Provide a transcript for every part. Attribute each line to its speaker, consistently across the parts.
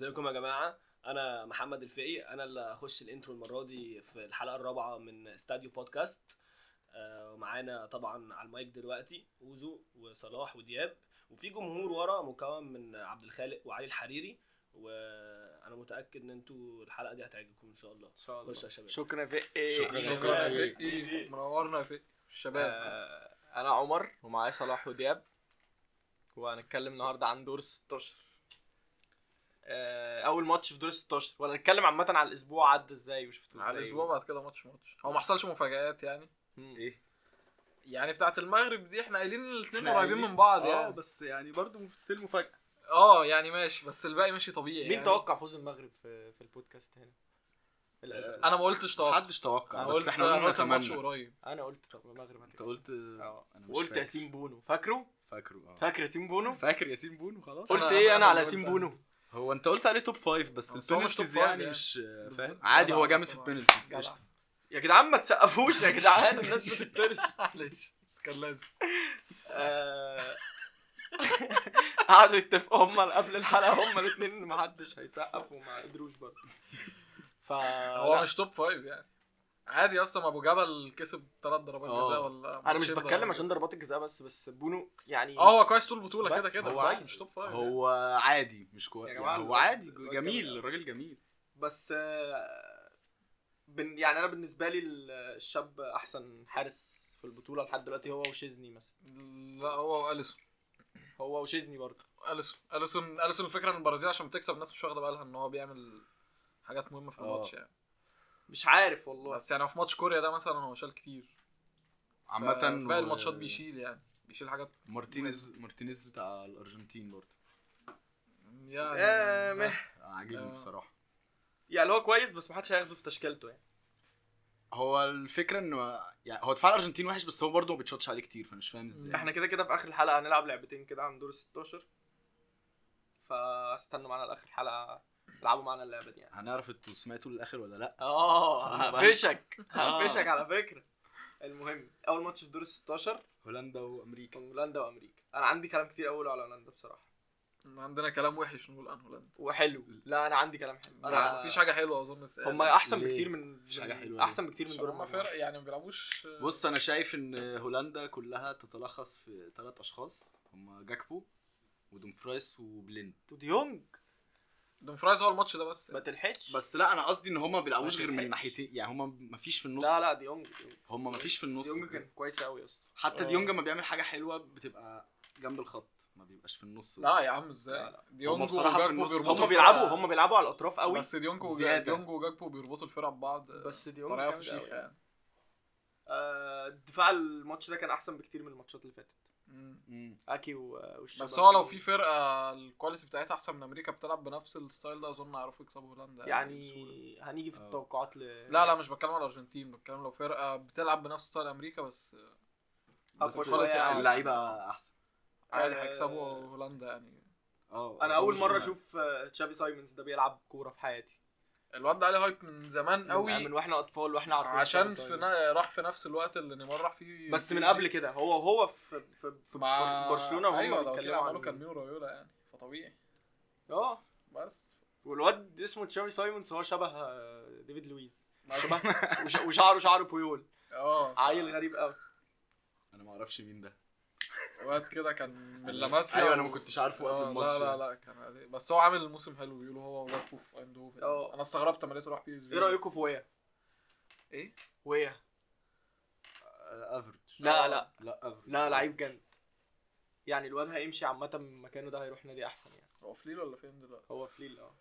Speaker 1: يا جماعه انا محمد الفقي انا اللي هخش الانترو المره دي في الحلقه الرابعه من استاديو بودكاست آه، ومعانا طبعا على المايك دلوقتي وزو وصلاح ودياب وفي جمهور ورا مكون من عبد الخالق وعلي الحريري وانا متاكد ان انتوا الحلقه دي هتعجبكم ان شاء الله
Speaker 2: ان شاء الله
Speaker 1: خش يا شباب
Speaker 3: شكرا فقي
Speaker 1: شكراً.
Speaker 2: شكرا يا
Speaker 1: ليك.
Speaker 3: إيه؟
Speaker 2: فقي منورنا يا فقي الشباب
Speaker 3: آه، انا عمر ومعايا صلاح ودياب وهنتكلم النهارده عن دور 16 آه، اول ماتش في دور 16 ولا نتكلم عامه على الاسبوع عدى ازاي وشفتوه ازاي
Speaker 2: على الاسبوع بعد كده ماتش ماتش هو ما حصلش مفاجآت يعني
Speaker 3: مم.
Speaker 4: ايه
Speaker 2: يعني بتاعت المغرب دي احنا قايلين الاثنين
Speaker 4: إحنا
Speaker 2: قريبين
Speaker 4: قايلين-
Speaker 2: من بعض
Speaker 3: آه،
Speaker 4: اه
Speaker 2: يعني
Speaker 4: بس يعني برضه ستيل مفاجاه
Speaker 2: اه يعني ماشي بس الباقي ماشي طبيعي
Speaker 3: مين
Speaker 2: يعني.
Speaker 3: توقع فوز المغرب في في البودكاست هنا الأسبوع.
Speaker 2: انا ما قلتش توقع
Speaker 4: محدش
Speaker 2: انا
Speaker 4: توقع
Speaker 2: قلت
Speaker 4: بس احنا قلنا
Speaker 2: قلت الماتش
Speaker 4: نتمنى
Speaker 2: قريب
Speaker 3: انا قلت طب المغرب
Speaker 4: انت
Speaker 3: هتكسب
Speaker 4: آه، قلت
Speaker 3: اه
Speaker 4: انا مش
Speaker 3: وقلت
Speaker 4: فاكر.
Speaker 3: ياسين بونو فاكره
Speaker 4: فاكره اه
Speaker 3: فاكر ياسين بونو
Speaker 4: فاكر ياسين بونو
Speaker 2: أنا-
Speaker 4: خلاص
Speaker 3: قلت ايه انا
Speaker 2: أنا
Speaker 3: على
Speaker 2: قلت-
Speaker 3: ياسين بونو
Speaker 4: هو انت قلت عليه توب فايف بس
Speaker 2: بس هو مش
Speaker 4: البينالتيز
Speaker 2: توب فايف
Speaker 4: يعني
Speaker 2: يعني.
Speaker 4: مش
Speaker 2: بالظبط.
Speaker 4: فاهم عادي هو
Speaker 2: جدع
Speaker 4: جامد في
Speaker 2: بصراحة.
Speaker 4: البينالتيز
Speaker 2: جدع.
Speaker 4: قشطه
Speaker 3: يا جدعان ما تسقفوش يا جدعان الناس بتطرش
Speaker 2: معلش بس كان لازم
Speaker 3: آه، قعدوا يتفقوا هم قبل الحلقه هم الاثنين ان محدش هيسقف وما قدروش برضه ف
Speaker 2: هو
Speaker 3: آه، لا،
Speaker 2: مش توب فايف يعني عادي اصلا ابو جبل كسب ثلاث ضربات
Speaker 4: آه.
Speaker 2: جزاء ولا
Speaker 3: انا مش
Speaker 2: ماتشين
Speaker 3: بتكلم
Speaker 2: ضربات
Speaker 3: عشان ضربات الجزاء بس بس بونو يعني
Speaker 2: يعني. اه هو كويس طول البطوله
Speaker 3: بس
Speaker 2: كده كده
Speaker 4: هو
Speaker 2: بس
Speaker 4: عادي.
Speaker 2: مش توب فايف يعني.
Speaker 4: هو عادي مش
Speaker 3: يا
Speaker 4: كويس
Speaker 3: جماعة
Speaker 4: هو
Speaker 3: الواد-
Speaker 4: عادي
Speaker 3: الواد
Speaker 4: جميل
Speaker 3: جامد.
Speaker 4: الراجل جميل
Speaker 3: بس آه، بن يعني انا بالنسبه لي ال- الشاب احسن حارس في البطوله لحد دلوقتي هو وشيزني مثلا
Speaker 2: لا هو اليسون
Speaker 3: هو وشيزني برضه
Speaker 2: اليسون اليسون اليسون الفكره ان البرازيل عشان بتكسب الناس مش واخده بالها ان هو بيعمل حاجات مهمه في
Speaker 4: آه.
Speaker 2: الماتش يعني
Speaker 3: مش عارف والله
Speaker 2: بس يعني هو في ماتش كوريا ده مثلا هو شال كتير
Speaker 4: عامة
Speaker 2: باقي
Speaker 4: و-
Speaker 2: الماتشات بيشيل يعني بيشيل حاجات
Speaker 4: مارتينيز مارتينيز بتاع الارجنتين برضه
Speaker 2: يعني
Speaker 3: آه، مه.
Speaker 4: عاجبني
Speaker 2: آه.
Speaker 4: بصراحة
Speaker 3: يعني هو كويس بس محدش هياخده في تشكيلته يعني
Speaker 4: هو الفكرة انه يعني هو دفاع الارجنتين وحش بس هو برضه ما بيتشطش عليه كتير فانا مش فاهم ازاي
Speaker 3: احنا كده كده في اخر الحلقه هنلعب لعبتين كده عن دور 16 فاستنوا معانا لاخر الحلقه العبوا معانا اللعبه دي يعني
Speaker 4: هنعرف انتوا سمعتوا للاخر ولا لا
Speaker 3: اه هقفشك
Speaker 4: آه.
Speaker 3: هقفشك على فكره المهم اول ماتش في دور 16
Speaker 4: هولندا وامريكا
Speaker 3: كان هولندا وامريكا انا عندي كلام كتير اقوله على هولندا بصراحه
Speaker 2: عندنا كلام وحش نقول عن هولندا
Speaker 3: وحلو لا انا عندي كلام حلو
Speaker 2: يعني
Speaker 3: انا
Speaker 2: مفيش حاجه حلوه اظن تتقال.
Speaker 3: هم احسن
Speaker 4: آه، ليه؟
Speaker 3: بكتير من
Speaker 4: مفيش حاجة حلوة
Speaker 3: احسن بكتير من
Speaker 2: عشان
Speaker 3: دور
Speaker 2: هم
Speaker 3: المجموعة.
Speaker 2: يعني فرق يعني ما بيلعبوش
Speaker 4: بص انا شايف ان هولندا كلها تتلخص في ثلاث اشخاص هم جاكبو ودومفرايس وبليند
Speaker 3: وديونج
Speaker 2: دومفرايز هو الماتش ده بس
Speaker 3: ما تلحقش
Speaker 4: بس لا انا قصدي ان هم ما بيلعبوش غير من
Speaker 3: تلحقش.
Speaker 4: ناحيتين يعني هم ما فيش في النص
Speaker 3: لا لا ديونج ديونج.
Speaker 4: هم ما فيش في النص
Speaker 3: ديونج كان كويس قوي يا اسطى
Speaker 4: حتى
Speaker 2: آه.
Speaker 4: ديونج ما بيعمل حاجه حلوه بتبقى جنب الخط ما بيبقاش في النص
Speaker 2: لا يا عم
Speaker 3: لا،
Speaker 2: ازاي
Speaker 3: لا.
Speaker 2: ديونج
Speaker 4: هم بصراحة في
Speaker 2: وجاكبو
Speaker 4: النص
Speaker 2: بيربطوا
Speaker 3: هم
Speaker 2: الفرقة-
Speaker 3: بيلعبوا هم بيلعبوا على الاطراف قوي
Speaker 2: بس ديونج وجا-
Speaker 4: زيادة.
Speaker 2: ديونج وجاكبو بيربطوا الفرق ببعض
Speaker 3: بس ديونج
Speaker 2: طريقه
Speaker 3: جامد أوي.
Speaker 2: فشيخه يعني
Speaker 3: آه، الدفاع الماتش ده كان احسن بكتير من الماتشات اللي فاتت
Speaker 2: مم.
Speaker 4: مم.
Speaker 3: اكي و- والشباب
Speaker 2: بس هو لو في فرقه الكواليتي بتاعتها احسن من امريكا بتلعب بنفس الستايل ده اظن هيعرفوا يكسبوا هولندا بسهولة. يعني.
Speaker 3: يعني هنيجي في
Speaker 4: آه.
Speaker 3: التوقعات ل...
Speaker 2: لا لا مش بتكلم على الارجنتين بتكلم لو فرقه بتلعب بنفس ستايل امريكا بس
Speaker 4: بس
Speaker 3: أقوى
Speaker 2: شوية يعني.
Speaker 4: اللعيبه احسن
Speaker 2: عادي
Speaker 3: آه.
Speaker 2: هيكسبوا هولندا يعني
Speaker 4: اه
Speaker 3: انا اول مره
Speaker 4: آه.
Speaker 3: اشوف آه، تشافي سايمونز ده بيلعب كوره في حياتي يعني
Speaker 2: الواد ده عليه هايب من زمان
Speaker 3: من- من
Speaker 2: قوي
Speaker 3: واحنا اطفال واحنا عارفين
Speaker 2: عشان
Speaker 3: تشافي
Speaker 2: في
Speaker 3: سايمونز.
Speaker 2: نا... راح في نفس الوقت اللي نيمار راح فيه
Speaker 3: بس من قبل كده هو هو في في, في
Speaker 2: مع
Speaker 3: بر- برشلونه وهم
Speaker 2: ايوه لو كده
Speaker 3: بيتكلموا
Speaker 2: عملوا كان
Speaker 3: عن
Speaker 2: ميو رايولا يعني فطبيعي
Speaker 3: اه
Speaker 2: بس
Speaker 3: والواد اسمه تشافي سايمونز هو شبه آه، ديفيد لويز شبه وش- وشعره شعر بويول
Speaker 2: اه
Speaker 3: عيل غريب قوي
Speaker 4: انا ما اعرفش مين ده
Speaker 2: واد كده كان من لاماسيا
Speaker 3: أيوة،
Speaker 4: ايوه انا ما كنتش عارفه قبل
Speaker 2: آه،
Speaker 4: الماتش يعني.
Speaker 2: لا لا لا كان عادي. بس هو عامل موسم حلو بيقولوا هو وجاكبو في ايندهوفن
Speaker 3: اه.
Speaker 2: انا استغربت لما لقيته راح بي اس في
Speaker 3: ايه رايكم في ويا
Speaker 2: ايه؟
Speaker 3: ويا آه،
Speaker 4: افرج
Speaker 3: لا لا
Speaker 4: آه، لا افرج
Speaker 3: لا لعيب جامد يعني الواد هيمشي عامة من مكانه ده هيروح نادي أحسن يعني
Speaker 2: هو في ليل ولا فين دلوقتي؟
Speaker 3: هو في ليل اه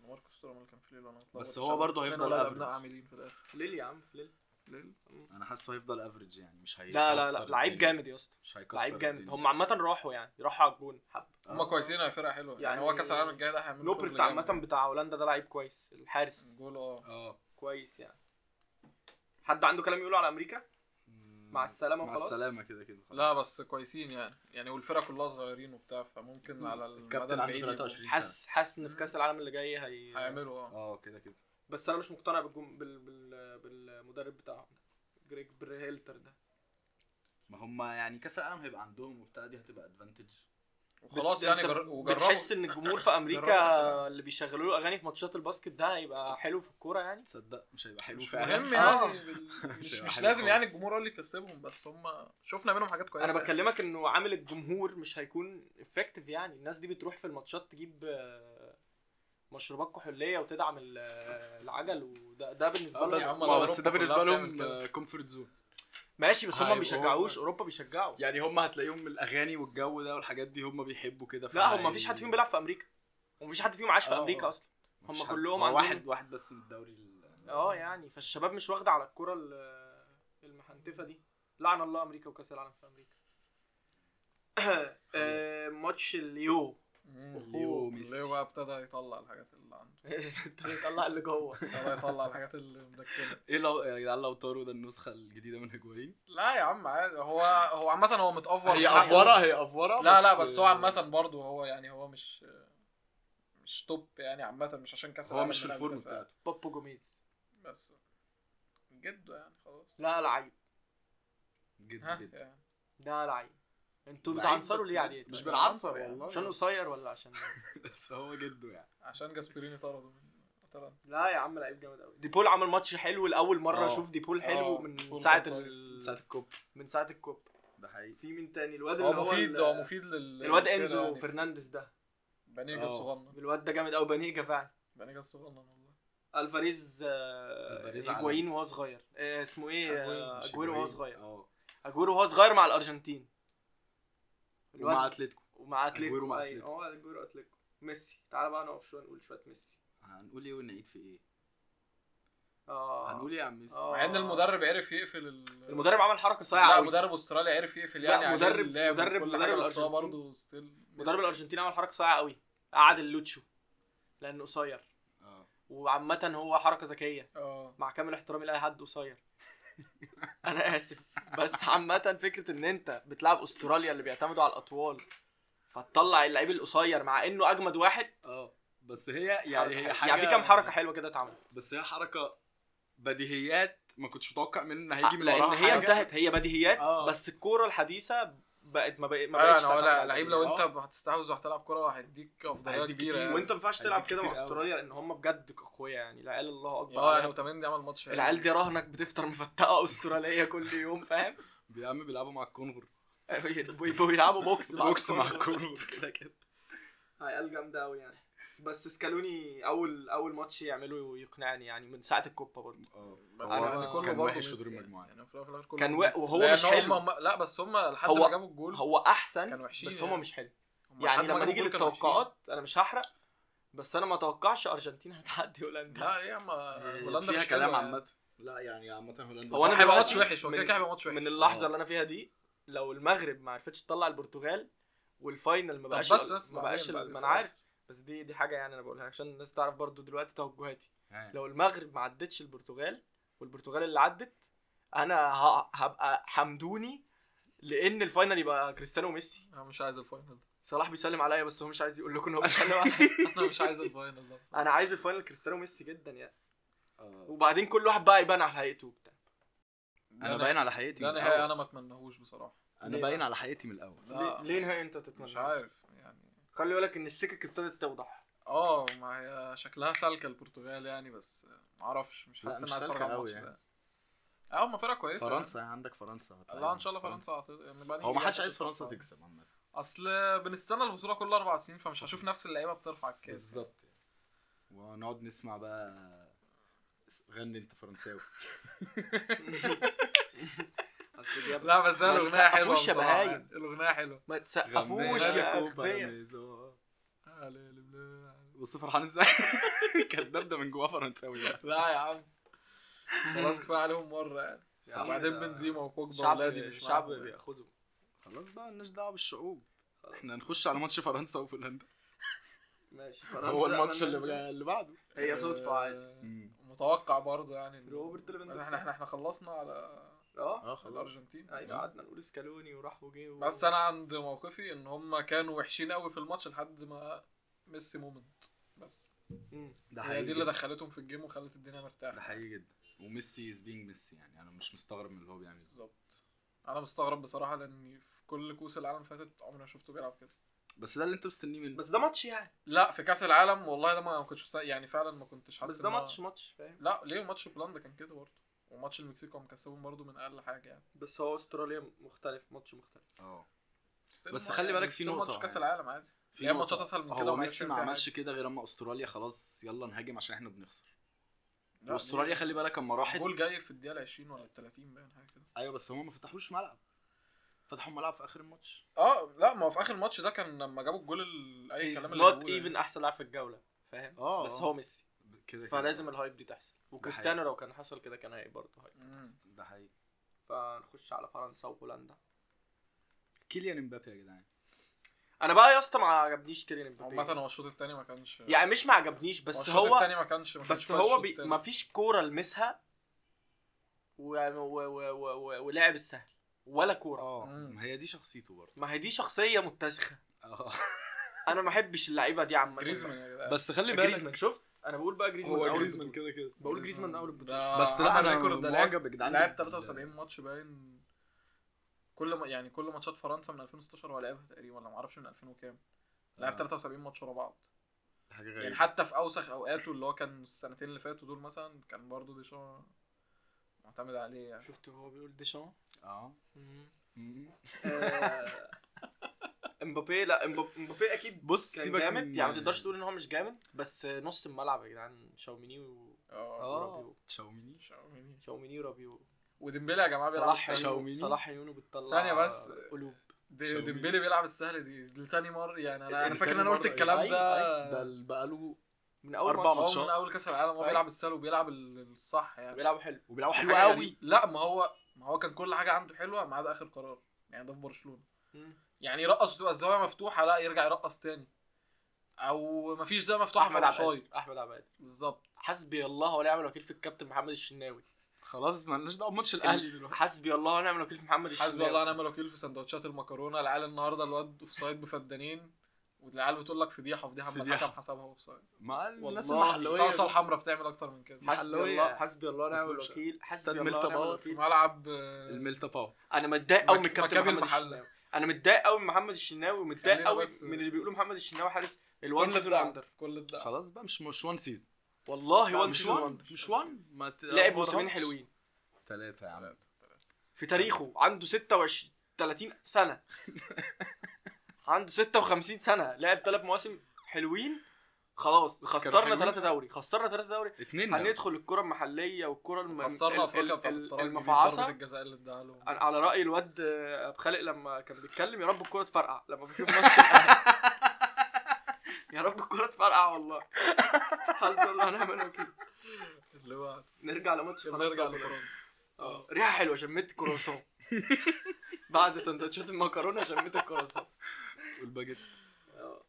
Speaker 2: أنا ماركوس تورام اللي كان في ليل انا متلخبط.
Speaker 4: بس هو برضه هيفضل
Speaker 2: فين ولاد
Speaker 4: average.
Speaker 2: أبناء عاملين في الاخر
Speaker 3: في ليل يا عم في ليل
Speaker 2: ليل
Speaker 4: انا حاسه هيفضل افرج يعني مش هيكسر
Speaker 3: لا لا لا
Speaker 4: الدنيا.
Speaker 3: لعيب جامد يا اسطى
Speaker 4: مش هيكسر
Speaker 3: لعيب جامد
Speaker 4: الدنيا. آه.
Speaker 3: هم عامة راحوا يعني راحوا على الجون حب
Speaker 2: هم كويسين هي فرقه حلوه يعني,
Speaker 3: آه. يعني
Speaker 2: هو كاس العالم الجاي ده هيعملوا
Speaker 3: لوبرت
Speaker 4: يعني.
Speaker 3: عامة بتاع هولندا ده لعيب كويس الحارس
Speaker 2: جول اه
Speaker 4: اه
Speaker 3: كويس يعني حد عنده كلام يقوله على أمريكا
Speaker 4: مم.
Speaker 3: مع السلامة
Speaker 4: مع
Speaker 3: وخلاص
Speaker 4: السلامه كده كده خلاص.
Speaker 2: لا بس كويسين يعني يعني والفرقه كلها صغيرين وبتاع فممكن على المدى
Speaker 4: الكابتن عنده
Speaker 2: البعيد يعني. يبقوا-
Speaker 4: 23 سنه
Speaker 3: حاسس حاسس إن في كأس العالم اللي جاي هي
Speaker 2: هيعملوا اه
Speaker 4: اه كده كده
Speaker 3: بس أنا مش مقتنع بالجم... بال... بال... بالمدرب بتاعهم جريج بريهيلتر ده
Speaker 4: ما هم يعني كاس العالم هيبقى عندهم وبتاع دي هتبقى ادفانتج
Speaker 2: وخلاص
Speaker 3: بت-
Speaker 2: يعني
Speaker 3: أنت
Speaker 2: جر... وجربوا
Speaker 3: بتحس ان الجمهور في
Speaker 2: جربوا.
Speaker 3: امريكا اللي بيشغلوا له اغاني في ماتشات الباسكت ده هيبقى حلو في الكوره يعني
Speaker 4: تصدق مش هيبقى حلو
Speaker 2: مش
Speaker 4: فعلا
Speaker 2: مهم
Speaker 3: آه.
Speaker 2: يعني بال- مش
Speaker 4: هيبقى
Speaker 2: مش
Speaker 4: حلو
Speaker 2: لازم يعني
Speaker 4: خالص.
Speaker 2: الجمهور هو اللي يكسبهم بس هم شفنا منهم حاجات كويسه
Speaker 3: انا
Speaker 2: يعني.
Speaker 3: بكلمك انه عامل الجمهور مش هيكون افكتيف يعني الناس دي بتروح في الماتشات تجيب آه، مشروبات كحوليه وتدعم ال- آه، العجل وده ده بالنسبه
Speaker 4: آه،
Speaker 3: لهم
Speaker 4: بس
Speaker 2: يا عم
Speaker 4: ما
Speaker 2: لو
Speaker 4: بس
Speaker 2: أوروبا
Speaker 4: ده بالنسبه
Speaker 2: كلها
Speaker 4: لهم
Speaker 2: بتعمل
Speaker 4: كومفورت زون
Speaker 3: ماشي بس هم ما
Speaker 4: هيبقوا-
Speaker 3: بيشجعوش اوروبا بيشجعوا
Speaker 4: يعني هم هتلاقيهم الاغاني والجو ده والحاجات دي هم بيحبوا كده
Speaker 3: لا هم مفيش حد فيهم بيلعب في امريكا ومفيش حد فيهم عاش في
Speaker 2: اه،
Speaker 4: آه،
Speaker 3: امريكا
Speaker 4: آه.
Speaker 3: اصلا
Speaker 4: مفيش
Speaker 3: هم
Speaker 4: حد.
Speaker 3: كلهم
Speaker 4: هو
Speaker 3: عندهم-
Speaker 4: واحد واحد بس من الدوري ال-
Speaker 3: اه يعني فالشباب مش واخده على الكره ال- المحنتفه دي لعن الله امريكا وكاس العالم في امريكا آه، ماتش اليو
Speaker 2: يعني. مم.
Speaker 4: ليو ميسي.
Speaker 2: ليو بقى ابتدى يطلع الحاجات اللي عنده
Speaker 3: طلع اللي جوه
Speaker 2: ابتدى يطلع الحاجات اللي مدكنه
Speaker 4: ايه لو يا جدعان لو طاروا ده النسخه الجديده من هجوين
Speaker 2: لا يا عم عادي هو هو عامه هو متافور
Speaker 4: هي
Speaker 2: في حقه.
Speaker 4: افوره هي افوره
Speaker 2: لا لا بس هو عامه برضه هو يعني هو مش مش توب يعني عامه مش عشان كاس
Speaker 4: هو
Speaker 2: العالم
Speaker 4: مش في
Speaker 2: بيلعب
Speaker 4: الفورم
Speaker 2: كأس العالم.
Speaker 4: بتاعته
Speaker 3: بابو جوميز
Speaker 2: بس جده يعني خلاص
Speaker 3: لا لعيب
Speaker 4: جد
Speaker 2: ها
Speaker 4: جد
Speaker 2: يعني
Speaker 3: ده لعيب انتوا
Speaker 4: لعيب
Speaker 3: بتعنصروا
Speaker 4: بس
Speaker 3: ليه عليه طيب،
Speaker 4: مش
Speaker 2: بال-
Speaker 4: بالعنصر
Speaker 2: يعني.
Speaker 4: والله
Speaker 3: عشان قصير ولا عشان إيه؟
Speaker 4: بس هو جده يعني
Speaker 2: عشان جاسبريني طرده من اتلانتا
Speaker 3: لا يا عم لعيب جامد اه. قوي ديبول عمل ماتش حلو لاول مره
Speaker 4: آه.
Speaker 3: اشوف ديبول حلو
Speaker 2: آه،
Speaker 3: من
Speaker 2: ديبول
Speaker 3: ساعه
Speaker 2: كان كويس.
Speaker 3: ال... اه،
Speaker 4: ساعه الكوب
Speaker 3: من ساعه الكوب
Speaker 4: ده حقيقي
Speaker 3: في مين تاني الواد اللي
Speaker 2: هو
Speaker 3: هو
Speaker 2: مفيد
Speaker 3: ال-
Speaker 2: هو مفيد لل
Speaker 3: الواد
Speaker 2: للفرقة
Speaker 3: انزو
Speaker 2: يعني.
Speaker 3: فرنانديز ده
Speaker 2: بانيجا
Speaker 4: آه.
Speaker 2: الصغنن
Speaker 3: الواد ده جامد قوي بانيجا فعلا
Speaker 2: بانيجا الصغنن والله
Speaker 3: الفاريز آه،
Speaker 4: ألفاريز
Speaker 3: هيجوايين
Speaker 4: عالمي.
Speaker 3: وهو صغير آه، اسمه ايه آه،
Speaker 4: مش
Speaker 3: اجويرو وهو
Speaker 4: هيجوين.
Speaker 3: صغير
Speaker 4: اه
Speaker 3: اجويرو وهو صغير مع الارجنتين الواد-
Speaker 4: ومع اتلتيكو
Speaker 3: ومع اتليكو
Speaker 4: أجويرو مع
Speaker 3: أيوة،
Speaker 4: أتليكو.
Speaker 3: هو اجويرو اتليكو ميسي تعالى بقى نقف شويه نقول شويه ميسي
Speaker 4: هنقول ايه ونعيد في ايه
Speaker 3: اه
Speaker 4: هنقول ايه يا عم ميسي
Speaker 3: آه.
Speaker 2: مع ان المدرب عرف يقفل ال...
Speaker 3: المدرب عمل حركه صايعه
Speaker 2: لا
Speaker 3: قوي
Speaker 2: مدرب استراليا عرف يقفل
Speaker 3: لا،
Speaker 2: يعني عليه
Speaker 3: مدرب-
Speaker 2: اللعب
Speaker 3: مدرب-
Speaker 2: وكل
Speaker 3: مدرب
Speaker 2: حاجة، بس هو
Speaker 3: الأرجنتين.
Speaker 2: برضه ستيل
Speaker 3: مدرب الارجنتين عمل حركه صايعه قوي قعد اللوتشو لانه قصير
Speaker 4: اه
Speaker 3: وعامه هو حركه ذكيه
Speaker 2: اه
Speaker 3: مع كامل احترامي لاي حد قصير انا اسف بس عامه فكره ان انت بتلعب استراليا اللي بيعتمدوا على الاطوال فتطلع اللعيب القصير مع انه اجمد واحد
Speaker 4: اه بس هي يعني هي حاجه
Speaker 3: يعني في كام حركه حلوه كده اتعملت
Speaker 4: بس هي حركه بديهيات ما كنتش متوقع منه ان هيجي من
Speaker 3: لان
Speaker 4: وراها
Speaker 3: آه، هي
Speaker 4: حاجة.
Speaker 3: انتهت هي بديهيات
Speaker 4: آه.
Speaker 3: بس الكوره الحديثه بقت ما بقت- ما
Speaker 2: لا
Speaker 3: بقتش يعني
Speaker 2: لا هو
Speaker 3: تعتمد
Speaker 2: لا
Speaker 3: على
Speaker 2: لعيب
Speaker 3: البديهيات.
Speaker 2: لو انت
Speaker 4: آه.
Speaker 2: هتستحوذ وهتلعب كوره هيديك افضليه
Speaker 4: هيديك
Speaker 2: كبيره
Speaker 4: كتير.
Speaker 2: يعني
Speaker 3: وانت ما ينفعش
Speaker 4: هيديك
Speaker 3: تلعب كده مع
Speaker 4: كتير قوي. آه،
Speaker 3: استراليا لان هم بجد اقوياء يعني العيال الله اكبر
Speaker 2: اه يعني
Speaker 3: عليها.
Speaker 2: وتمام عمل ماتش حلو.
Speaker 3: العيال دي رهنك بتفطر مفتقه استراليه كل يوم فاهم
Speaker 4: يا عم بيلعبوا مع الكونغر
Speaker 3: بيلعبوا بوكس مع
Speaker 4: بوكس مع
Speaker 3: الكورة.
Speaker 4: الكونغر كده كده
Speaker 3: عيال جامده قوي يعني بس سكالوني اول اول ماتش يعمله يقنعني يعني من ساعه الكوبا برضه
Speaker 4: اه
Speaker 2: بس
Speaker 3: هو
Speaker 2: في الآخر كله
Speaker 4: كان
Speaker 2: برضه
Speaker 4: وحش في
Speaker 2: ميسي
Speaker 4: دور
Speaker 2: يعني.
Speaker 4: المجموعة.
Speaker 2: يعني في الآخر- في الآخر كله
Speaker 3: كان و-
Speaker 2: ميسي.
Speaker 3: وهو
Speaker 2: لأن
Speaker 3: مش
Speaker 2: هم-
Speaker 3: حلو.
Speaker 2: لا بس هم لحد
Speaker 3: هو-
Speaker 2: ما جابوا الجول
Speaker 3: هو احسن
Speaker 2: كانوا وحشين
Speaker 3: بس هما
Speaker 2: يعني.
Speaker 3: مش حلو
Speaker 2: هم لحد
Speaker 3: يعني
Speaker 2: ما
Speaker 3: لما
Speaker 2: جابوا
Speaker 3: نيجي
Speaker 2: الجول كانوا وحشين.
Speaker 3: للتوقعات انا مش هحرق بس انا ما اتوقعش ارجنتين هتعدي هولندا
Speaker 2: لا يا ما هولندا
Speaker 4: هولندا آه، فيها
Speaker 2: آه، مش
Speaker 4: كلام
Speaker 2: حلوة يعني.
Speaker 4: عامة لا يعني عامة هولندا
Speaker 3: هو أنا
Speaker 2: هيبقى
Speaker 3: دلوقتي
Speaker 2: ماتش وحش هو كده
Speaker 3: من-
Speaker 2: كده هيبقى ماتش وحش
Speaker 3: من اللحظه
Speaker 4: آه.
Speaker 3: اللي انا فيها دي لو المغرب ما عرفتش تطلع البرتغال والفاينل ما
Speaker 2: طب
Speaker 3: بقاش
Speaker 2: بس بس
Speaker 3: ما
Speaker 2: بعدين
Speaker 3: بقاش
Speaker 2: بقى
Speaker 3: ما انا
Speaker 2: الفرق.
Speaker 3: عارف بس دي دي حاجه يعني انا بقولها عشان الناس تعرف برضو دلوقتي توجهاتي
Speaker 4: ها.
Speaker 3: لو المغرب ما عدتش البرتغال والبرتغال اللي عدت انا ه- هبقى حمدوني لان الفاينل يبقى كريستيانو وميسي
Speaker 2: انا مش عايز الفاينل ده
Speaker 3: صلاح بيسلم عليا بس هو مش عايز يقول لكم ان هو بيسلم عليا
Speaker 2: انا مش عايز الفاينل ده بصراحة.
Speaker 3: انا عايز الفاينل كريستيانو وميسي جدا يعني
Speaker 4: آه.
Speaker 3: وبعدين كل واحد بقى يبان على حقيقته وبتاع
Speaker 2: ده
Speaker 4: انا
Speaker 2: نهائي-
Speaker 4: باين على حقيقتي
Speaker 2: ده
Speaker 4: من
Speaker 2: نهائي
Speaker 4: الأول.
Speaker 2: انا ما اتمناهوش بصراحه
Speaker 4: انا
Speaker 3: ليه
Speaker 4: باين
Speaker 3: بقى؟
Speaker 4: على حقيقتي من الاول
Speaker 2: لا.
Speaker 3: ليه- ليه نهائي انت
Speaker 2: آه. مش
Speaker 3: تتمنى
Speaker 2: عارف يعني
Speaker 3: خلي بالك ان السكك ابتدت توضح
Speaker 2: اه ما هي شكلها سالكه البرتغال يعني بس ما اعرفش مش
Speaker 4: لا،
Speaker 2: حاسس
Speaker 4: مش
Speaker 2: ان عايز اتفرج
Speaker 4: سالكة
Speaker 2: على
Speaker 4: قوي
Speaker 2: الماتش ده اه ما فرقه كويسه
Speaker 4: فرنسا يعني عندك فرنسا
Speaker 2: يعني.
Speaker 4: هتلاقي
Speaker 2: لا ان شاء الله فرنسا هت- يعني بقى
Speaker 4: هو
Speaker 2: نيجي
Speaker 4: ما حدش
Speaker 2: بقى
Speaker 4: عايز فرنسا
Speaker 2: تتصعد.
Speaker 4: تكسب عامة
Speaker 2: اصل بنستنى البطوله كل اربع سنين فمش هشوف نفس اللعيبه بترفع الكاس
Speaker 4: بالظبط ونقعد نسمع بقى غني انت فرنساوي
Speaker 3: اصل دي
Speaker 2: لا بس هي
Speaker 3: ما
Speaker 2: الاغنيه حلوه
Speaker 3: تسقفوش يا
Speaker 2: بصراحة
Speaker 3: بهايم.
Speaker 2: يعني. الاغنيه حلوه
Speaker 3: ما تسقفوش
Speaker 4: غنيت
Speaker 3: يا
Speaker 4: وبلا
Speaker 3: اغبياء
Speaker 4: ميزان.
Speaker 2: هللويا.
Speaker 4: بص فرحان ازاي كداب ده من جواه فرنساوي بقى
Speaker 2: لا يا عم خلاص كفايه عليهم مره يعني
Speaker 4: يا عم
Speaker 2: بعدين
Speaker 4: ده
Speaker 2: بنزيما وبوجبا
Speaker 3: شعب
Speaker 2: ولادي مش
Speaker 3: شعب
Speaker 2: معاهم يعني.
Speaker 3: بياخذه
Speaker 4: خلاص بقى مالناش دعوه بالشعوب احنا هنخش على ماتش فرنسا وهولندا
Speaker 3: ماشي فرنسا
Speaker 4: هو الماتش
Speaker 3: أنا
Speaker 4: اللي
Speaker 3: نازل.
Speaker 4: بقى- اللي بعده
Speaker 3: هي صدفة عادي
Speaker 2: آه، متوقع برضه يعني إن-
Speaker 3: روبرت ليفاندوفسكي.
Speaker 2: احنا احنا احنا خلصنا على
Speaker 3: اه
Speaker 4: اه خلاص
Speaker 2: الارجنتين
Speaker 3: ايوه قعدنا نقول سكالوني وراح وجه و...
Speaker 2: آه. بس انا عند موقفي ان هم كانوا وحشين قوي في الماتش لحد ما ميسي مومنت بس
Speaker 3: مم.
Speaker 4: ده
Speaker 2: هي
Speaker 4: حقيقي
Speaker 2: دي اللي
Speaker 4: جدا.
Speaker 2: دخلتهم في الجيم وخلت الدنيا
Speaker 4: ده
Speaker 2: مرتاحه
Speaker 4: حقيقي جدا وميسي از بينج ميسي يعني انا مش مستغرب من اللي هو بيعمله
Speaker 2: بالظبط انا مستغرب بصراحه لاني في كل كوس العالم فاتت عمري ما شفته بيلعب كده
Speaker 4: بس ده اللي انت مستنيه منه
Speaker 1: بس ده ماتش يعني
Speaker 2: لا في كاس العالم والله ده ما ما كنتش مست- يعني فعلا ما كنتش حاسس
Speaker 1: بس ده
Speaker 2: إن هو-
Speaker 1: ماتش ماتش فاهم
Speaker 2: لا ليه ماتش بولندا كان كده برضه وماتش المكسيك هم مكسبهم برضه من اقل حاجه يعني
Speaker 1: بس هو استراليا مختلف ماتش مختلف
Speaker 4: اه
Speaker 2: Still
Speaker 4: بس
Speaker 2: ما-
Speaker 4: خلي
Speaker 2: يعني
Speaker 4: بالك في
Speaker 2: still
Speaker 4: نقطة
Speaker 2: ماتش كاس
Speaker 4: يعني.
Speaker 2: العالم عادي
Speaker 4: في
Speaker 2: هي
Speaker 4: نقطة.
Speaker 2: ماتشات اسهل من كده
Speaker 4: هو
Speaker 2: وما عرفش
Speaker 4: ميسي ما
Speaker 2: يعمل
Speaker 4: عملش كده غير اما استراليا خلاص يلا نهاجم عشان احنا بنخسر
Speaker 2: لا،
Speaker 4: واستراليا
Speaker 2: دي-
Speaker 4: خلي بالك اما راحت
Speaker 2: جول جاي في الدقيقه 20 ولا 30 باين حاجه كده
Speaker 4: ايوه بس هم ما فتحوش ملعب فتحوا ملعب في اخر الماتش
Speaker 2: اه لا ما هو في اخر الماتش ده كان لما جابوا الجول ال- اي
Speaker 3: هيز
Speaker 2: كلام
Speaker 3: نوت
Speaker 2: بيقوله يعني.
Speaker 3: ايفن احسن لاعب في الجوله فاهم
Speaker 4: اه
Speaker 3: بس
Speaker 4: آه.
Speaker 3: هو ميسي
Speaker 4: ب- كده
Speaker 3: فلازم الهايب دي تحصل وكريستيانو لو كان حصل كده كان هيبقى برضه هايب
Speaker 2: يعني. مم.
Speaker 4: ده حقيقي
Speaker 3: فنخش على فرنسا وهولندا
Speaker 4: كيليان امبابي يا جدعان
Speaker 3: انا بقى يا اسطى ما عجبنيش كيليان امبابي
Speaker 2: عامة هو الشوط التاني ما كانش
Speaker 3: يعني مش ما عجبنيش بس
Speaker 2: الشوط
Speaker 3: هو
Speaker 2: التاني ما كانش ما كانش
Speaker 3: بس
Speaker 2: كويس
Speaker 3: هو
Speaker 2: الشوط
Speaker 3: بي...
Speaker 2: التاني.
Speaker 3: ما فيش كوره لمسها ويعني و... و... و... و... ولعب السهل ولا كوره
Speaker 4: اه
Speaker 2: مم.
Speaker 4: ما هي دي شخصيته برضه
Speaker 3: ما هي دي شخصيه متسخه
Speaker 4: اه
Speaker 3: انا ما احبش اللعيبه دي عامه
Speaker 2: جريزمان يا جدعان
Speaker 4: بس خلي بالك
Speaker 3: جريزمان شفت انا بقول بقى جريزمان
Speaker 4: هو
Speaker 3: أول
Speaker 4: جريزمان آه،
Speaker 3: البطولة.
Speaker 4: كده كده
Speaker 3: بقول جريزمان من اول البطوله
Speaker 2: ده
Speaker 4: بس لا
Speaker 2: عمل
Speaker 4: انا
Speaker 2: ريكورد ده لعب-
Speaker 4: معجب يا جدعان
Speaker 2: لعب 73 ماتش باين كل ما يعني كل ماتشات فرنسا من 2016 هو لعبها تقريبا ولا ما اعرفش من 2000 وكام لعب
Speaker 4: آه.
Speaker 2: 73 ماتش ورا بعض
Speaker 4: حاجه
Speaker 2: يعني
Speaker 4: غريبه
Speaker 2: حتى في اوسخ اوقاته اللي هو كان السنتين اللي فاتوا دول مثلا كان برضه ديشان معتمد عليه يعني
Speaker 3: شفت هو بيقول ديشان
Speaker 4: اه مم.
Speaker 3: آه، امبابي لا امبابي امبابي اكيد
Speaker 4: بص
Speaker 3: كان
Speaker 4: سيبك
Speaker 3: جامد
Speaker 4: من-
Speaker 3: يعني ما تقدرش تقول ان هو مش جامد بس نص الملعب يا جدعان شاوميني و- آه.
Speaker 2: اه
Speaker 4: اه تشاوميني
Speaker 2: شاوميني.
Speaker 3: شاوميني ورابيو
Speaker 2: وديمبلي يا جماعه بيلعب
Speaker 3: صلاح
Speaker 2: السهل.
Speaker 3: عيونه
Speaker 4: شاوميني.
Speaker 3: صلاح عيونه بتطلع
Speaker 2: ثانية بس.
Speaker 3: قلوب
Speaker 2: دي-
Speaker 4: شاوميني.
Speaker 2: ديمبلي بيلعب السهل دي لتاني مره يعني انا انا
Speaker 3: يعني
Speaker 2: فاكر ان
Speaker 3: تاني
Speaker 2: انا قلت
Speaker 3: مرة،
Speaker 2: الكلام
Speaker 3: أيوة،
Speaker 2: ده
Speaker 4: ده اللي بقاله
Speaker 3: من اول
Speaker 4: أربع
Speaker 3: ماتش
Speaker 2: هو
Speaker 4: ماتشات.
Speaker 2: من اول كاس العالم هو
Speaker 3: أيوة.
Speaker 2: بيلعب السهل وبيلعب ال- الصح يعني
Speaker 3: بيلعبوا حلو
Speaker 4: وبيلعبوا حلو
Speaker 3: حاجة
Speaker 4: قوي
Speaker 3: غريبة.
Speaker 2: لا ما هو ما هو كان كل حاجه عنده حلوه ما عدا اخر قرار يعني ده في برشلونه
Speaker 3: مم.
Speaker 2: يعني يرقص وتبقى الزاويه مفتوحه لا يرجع يرقص تاني او مفيش زاويه مفتوحه
Speaker 3: احمد
Speaker 2: في الشايط
Speaker 3: عباد احمد عباد
Speaker 2: بالظبط
Speaker 3: حسبي الله ونعم الوكيل في الكابتن محمد الشناوي
Speaker 4: خلاص مالناش دعوه بماتش الاهلي دلوقتي
Speaker 3: حسبي الله ونعم الوكيل في محمد الشناوي
Speaker 2: حسبي الله ونعم الوكيل في سندوتشات المكرونه العيال النهارده الواد اوف سايد مفدانين والعيال بتقول لك فضيحه فضيحه اما
Speaker 4: فضيحة.
Speaker 2: الحكم حسبها اوف سايد
Speaker 4: مع الناس
Speaker 3: والله
Speaker 4: المحلويه
Speaker 2: الصلصه الحمراء بتعمل اكتر من كده
Speaker 3: حسبي
Speaker 4: محلوية.
Speaker 3: الله حسبي الله ونعم
Speaker 4: مطلوبش.
Speaker 3: الوكيل
Speaker 4: استاد
Speaker 3: حسبي الله
Speaker 4: ملتا
Speaker 3: ونعم
Speaker 4: باور.
Speaker 2: في
Speaker 3: الوكيل
Speaker 2: ملعب آه،
Speaker 4: الميلتا باو
Speaker 3: انا متضايق قوي من
Speaker 2: مك-
Speaker 3: الكابتن
Speaker 2: مكابي
Speaker 3: محمد
Speaker 2: المحلة.
Speaker 3: الشناوي انا متضايق قوي من محمد الشناوي ومتضايق
Speaker 2: خلينا
Speaker 3: قوي
Speaker 2: بس-
Speaker 3: من اللي بيقولوا محمد الشناوي حارس الوان
Speaker 2: كل
Speaker 3: سيزون
Speaker 2: الدعم
Speaker 3: اندر
Speaker 2: كل الدعم
Speaker 4: خلاص بقى مش مش وان سيزون
Speaker 3: والله
Speaker 2: لا،
Speaker 3: وان
Speaker 4: مش
Speaker 3: سيزون
Speaker 4: وان
Speaker 3: وندر
Speaker 4: مش وان ما ت-
Speaker 3: لعب
Speaker 4: ما
Speaker 3: موسمين
Speaker 4: تفرحش.
Speaker 3: حلوين
Speaker 4: ثلاثة يا عم
Speaker 3: في تاريخه عنده 26 30 سنه عنده 56 سنه لعب ثلاث مواسم حلوين خلاص
Speaker 4: بس كانوا
Speaker 3: خسرنا
Speaker 4: حلوين.
Speaker 3: ثلاثه دوري خسرنا ثلاثه دوري
Speaker 4: اتنين ده.
Speaker 3: هندخل الكره المحليه والكره الم...
Speaker 2: خسرنا
Speaker 3: ال-
Speaker 2: افريقيا
Speaker 3: ال-
Speaker 2: بتاعت
Speaker 3: ال-
Speaker 2: الطريق
Speaker 3: المفعصه
Speaker 2: الجزاء اللي اداها له
Speaker 3: أنا على راي الواد آه، ابو خالق لما كان بيتكلم يا رب الكره تفرقع لما بشوف ماتش يا رب الكره تفرقع والله حسبي الله ونعم الوكيل
Speaker 2: اللي هو
Speaker 3: نرجع لماتش فرنسا
Speaker 2: نرجع
Speaker 3: ولا-
Speaker 2: لفرنسا
Speaker 3: اه ريحه حلوه شميت كرواسون بعد سندوتشات المكرونه شميت الكرواسون
Speaker 4: والباجيت
Speaker 3: آه،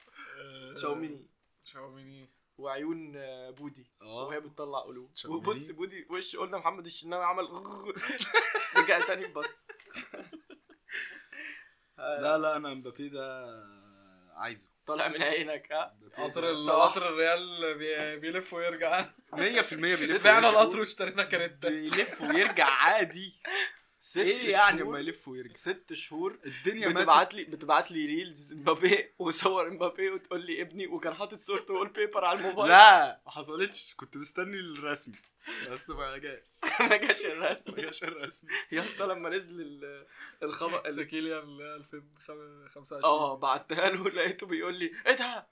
Speaker 3: شاوميني
Speaker 2: شاوميني
Speaker 3: وعيون آه، بودي وهي
Speaker 4: اه
Speaker 3: بتطلع قلوب
Speaker 4: شاوميني.
Speaker 3: وبص بودي وش قلنا محمد الشناوي عمل رجع تاني بس
Speaker 4: لا لا انا امبابي ده عايزه
Speaker 3: طالع من عينك ها
Speaker 2: قطر
Speaker 4: ال
Speaker 2: ال- قطر الريال بي- بيلف ويرجع
Speaker 4: 100% بيلف
Speaker 2: بعنا
Speaker 4: ويرجع.
Speaker 2: القطر واشترينا كاريتا
Speaker 4: بيلف ويرجع عادي
Speaker 3: ست
Speaker 4: ايه يعني
Speaker 3: شهور-
Speaker 4: ما يلف ويرجع
Speaker 3: ست شهور
Speaker 4: الدنيا ماتت
Speaker 3: بتبعت لي بتبعت لي ريلز امبابي وصور امبابي وتقول لي ابني وكان حاطط صورته وول بيبر على الموبايل
Speaker 4: لا ما حصلتش كنت مستني الرسمي بس ما جاش
Speaker 3: ما جاش الرسم
Speaker 4: ما جاش الرسمي
Speaker 3: يا اسطى لما نزل ال- الخبر ال-
Speaker 2: سكيليا ال 2025
Speaker 3: اه بعتها له لقيته بيقول لي ايه ده؟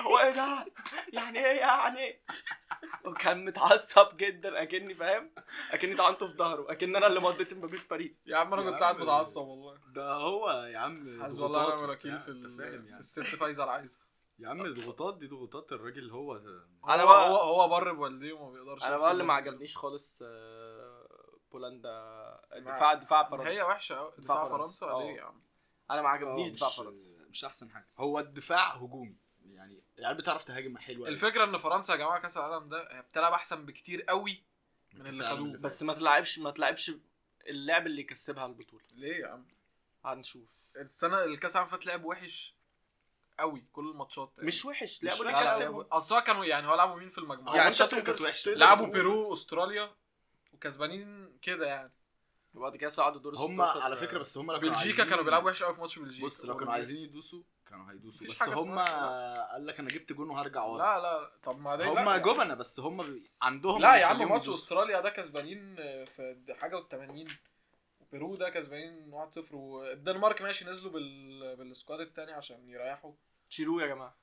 Speaker 3: هو ايه ده؟ يعني ايه يعني ايه؟ وكان متعصب جدا اكني فاهم؟ اكني طعنته في ظهره اكن انا اللي مضيت امبابي في باريس
Speaker 2: يا عم انا
Speaker 4: يا
Speaker 2: كنت قاعد
Speaker 4: عم.
Speaker 2: متعصب والله
Speaker 4: ده هو يا عم
Speaker 2: حسبي الله
Speaker 4: ضغوطات
Speaker 2: ونعم الوكيل
Speaker 4: وبتاع،
Speaker 2: في
Speaker 4: انت
Speaker 2: ال-
Speaker 4: فاهم
Speaker 2: في
Speaker 4: يعني
Speaker 2: الست فايزر عايزه
Speaker 4: يا عم الضغوطات دي ضغوطات الراجل هو ده.
Speaker 3: أنا
Speaker 2: انا
Speaker 3: بقى-
Speaker 2: بقى هو هو بر بوالديه وما بيقدرش
Speaker 3: انا
Speaker 2: يقف
Speaker 3: بقى اللي ما
Speaker 2: ضده.
Speaker 3: عجبنيش خالص آه، بولندا الدفاع دفاع
Speaker 2: هي
Speaker 3: فرنسا
Speaker 2: وحشه أوي. دفاع
Speaker 3: فرنسا.
Speaker 2: فرنسا
Speaker 3: آه.
Speaker 2: ليه يا عم
Speaker 3: انا ما
Speaker 4: آه،
Speaker 3: عجبنيش
Speaker 2: اه،
Speaker 4: مش-
Speaker 3: دفاع فرنسا
Speaker 4: مش احسن حاجه هو الدفاع هجومي يعني العيال بتعرف تهاجم حلو أوي.
Speaker 2: الفكره ان فرنسا يا جماعه كاس العالم ده هي بتلعب احسن بكتير قوي من
Speaker 4: كأس
Speaker 2: اللي
Speaker 4: العالم
Speaker 2: خدوه
Speaker 4: فات.
Speaker 3: بس ما تلعبش ما تلعبش اللعب اللي يكسبها البطوله
Speaker 2: ليه يا عم
Speaker 3: هنشوف
Speaker 2: السنه الكاس العالم اللي فات لعب وحش قوي كل الماتشات
Speaker 3: مش وحش
Speaker 4: مش
Speaker 3: لعبوا اللي
Speaker 4: وحش.
Speaker 2: طيب. لا، لا،
Speaker 3: يكسبها
Speaker 2: لعبوا- اصل هو كانوا يعني هو لعبوا مين في المجموعه
Speaker 4: يعني
Speaker 3: انت
Speaker 4: شاتهم
Speaker 3: تقدر-
Speaker 4: كانت وحشه
Speaker 3: تقدر
Speaker 2: لعبوا
Speaker 3: تقول-
Speaker 2: بيرو واستراليا وكسبانين كده يعني
Speaker 3: وبعد كده صعدوا دور
Speaker 4: هم
Speaker 3: 16
Speaker 4: على فكره بس هم لو كانوا
Speaker 2: بلجيكا كانوا
Speaker 4: عايزين-
Speaker 2: بيلعبوا وحش قوي في ماتش بلجيكا
Speaker 4: بص لو كانوا
Speaker 2: والله.
Speaker 4: يعني. عايزين يدوسوا كانوا هيدوسوا
Speaker 2: مفيش
Speaker 4: بس
Speaker 2: حاجة
Speaker 4: هم
Speaker 2: اسمها-
Speaker 4: قال لك انا جبت جون وهرجع ورا
Speaker 2: لا لا طب ما ده
Speaker 4: هم جبنه بس هم بي- عندهم
Speaker 2: لا
Speaker 4: اللي
Speaker 2: يا عم
Speaker 4: يخليهم
Speaker 2: ماتش
Speaker 4: يدوسوا.
Speaker 2: استراليا ده كسبانين في حاجه و80 وبيرو ده كسبانين 1-0 والدنمارك ماشي نزلوا بال... بالسكواد التاني عشان يريحوا
Speaker 3: شيلوه يا جماعه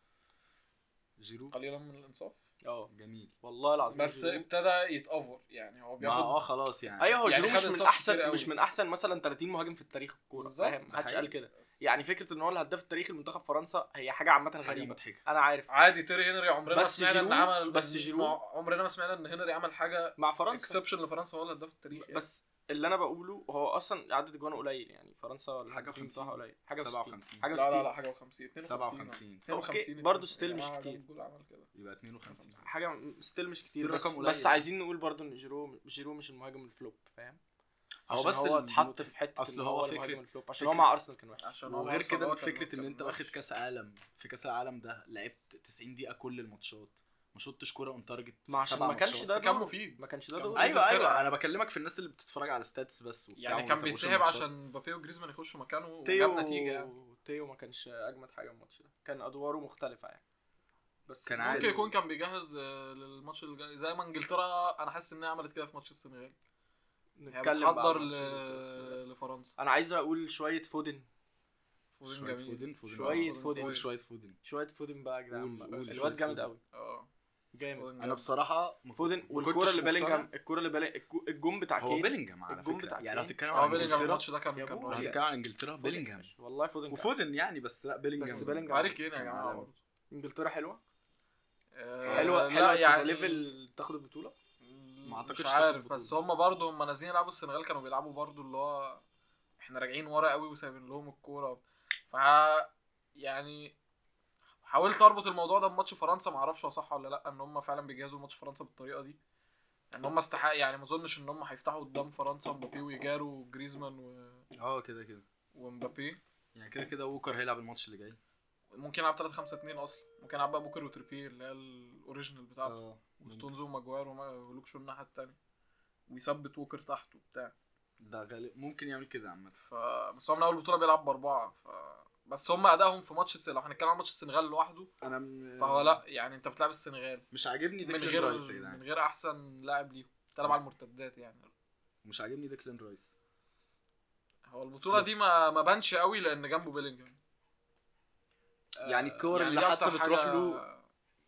Speaker 4: جيرو
Speaker 2: قليلا من الانصاف
Speaker 3: اه
Speaker 4: جميل
Speaker 3: والله العظيم
Speaker 2: بس يعني
Speaker 3: جيرو.
Speaker 2: ابتدى يتأفر يعني هو
Speaker 4: ما اه
Speaker 2: بياخد
Speaker 4: خلاص يعني
Speaker 3: ايوه هو
Speaker 2: يعني
Speaker 3: جيرو
Speaker 2: خد
Speaker 3: مش من
Speaker 2: انصاف كتير
Speaker 3: احسن
Speaker 2: قوي.
Speaker 3: مش من احسن مثلا 30 مهاجم في التاريخ الكوره
Speaker 2: بالظبط.
Speaker 3: فاهم محدش
Speaker 4: حقيقي.
Speaker 3: قال كده يعني فكره ان هو الهداف التاريخي لمنتخب فرنسا هي حاجه عامه
Speaker 4: حاجه
Speaker 3: غريبه
Speaker 4: مضحكه
Speaker 3: انا عارف
Speaker 2: عادي تيري هنري عمرنا ما
Speaker 3: بس
Speaker 2: سمعنا ان
Speaker 3: جيرو-
Speaker 2: عمل
Speaker 3: بس جيرو-
Speaker 2: عمرنا ما سمعنا ان هنري عمل حاجه
Speaker 3: مع فرنسا
Speaker 2: اكسبشن لفرنسا هو الهداف التاريخي بس
Speaker 3: بس اللي انا بقوله هو اصلا عدد جوانه قليل يعني فرنسا
Speaker 4: حاجة
Speaker 3: الهدافين
Speaker 4: و50.
Speaker 3: بتاعها قليل حاجه و60
Speaker 4: 57
Speaker 3: حاجه
Speaker 2: لا لا لا
Speaker 3: و60
Speaker 2: حاجه و50 52
Speaker 4: 57
Speaker 2: 52
Speaker 3: برضه still مش كتير.
Speaker 2: يعني عمل كده
Speaker 4: يبقى 52
Speaker 3: حاجه ستيل مش كتير
Speaker 4: still
Speaker 3: بس,
Speaker 4: رقم قليل.
Speaker 3: بس عايزين نقول برضه ان جيرو جيرو مش المهاجم الفلوب فاهم
Speaker 4: هو
Speaker 3: عشان
Speaker 4: بس
Speaker 3: هو
Speaker 4: الم-
Speaker 3: اتحط في حته
Speaker 4: أصل
Speaker 3: إن
Speaker 4: هو فكرة-
Speaker 3: المهاجم الفلوب عشان هو
Speaker 4: فكرة-
Speaker 3: مع ارسنال كان وحش
Speaker 2: عشان هو
Speaker 4: وغير
Speaker 2: وصل هو
Speaker 4: كده
Speaker 2: كان-
Speaker 4: فكره ان
Speaker 2: كان
Speaker 4: انت
Speaker 2: وحش.
Speaker 4: واخد كاس عالم في كاس العالم ده لعبت 90 دقيقه كل الماتشات ما شطتش كوره اون تارجت في
Speaker 3: ما عشان
Speaker 4: السبع
Speaker 3: ما كانش
Speaker 4: ماتشات.
Speaker 2: بس
Speaker 3: ده
Speaker 2: كان
Speaker 3: دور.
Speaker 2: مفيد
Speaker 3: ما كانش ده
Speaker 2: كان-
Speaker 3: دور
Speaker 4: ايوه ايوه
Speaker 2: الفرقة.
Speaker 4: انا بكلمك في الناس اللي بتتفرج على ستاتس بس وبتاع
Speaker 2: أيوة، يعني كان
Speaker 4: وما بيتابعوش
Speaker 2: بيتسحب
Speaker 4: الماتشات.
Speaker 2: عشان مبابي وجريزمان يخشوا مكانه وجاب
Speaker 3: تيو
Speaker 2: نتيجه يعني
Speaker 3: تيو ما كانش اجمد حاجه الماتش ده كان ادواره مختلفه يعني بس
Speaker 4: كان
Speaker 2: ممكن
Speaker 4: عادي.
Speaker 2: يكون كان بيجهز آه، للماتش اللي جاي زي ما انجلترا انا حاسس انها عملت كده في ماتش السنغال هي
Speaker 3: نتكلم بقى
Speaker 2: بتحضر
Speaker 3: عن ماتش البرتغال.
Speaker 2: ل... لفرنسا
Speaker 3: انا عايز اقول شويه فودن
Speaker 2: فوزين
Speaker 4: شوية
Speaker 2: جميل.
Speaker 4: فودن- فودن.
Speaker 3: شوية
Speaker 2: فودن
Speaker 3: فودن.
Speaker 4: قول
Speaker 2: قوي.
Speaker 4: شويه فودن
Speaker 3: شويه فودن بقى يا جدعان
Speaker 4: قول-
Speaker 3: بقى.
Speaker 4: قول شوية
Speaker 3: الواد جامد
Speaker 4: فودن.
Speaker 3: قوي
Speaker 2: اه
Speaker 3: جامد
Speaker 2: فودن
Speaker 4: انا
Speaker 2: جامد.
Speaker 4: بصراحه ما
Speaker 3: فودن
Speaker 4: كنت- ما
Speaker 3: والكوره
Speaker 4: كنتش
Speaker 3: اللي بالينجهام
Speaker 4: مقتنع.
Speaker 3: الكوره اللي بالي- الكو- الجون بتاع
Speaker 4: هو
Speaker 3: كين
Speaker 4: بيلينجهام على
Speaker 3: الجون
Speaker 4: فكره
Speaker 3: بتاع
Speaker 4: يعني لو
Speaker 3: كين.
Speaker 4: هتتكلم
Speaker 2: اه
Speaker 4: عن
Speaker 2: بيلينجهام
Speaker 4: انجلترا
Speaker 2: الماتش ده كان
Speaker 3: يا
Speaker 2: كان
Speaker 3: بوي.
Speaker 4: لو
Speaker 2: رائع.
Speaker 4: هتتكلم عن انجلترا
Speaker 3: فودن يا
Speaker 4: بيلينجهام
Speaker 3: باشا. والله فودن
Speaker 4: وفودن يعني بس لا بيلينجهام
Speaker 3: بس بيلينجهام.
Speaker 2: هاري كين يا جماعه
Speaker 4: علامة.
Speaker 2: برضه
Speaker 3: انجلترا حلوه
Speaker 2: آه،
Speaker 3: حلوه
Speaker 2: لا
Speaker 3: حلوه
Speaker 2: يعني
Speaker 3: يعني ليفل تاخد البطوله
Speaker 2: ما
Speaker 4: أعتقدش
Speaker 2: مش
Speaker 4: تاخد
Speaker 2: عارف
Speaker 4: بطولة.
Speaker 2: بس هم برضه هم نازلين يلعبوا السنغال كانوا بيلعبوا برضه اللي هو احنا راجعين ورا قوي وسايبين لهم الكوره ف يعني حاولت اربط الموضوع ده بماتش فرنسا ما اعرفش هو صح ولا لا ان هم فعلا بيجهزوا ماتش فرنسا بالطريقه دي ان هم استحق يعني ما اظنش ان هم هيفتحوا قدام فرنسا مبابي ويجارو وجريزمان و...
Speaker 4: اه كده كده
Speaker 2: ومبابي
Speaker 4: يعني كده كده ووكر هيلعب الماتش اللي جاي
Speaker 2: ممكن يلعب 3 5 2 اصلا ممكن يلعب بقى بوكر وتريبيه اللي هي الاوريجينال بتاعته
Speaker 4: اه
Speaker 2: وستونز وماجوار وما- ولوك شو الناحيه التانيه ويثبت ووكر تحته وبتاع
Speaker 4: ده غالب ممكن يعمل كده عامه
Speaker 2: ف بس هو من اول بطوله بيلعب باربعه ف بس هم ادائهم في ماتش الس- لو هنتكلم عن ماتش السنغال لوحده
Speaker 4: انا
Speaker 3: آه.
Speaker 4: م...
Speaker 2: فهو لا يعني انت بتلعب السنغال
Speaker 4: مش عاجبني
Speaker 2: من
Speaker 4: ديكلان
Speaker 2: غير
Speaker 4: رايس يا
Speaker 2: من
Speaker 4: جدعان
Speaker 2: غير احسن لاعب ليهم بتلعب على المرتدات يعني
Speaker 4: مش عاجبني ديكلان رايس
Speaker 2: هو البطوله دي ما ما بانش قوي لان جنبه بيلينجهام
Speaker 4: يعني الكور
Speaker 2: يعني
Speaker 4: اللي
Speaker 2: دي
Speaker 4: حتى
Speaker 2: أكتر
Speaker 4: بتروح
Speaker 2: حاجة
Speaker 4: له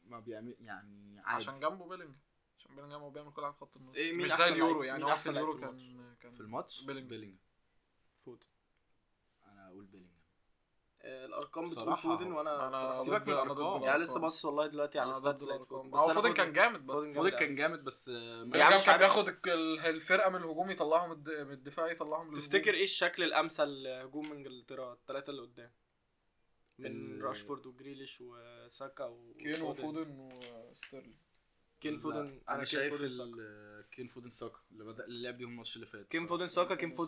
Speaker 4: ما بيعمل يعني عادي
Speaker 2: عشان جنبه بيلينجهام عشان بيلينجهام هو بيعمل كل حاجه في خط النص
Speaker 3: إيه، مين
Speaker 2: مش
Speaker 3: أحسن
Speaker 2: زي اليورو
Speaker 3: لعيب-
Speaker 2: يعني
Speaker 3: مين
Speaker 2: هو في
Speaker 3: أحسن لعيب
Speaker 2: اليورو
Speaker 3: في
Speaker 2: كان كان
Speaker 4: في الماتش
Speaker 2: بيلينجهام.
Speaker 4: بيلينجهام
Speaker 3: فودن
Speaker 4: انا اقول بيلينجهام
Speaker 3: آه، الارقام بتقول
Speaker 4: بصراحة
Speaker 3: فودن وانا
Speaker 2: انا
Speaker 3: بصراحة-
Speaker 4: سيبك
Speaker 2: ضد-
Speaker 4: من
Speaker 2: أنا ضد
Speaker 4: الأرقام.
Speaker 2: الأرقام.
Speaker 3: يعني لسه باصص والله دلوقتي على
Speaker 2: أنا
Speaker 3: الستاتس
Speaker 2: ضد
Speaker 3: لقيت
Speaker 2: الأرقام.
Speaker 3: فودن
Speaker 2: هو
Speaker 3: أنا
Speaker 2: فودن كان جامد بس
Speaker 3: فودن
Speaker 4: فودن
Speaker 3: جامد
Speaker 4: كان جامد بس آه، ما-
Speaker 3: يعني
Speaker 2: يعني
Speaker 3: مش
Speaker 2: كان
Speaker 3: عارف.
Speaker 2: بياخد الك- الفرقه من الهجوم يطلعها من الد- من الدفاع يطلعها من الهجوم.
Speaker 3: تفتكر ايه الشكل الامثل لهجوم انجلترا الثلاثه اللي قدام من
Speaker 4: ال-
Speaker 3: راشفورد وجريليش وساكا و-
Speaker 2: كين
Speaker 3: وفودن.
Speaker 2: وفودن وستيرلينج
Speaker 3: كين
Speaker 4: لا،
Speaker 3: فودن
Speaker 4: انا شايف
Speaker 3: فودن
Speaker 4: ال-
Speaker 3: ساكا.
Speaker 4: كين فودن ساكا اللي بدا اللي لعب بيهم الماتش اللي فات
Speaker 3: كين
Speaker 4: صراحة.
Speaker 3: فودن ساكا كين
Speaker 2: فودن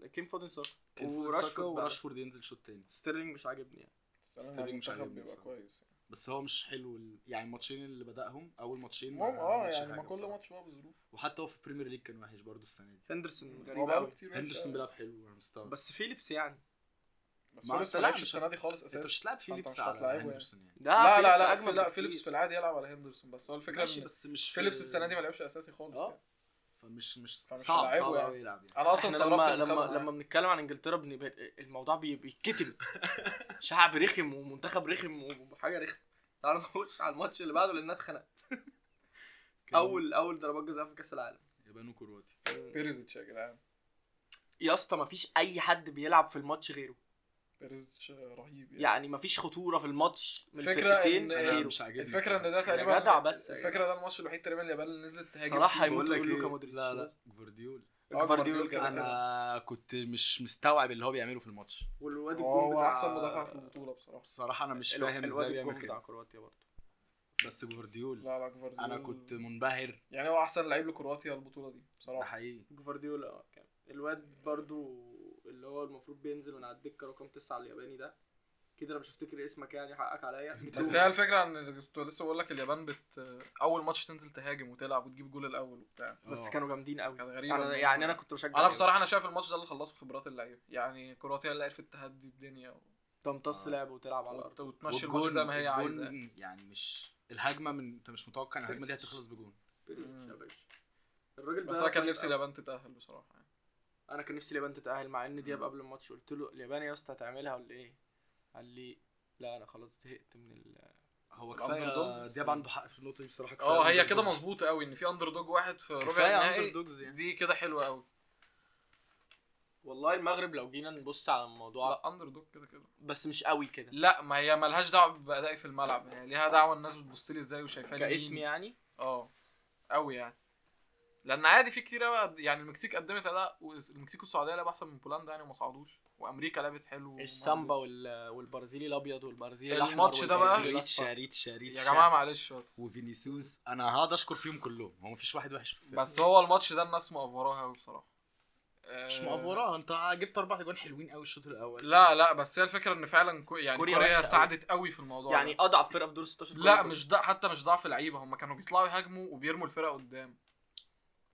Speaker 3: فودن كين فودن ساكا
Speaker 4: كين فودن ساكا
Speaker 3: بقى.
Speaker 4: وراشفورد ينزل شوط تاني
Speaker 3: ستيرلينج مش عاجبني يعني
Speaker 4: ستيرلينج مش عاجبني
Speaker 2: بيبقى
Speaker 4: بصراحة.
Speaker 2: كويس
Speaker 4: بس هو مش حلو ال- يعني الماتشين اللي بداهم اول ماتشين ما
Speaker 2: المهم اه
Speaker 4: عملش
Speaker 2: يعني ما
Speaker 4: حاجة
Speaker 2: كل
Speaker 4: بصراحة.
Speaker 2: ماتش بقى بظروف
Speaker 4: وحتى هو في البريمير ليج كان وحش برضه السنه دي
Speaker 3: هندرسون
Speaker 2: هو
Speaker 3: غريب
Speaker 2: بقاله
Speaker 3: قوي
Speaker 2: كتير وحش
Speaker 4: هندرسون
Speaker 2: أوي.
Speaker 4: بيلعب حلو على مستوى
Speaker 3: بس فيليبس يعني
Speaker 2: بس
Speaker 4: ما
Speaker 2: فيليبس
Speaker 4: أنت
Speaker 2: ما
Speaker 4: لا،
Speaker 2: لعبش
Speaker 4: مش
Speaker 2: السنه دي خالص
Speaker 4: انت
Speaker 2: اساسا
Speaker 4: مش هتلعب فيليبس
Speaker 2: مش
Speaker 4: على
Speaker 2: هتلاعبه يعني.
Speaker 4: هندرسون يعني
Speaker 2: لا لا
Speaker 3: فيليبس
Speaker 2: لا
Speaker 3: أجمد
Speaker 2: في- لا
Speaker 3: بكتير.
Speaker 2: فيليبس في العادي يلعب على هندرسون بس هو الفكره
Speaker 4: ماشي
Speaker 2: ان
Speaker 4: بس مش
Speaker 2: فيليبس السنه دي ما لعبش اساسي خالص
Speaker 4: آه.
Speaker 2: يعني.
Speaker 4: فمش مش
Speaker 2: فمش
Speaker 4: صعب
Speaker 2: هلاعبه
Speaker 4: صعب
Speaker 2: يعني.
Speaker 4: قوي يلعب يعني
Speaker 2: انا اصلا
Speaker 3: احنا لما
Speaker 2: استغربت
Speaker 3: لما لما بنتكلم عن انجلترا بن... ب- الموضوع بي... بيتكتب شعب رخم ومنتخب رخم وحاجه رخم تعالوا نخش على الماتش اللي بعده لان اتخنقت
Speaker 4: كان
Speaker 3: اول اول ضربات جزاء في كاس العالم
Speaker 4: يابانو كرواتي
Speaker 2: بيريزيتش يا جدعان
Speaker 3: يا اسطى مفيش اي حد بيلعب في الماتش غيره
Speaker 2: بيريزيتش رهيب يعني
Speaker 3: يعني مفيش خطوره في الماتش من
Speaker 2: فكرة
Speaker 3: الفرقتين
Speaker 2: إن-
Speaker 4: انا
Speaker 3: غيره
Speaker 4: مش عاجبني
Speaker 2: الفكره ان ده
Speaker 3: يا
Speaker 2: تقريبا
Speaker 3: جدع بس.
Speaker 2: الفكره ده الماتش الوحيد تقريبا اليابان اللي نزلت تهاجم
Speaker 3: صلاح
Speaker 2: فيه.
Speaker 3: هيموت.
Speaker 4: بقول لك
Speaker 3: يقول لوكا
Speaker 4: إيه؟
Speaker 3: مودريتش.
Speaker 4: لا لا جفارديول
Speaker 2: آه،
Speaker 3: جفارديول
Speaker 2: كده كده.
Speaker 4: انا كنت مش مستوعب اللي هو بيعمله في الماتش
Speaker 3: والواد الجون
Speaker 2: هو
Speaker 3: بتاع آه،
Speaker 2: احسن مدافع في البطوله بصراحه
Speaker 4: بصراحه انا مش
Speaker 3: الو-
Speaker 4: فاهم
Speaker 3: الواد
Speaker 4: ازاي
Speaker 3: الجون
Speaker 4: بيعمل
Speaker 3: بتاع
Speaker 4: كده
Speaker 3: كرواتيا برضه
Speaker 4: بس جفارديول
Speaker 2: لا لا جفارديول
Speaker 4: انا كنت منبهر
Speaker 2: يعني هو احسن لعيب لكرواتيا البطوله دي
Speaker 4: ده
Speaker 2: بصراحه
Speaker 4: حقيقي
Speaker 3: جفارديولا اه كان الواد برضو اللي هو المفروض بينزل من على الدكه رقم تسعة الياباني ده كده انا مش هفتكر اسمك يعني حقك عليا
Speaker 2: بس هي الفكره ان كنت لسه بقول لك اليابان بت اول ماتش تنزل تهاجم وتلعب وتجيب جول الاول وبتاع
Speaker 3: بس
Speaker 4: آه.
Speaker 3: كانوا جامدين قوي
Speaker 2: كانت غريبه
Speaker 3: انا
Speaker 2: إن-
Speaker 3: يعني انا كنت بشجع
Speaker 2: انا
Speaker 3: اليابان.
Speaker 2: بصراحه انا شايف الماتش ده اللي خلصه خبرات اللعيبه يعني كرواتيا اللي عرفت تهدي الدنيا و...
Speaker 3: تمتص
Speaker 4: آه.
Speaker 3: لعب وتلعب على الارض
Speaker 2: وت- وتمشي الماتش زي ما هي
Speaker 4: الجون
Speaker 2: عايزه
Speaker 4: يعني مش الهجمه من انت مش متوقع ان الهجمه دي
Speaker 3: بيرسيتش.
Speaker 4: هتخلص بجون
Speaker 3: بيريسيتش
Speaker 2: مم.
Speaker 3: يا باشا الراجل ده
Speaker 2: بس انا كان
Speaker 3: طيب
Speaker 2: نفسي
Speaker 3: أوي.
Speaker 2: اليابان تتاهل بصراحه يعني.
Speaker 3: انا كان نفسي اليابان تتاهل مع ان دياب
Speaker 2: مم.
Speaker 3: قبل الماتش قلت له اليابان يا اسطى هتعملها ولا ايه قال لي لا انا خلاص زهقت من ال...
Speaker 4: هو
Speaker 2: الأندر
Speaker 4: كفايه
Speaker 2: دوجز.
Speaker 4: دياب عنده حق في النقطه دي بصراحه كفاية
Speaker 2: اه هي
Speaker 4: أندر
Speaker 2: كده
Speaker 4: دوجز.
Speaker 2: مظبوطه قوي ان في اندر دوج واحد في ربع
Speaker 3: كفايه اندر
Speaker 2: النهائي
Speaker 3: دوجز يعني
Speaker 2: دي كده حلوه قوي
Speaker 3: والله المغرب لو جينا نبص على الموضوع
Speaker 2: لا اندر دوج كده كده
Speaker 3: بس مش قوي كده
Speaker 2: لا ما هي ملهاش دعوه بادائي في الملعب هي ليها دعوه الناس بتبص لي ازاي وشايفاني مين.
Speaker 3: كاسم يعني
Speaker 2: اه قوي يعني لان عادي في كتير قوي يعني المكسيك قدمت اداء والمكسيك والسعوديه لعبوا احسن من بولندا يعني وما صعدوش وامريكا لعبت حلو وما
Speaker 3: السامبا
Speaker 2: عدتش.
Speaker 3: وال... والبرازيلي الابيض والبرازيلي
Speaker 2: الماتش
Speaker 3: الأحمر
Speaker 2: ده بقى-
Speaker 3: والبرازيلي
Speaker 4: ريتشا
Speaker 3: الأصفر.
Speaker 4: ريتشا ريتشا
Speaker 2: يا جماعه معلش بس
Speaker 4: وفينيسيوس انا هقعد اشكر فيهم كلهم هو مفيش واحد وحش في الفرقة.
Speaker 2: بس هو الماتش ده الناس مقفراها قوي بصراحه
Speaker 4: مش
Speaker 2: آه،
Speaker 4: مقفوراها انت جبت اربع اجوان حلوين قوي الشوط الاول
Speaker 2: لا لا بس هي الفكره ان فعلا كو يعني
Speaker 3: كوريا
Speaker 2: كوريا,
Speaker 3: وحشة قوي.
Speaker 2: ساعدت قوي في الموضوع
Speaker 3: يعني
Speaker 2: ده.
Speaker 3: اضعف فرقه في دور 16
Speaker 2: لا
Speaker 3: كله.
Speaker 2: مش ده حتى مش ضعف لعيبه هم كانوا بيطلعوا يهاجموا وبيرموا الفرقه قدام